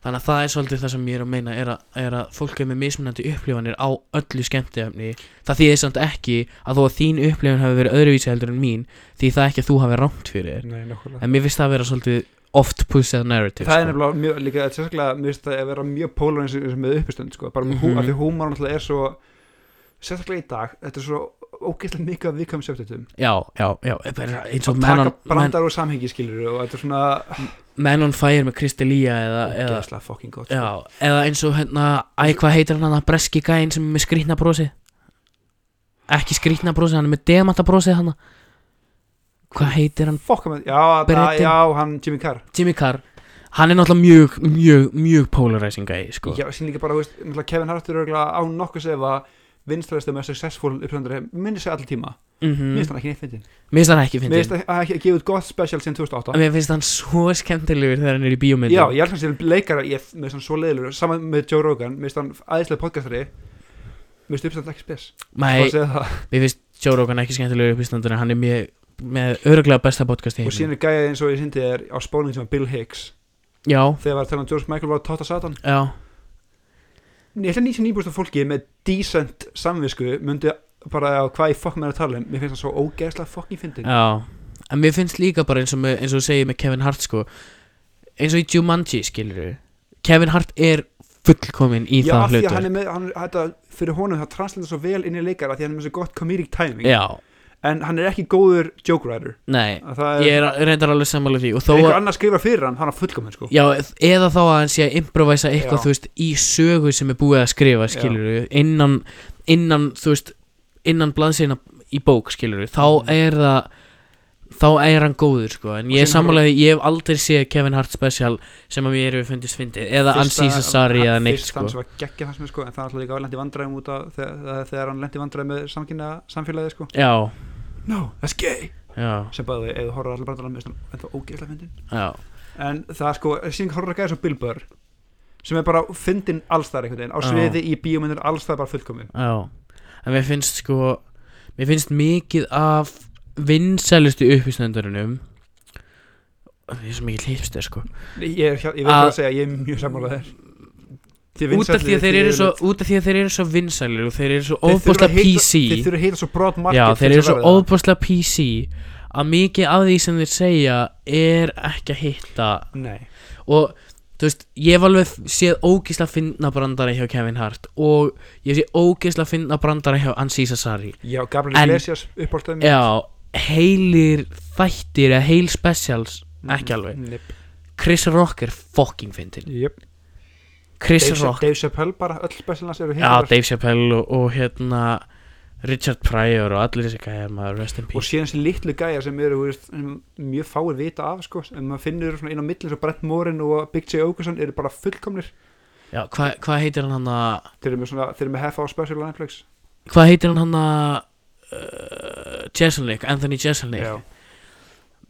S1: Þannig að það er svolítið það sem ég er að meina Er að, er að fólk er með mismunandi upplifanir Á öllu skemmtiefni Það þýðir samt ekki að þó að þín upplifun hafi verið öðruvísi heldur en mín Því það ekki að þú hafi rámt fyrir þér
S2: nei, nokkulega
S1: En mér finnst það að vera svolítið oft pussið narrative
S2: Sko. Það er
S1: sko.
S2: nefnilega mjög, líka, þetta er sérstaklega, mér finnst það að vera mjög pólar eins og eins og með uppstönd, sko, bara með mm
S1: Mhm.
S2: -hmm. því húmar náttúrulega er svo, sérstaklega í dag, þetta er svo ógeðslega mikið af viðkvæmum sjöftutum.
S1: Já, já, já eh, bara eins og
S2: Að
S1: Man on,
S2: taka
S1: man,
S2: brandar og samhengi skilur og þetta er svona,
S1: man on Fire með Kristi Lía eða, eða,
S2: ógeðslega fucking gott. sko.
S1: já, eða eins og hérna Æ, hvað heitir hann hann breski gæinn sem er með skrýtna brosi Ekki skrýtna brosi, hann er með demanta brosi hann Hvað heitir hann?
S2: Fokka með, já, það,
S1: Bretinn.
S2: já, hann Jimmy Carr,
S1: Jimmy Carr Hann er náttúrulega mjög, mjög, mjög polarizing gæi, sko
S2: já, sín líka bara, þú veist, náttúrulega Kevin Hart er örgulega á nokkuð sefa vinstræðist og með successful uppstöndur, minni sig allir tíma,
S1: mm
S2: mm.
S1: -hmm.
S2: minnst hann ekki neitt fyndin.
S1: Mér finnst hann ekki
S2: Mér finnst
S1: fyndin
S2: að að ekki- að gefa út gott special síðan 2008.
S1: Mér finnst hann svo skemmtilegur þegar hann er í bíómyndum
S2: Já, ég elskar þessi leikara ég með hann svo leiðilur, saman með Joe Rogan með hann aðeinslega podcastari með uppstand ekki spes
S1: Nei,
S2: Bara að segja það.
S1: Mér finnst Joe Rogan ekki skemmtilegur uppístandur en hann er mjög, með öruglega besta podcast í
S2: og
S1: heiminum.
S2: síðan er gæðið eins og ég syndi er á spáning sem var Bill Hicks
S1: Já,
S2: þegar var að tala um George Michael var að tátta Satan
S1: já,
S2: ég ætla 99% af fólki með decent samvisku myndi bara á hvað ég fokk með að tala um mér finnst hann svo ógeðslega fokkin fyndin
S1: já. En mér finnst líka bara eins og, með, eins og þú segir með Kevin Hart sko, eins og í Jumanji skilur Kevin Hart er fullkominn í
S2: já,
S1: það
S2: af því að hann
S1: hlutur.
S2: er með hann, þetta, fyrir honum það translita svo vel inn í leikara af því að hann er með svo gott comedic timing
S1: Já,
S2: en hann er ekki góður joke writer
S1: Nei,
S2: Að það
S1: ég er
S2: er,
S1: að- reyndar alveg sammála því og þó
S2: er
S1: að
S2: einhver annar skrifa fyrir hann hann er fullkominn sko
S1: Já, eð- eða þá að hann sé að improvisa eitthvað,
S2: Já.
S1: þú veist, í sögu sem er búið að skrifa,
S2: Já.
S1: skilur innan, innan, þú veist, innan blaðsina í bók, skilur þá
S2: Mhm.
S1: er það, þá er hann góður, sko, en
S2: Og
S1: ég
S2: síðan
S1: sammálaði, ég hef aldrei séð Kevin Hart special sem að mér hefur fundist fyndið, eða
S2: Fyrsta-
S1: Ansi Sassari eða
S2: hann-
S1: neitt,
S2: fyrst
S1: sko.
S2: hann sem var geggja hans með sko en það er alltaf líka lendi vandræðum út af þegar, þegar hann lendi vandræðum með samkynna samfélagi sko
S1: Já,
S2: no, that's gay
S1: já,
S2: sem bæði eða horfður allir brandalega með en það ógeðslega fyndin
S1: já,
S2: en það sko, síðan horfður ekki þessu Bill Burr sem er bara fyndin allstar einhvern veginn á
S1: Já.
S2: sviði í bíómyndir allstar bara fullkomin
S1: já, en mér finnst, sko, mér finnst mikið af vinsælustu uppistendurinnum, ég er svo mikið hlýpstir, sko.
S2: ég er, hjá- ég vil
S1: Að-
S2: bara segja, ég er mjög sammála þér Þið
S1: út af því
S2: vinsælli,
S1: að þeir
S2: þið
S1: eru svo út af því að þeir eru svo vinsælir og þeir eru svo
S2: Þeir þurfa
S1: óbúslega
S2: að hitta-
S1: PC
S2: þeir þurfa að hita svo broad market
S1: já
S2: til
S1: þeir
S2: þess
S1: eru
S2: að
S1: svo
S2: verða það.
S1: óbúslega PC að mikið af því sem þeir segja er ekki að hitta
S2: nei,
S1: og þú veist ég hef alveg séð ógisla finna brandara hjá Kevin Hart og ég hef séð ógisla finna brandara hjá Ansi Sassari
S2: já, Gabriel
S1: En-
S2: Iglesias uppáltaði
S1: já heilir þættir eða heil specials ekki alveg
S2: Mm, Nip,
S1: Chris Rock er fucking fyndin
S2: yep.
S1: Chris
S2: Dave,
S1: Rock
S2: Dave Chappelle bara, öll spesialans eru
S1: Já,
S2: hittar
S1: Dave Chappelle og, og hérna Richard Pryor og allir þessi gæja maður rest in
S2: og
S1: peace
S2: síðan þessi litlu gæja sem eru þú veist, sem mjög fáir vita af sko, en maður finnur svona inn á millin svo Brett Morin og Big J. Okerson eru bara fullkomnir
S1: Já, hvað hva heitir hann hann að
S2: þeir eru með, svona, þeir eru með half hour special á Netflix
S1: Hvað heitir hann hann að uh, Jeselnik, Anthony Jeselnik
S2: já,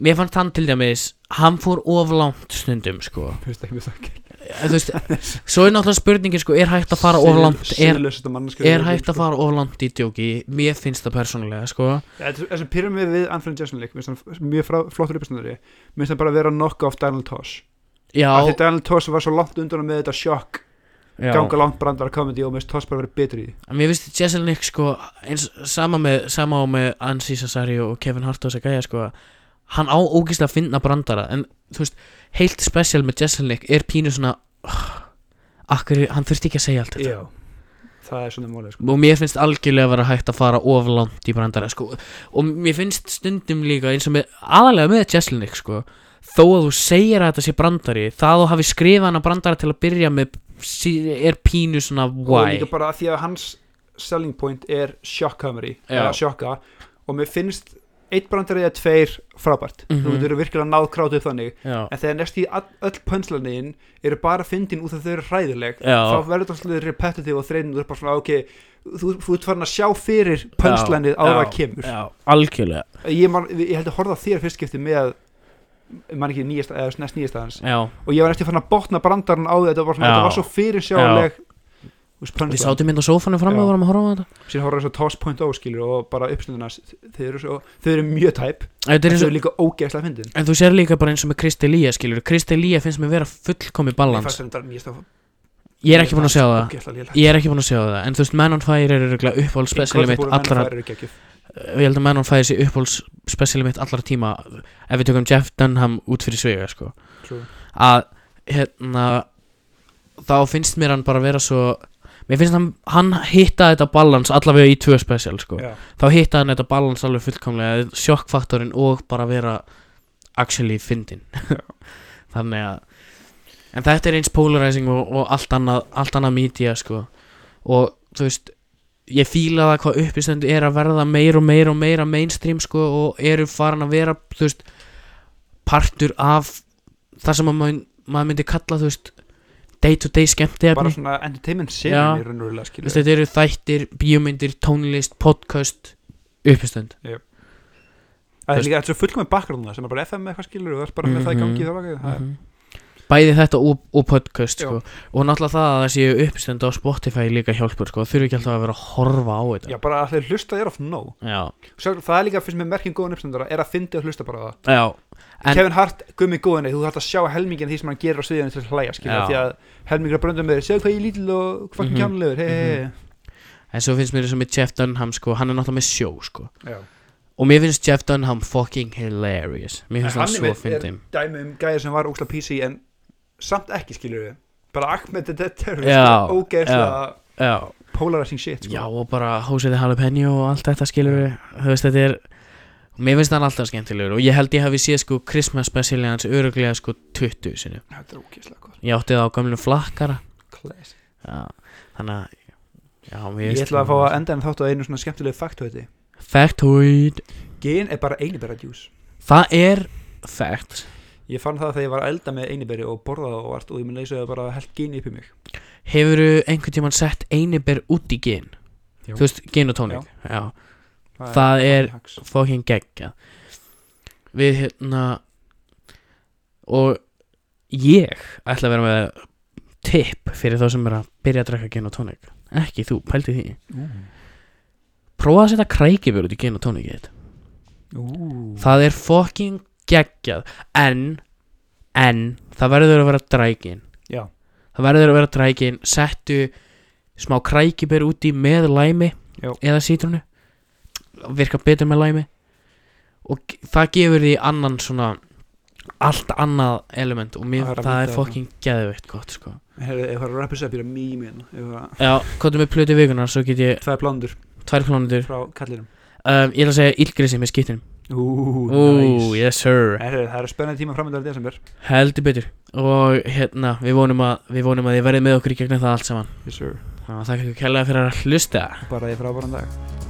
S1: Mér fannst hann til dæmis Hann fór of langt stundum sko
S2: finnst ekki mjög þakki
S1: Eh, Þú veist, Svo er náttúrulega spurningin sko Er hægt að fara of langt Er, er hægt að fara of langt í djóki Mér finnst það persónulega sko
S2: þessi pyramid við Anthony Jeselnik mér finnst hann mjög frá, flottur uppstændari mér finnst hann bara vera knock-off Daniel Tosh
S1: Já,
S2: af því Daniel Tosh var svo langt undan með þetta sjokk
S1: já.
S2: ganga langt brandara komedi og mér finnst Tosh bara verið betri í því.
S1: En Mér finnst Jeselnik sko eins, sama, með, sama á með Ansi Sassari og Kevin Hart og þess að gæja sko hann á ógeðslega að finna brandara en þú veist, heilt spesial með Jeselnik er pínu svona oh, akkur, hann þurfti ekki að segja allt þetta
S2: Já. það er svona mólið sko.
S1: og mér finnst algjörlega vera hægt að fara of langt í brandara sko og mér finnst stundum líka eins og með aðalega með Jeselnik sko þó að þú segir að þetta sé brandari það að þú hafi skrifað hann að brandara til að byrja með sí- er pínu svona
S2: og
S1: why
S2: líka bara að því að hans selling point er shock comedy
S1: Já.
S2: eða sjokka og mér finnst eitt brandari eða tveir frábært
S1: Mhm.
S2: þú getur virkilega náð krátu upp þannig
S1: Já.
S2: en þegar næst í all- öll pönslanin eru bara fyndin út af þau eru hræðileg
S1: Já.
S2: þá verður það svolítið repetitive og þreinu þú er bara svona "Ah, ok, þú, þú ert farin að sjá fyrir pönslanið
S1: Já,
S2: ára
S1: já,
S2: að kemur
S1: Já, algjörlega
S2: ég, man, ég held að horfa á þér fyrst skipti með mann ekki nýjasta, eða næst nýjasta hans
S1: Já,
S2: og ég var næstu farin að botna brandarinn á því þetta var, svona,
S1: Já.
S2: þetta var svo fyrir sjáleg
S1: við sátum hérna á sófanum fram
S2: Já.
S1: og vorum að horfa á þetta
S2: síðan horfður þess að toss.0 oh, skilur og bara uppstundina þau eru, svo, þau eru mjög tæp
S1: Þetta er
S2: en
S1: eins
S2: þau
S1: og
S2: eru líka ógeðslega fyndin
S1: En þú sér líka bara eins og með Kristi Lía skilur Kristi Lía finnst mér vera fullkomi
S2: Mér
S1: balans
S2: fannst þetta nýjasta-
S1: Ég er ekki búin að sjá það
S2: ógeðslega lélegt.
S1: Ég er ekki búin að sjá það En þú veist, Men on Fire er örgulega uppáhalds specialið mitt
S2: Incredible Man
S1: allra
S2: of Fire eru geggjuð.
S1: Ég held að Men on Fire sé uppáhalds specialið mitt allra tíma Ef við tökum Jeff Dunham út fyrir svega sko
S2: True.
S1: Að, hérna Þá finnst mér hann bara vera svo Mér finnst hann, hann hitta þetta balans allavega í tvö special sko
S2: Já.
S1: þá hitta hann þetta balans alveg fullkomlega sjokkfaktorinn og bara vera actually fyndin þannig að en þetta er eins polarizing og, og allt annað allt annað media sko og þú veist ég fíla það hvað uppistendu er að verða meir og meir og meira mainstream sko og eru farin að vera þú veist partur af það sem að maður, maður myndi kalla þú veist day to day skemmti
S2: bara svona entertainment
S1: Já.
S2: sinni í raun og raunverulega
S1: Þú
S2: skilur
S1: veist, þetta eru þættir, bíómyndir, tónlist, podcast, uppistönd
S2: það
S1: þú
S2: er líka þetta er svo fullkomið bakgráðuna sem er bara FM eitthvað skilur og það er bara með það í
S1: Mhm.
S2: gangi í það bakið það er-
S1: Bæði þetta og, og podcast
S2: Já.
S1: sko. og náttúrulega það að það séu uppistönd á Spotify líka hjálpur, sko. þurfi ekki alltaf að vera að horfa á þetta
S2: já bara að þeir hlusta er of no
S1: Já,
S2: Sjálf, það er líka fyrst með merkjum góðan uppstandara er að fyndi að hlusta bara á það
S1: já, En-
S2: Kevin Hart gummi góðinni þú þarf að sjá helmingin af því sem hann gerir á sviðinu til að hlæja skilur
S1: Já.
S2: því að helmingin er brönda með þér segðu hvað ég er lítil og fucking
S1: Mhm.
S2: kjánulegur hei hei
S1: en svo finnst mér eins og með Jeff Dunham sko, hann er náttúrulega með sjó sko.
S2: hei
S1: og mér finnst Jeff Dunham fucking hilarious mér finnst hann
S2: En hann
S1: svo
S2: er-
S1: fyndin
S2: dæmi um gæja sem var ósla PC en samt ekki skilur við bara Ahmed the Terrorist
S1: Já,
S2: er ógeðslega
S1: Já,
S2: polarizing shit sko.
S1: já og bara Hoseiði Jalapeno og allt þetta skilur við þú veist þetta er Mér finnst hann alltaf skemmtilegur og ég held ég hafi séð sko Christmas special hans öruglega sko 20 sinni
S2: Þetta er ógeðslega góð
S1: Ég átti það á gamlu flakkara
S2: Classic.
S1: já, Þannig að já, mér
S2: Ég
S1: finnst
S2: ætla
S1: hann-
S2: að fá að enda en þátt á einu svona skemmtilegu fakthauti
S1: Factoid
S2: Gin er bara einibæra djús
S1: Það er fact
S2: Ég fann það þegar ég var að elda með einibæri og borðaði og allt og ég mun leysa það bara held gin upp í mig
S1: Hefurðu einhvern tímann sett einiber út í gin?
S2: Jú.
S1: Þú veist, gin og tónik Já, Það er-
S2: hacks.
S1: fucking geggjað Við hérna Og ég ætla að vera með tipp fyrir þá sem er að byrja að drekka gin og tónik Ekki þú, pældi því
S2: Ú.
S1: Prófa að setja krækibjör út í gin og tónikið þitt.
S2: Ú.
S1: Það er fucking geggjað En En Það verður að vera drækin
S2: Já,
S1: Það verður að vera drækin Settu smá krækibjör út í með læmi
S2: Já.
S1: Eða sítrunu Virka betur með læmi Og ge- það gefur því annan svona Allt annað element Og mér,
S2: Það er að
S1: það
S2: vita
S1: er fucking geðveitt gott sko
S2: Heyrðu, ef það er að rappa sér að býra mými hérna, ef það er
S1: Já, kóttu með plötu vikunar Svo get ég
S2: tvær blándur
S1: tvær plánundur
S2: frá kallinum
S1: um, Ég ætla að segja illgrisi með skittinum
S2: Ú,
S1: Ooh, yes sir
S2: Heyrðu, Það eru spennandi tíma framöndan í desember
S1: Heldur betur Og hérna, við vonum að, við vonum að þið verðið með okkur í gegnum það allt saman
S2: Yes sir
S1: Þannig að þakka ykkur kærlega fyrir að hlusta
S2: Bara ég frábæran dag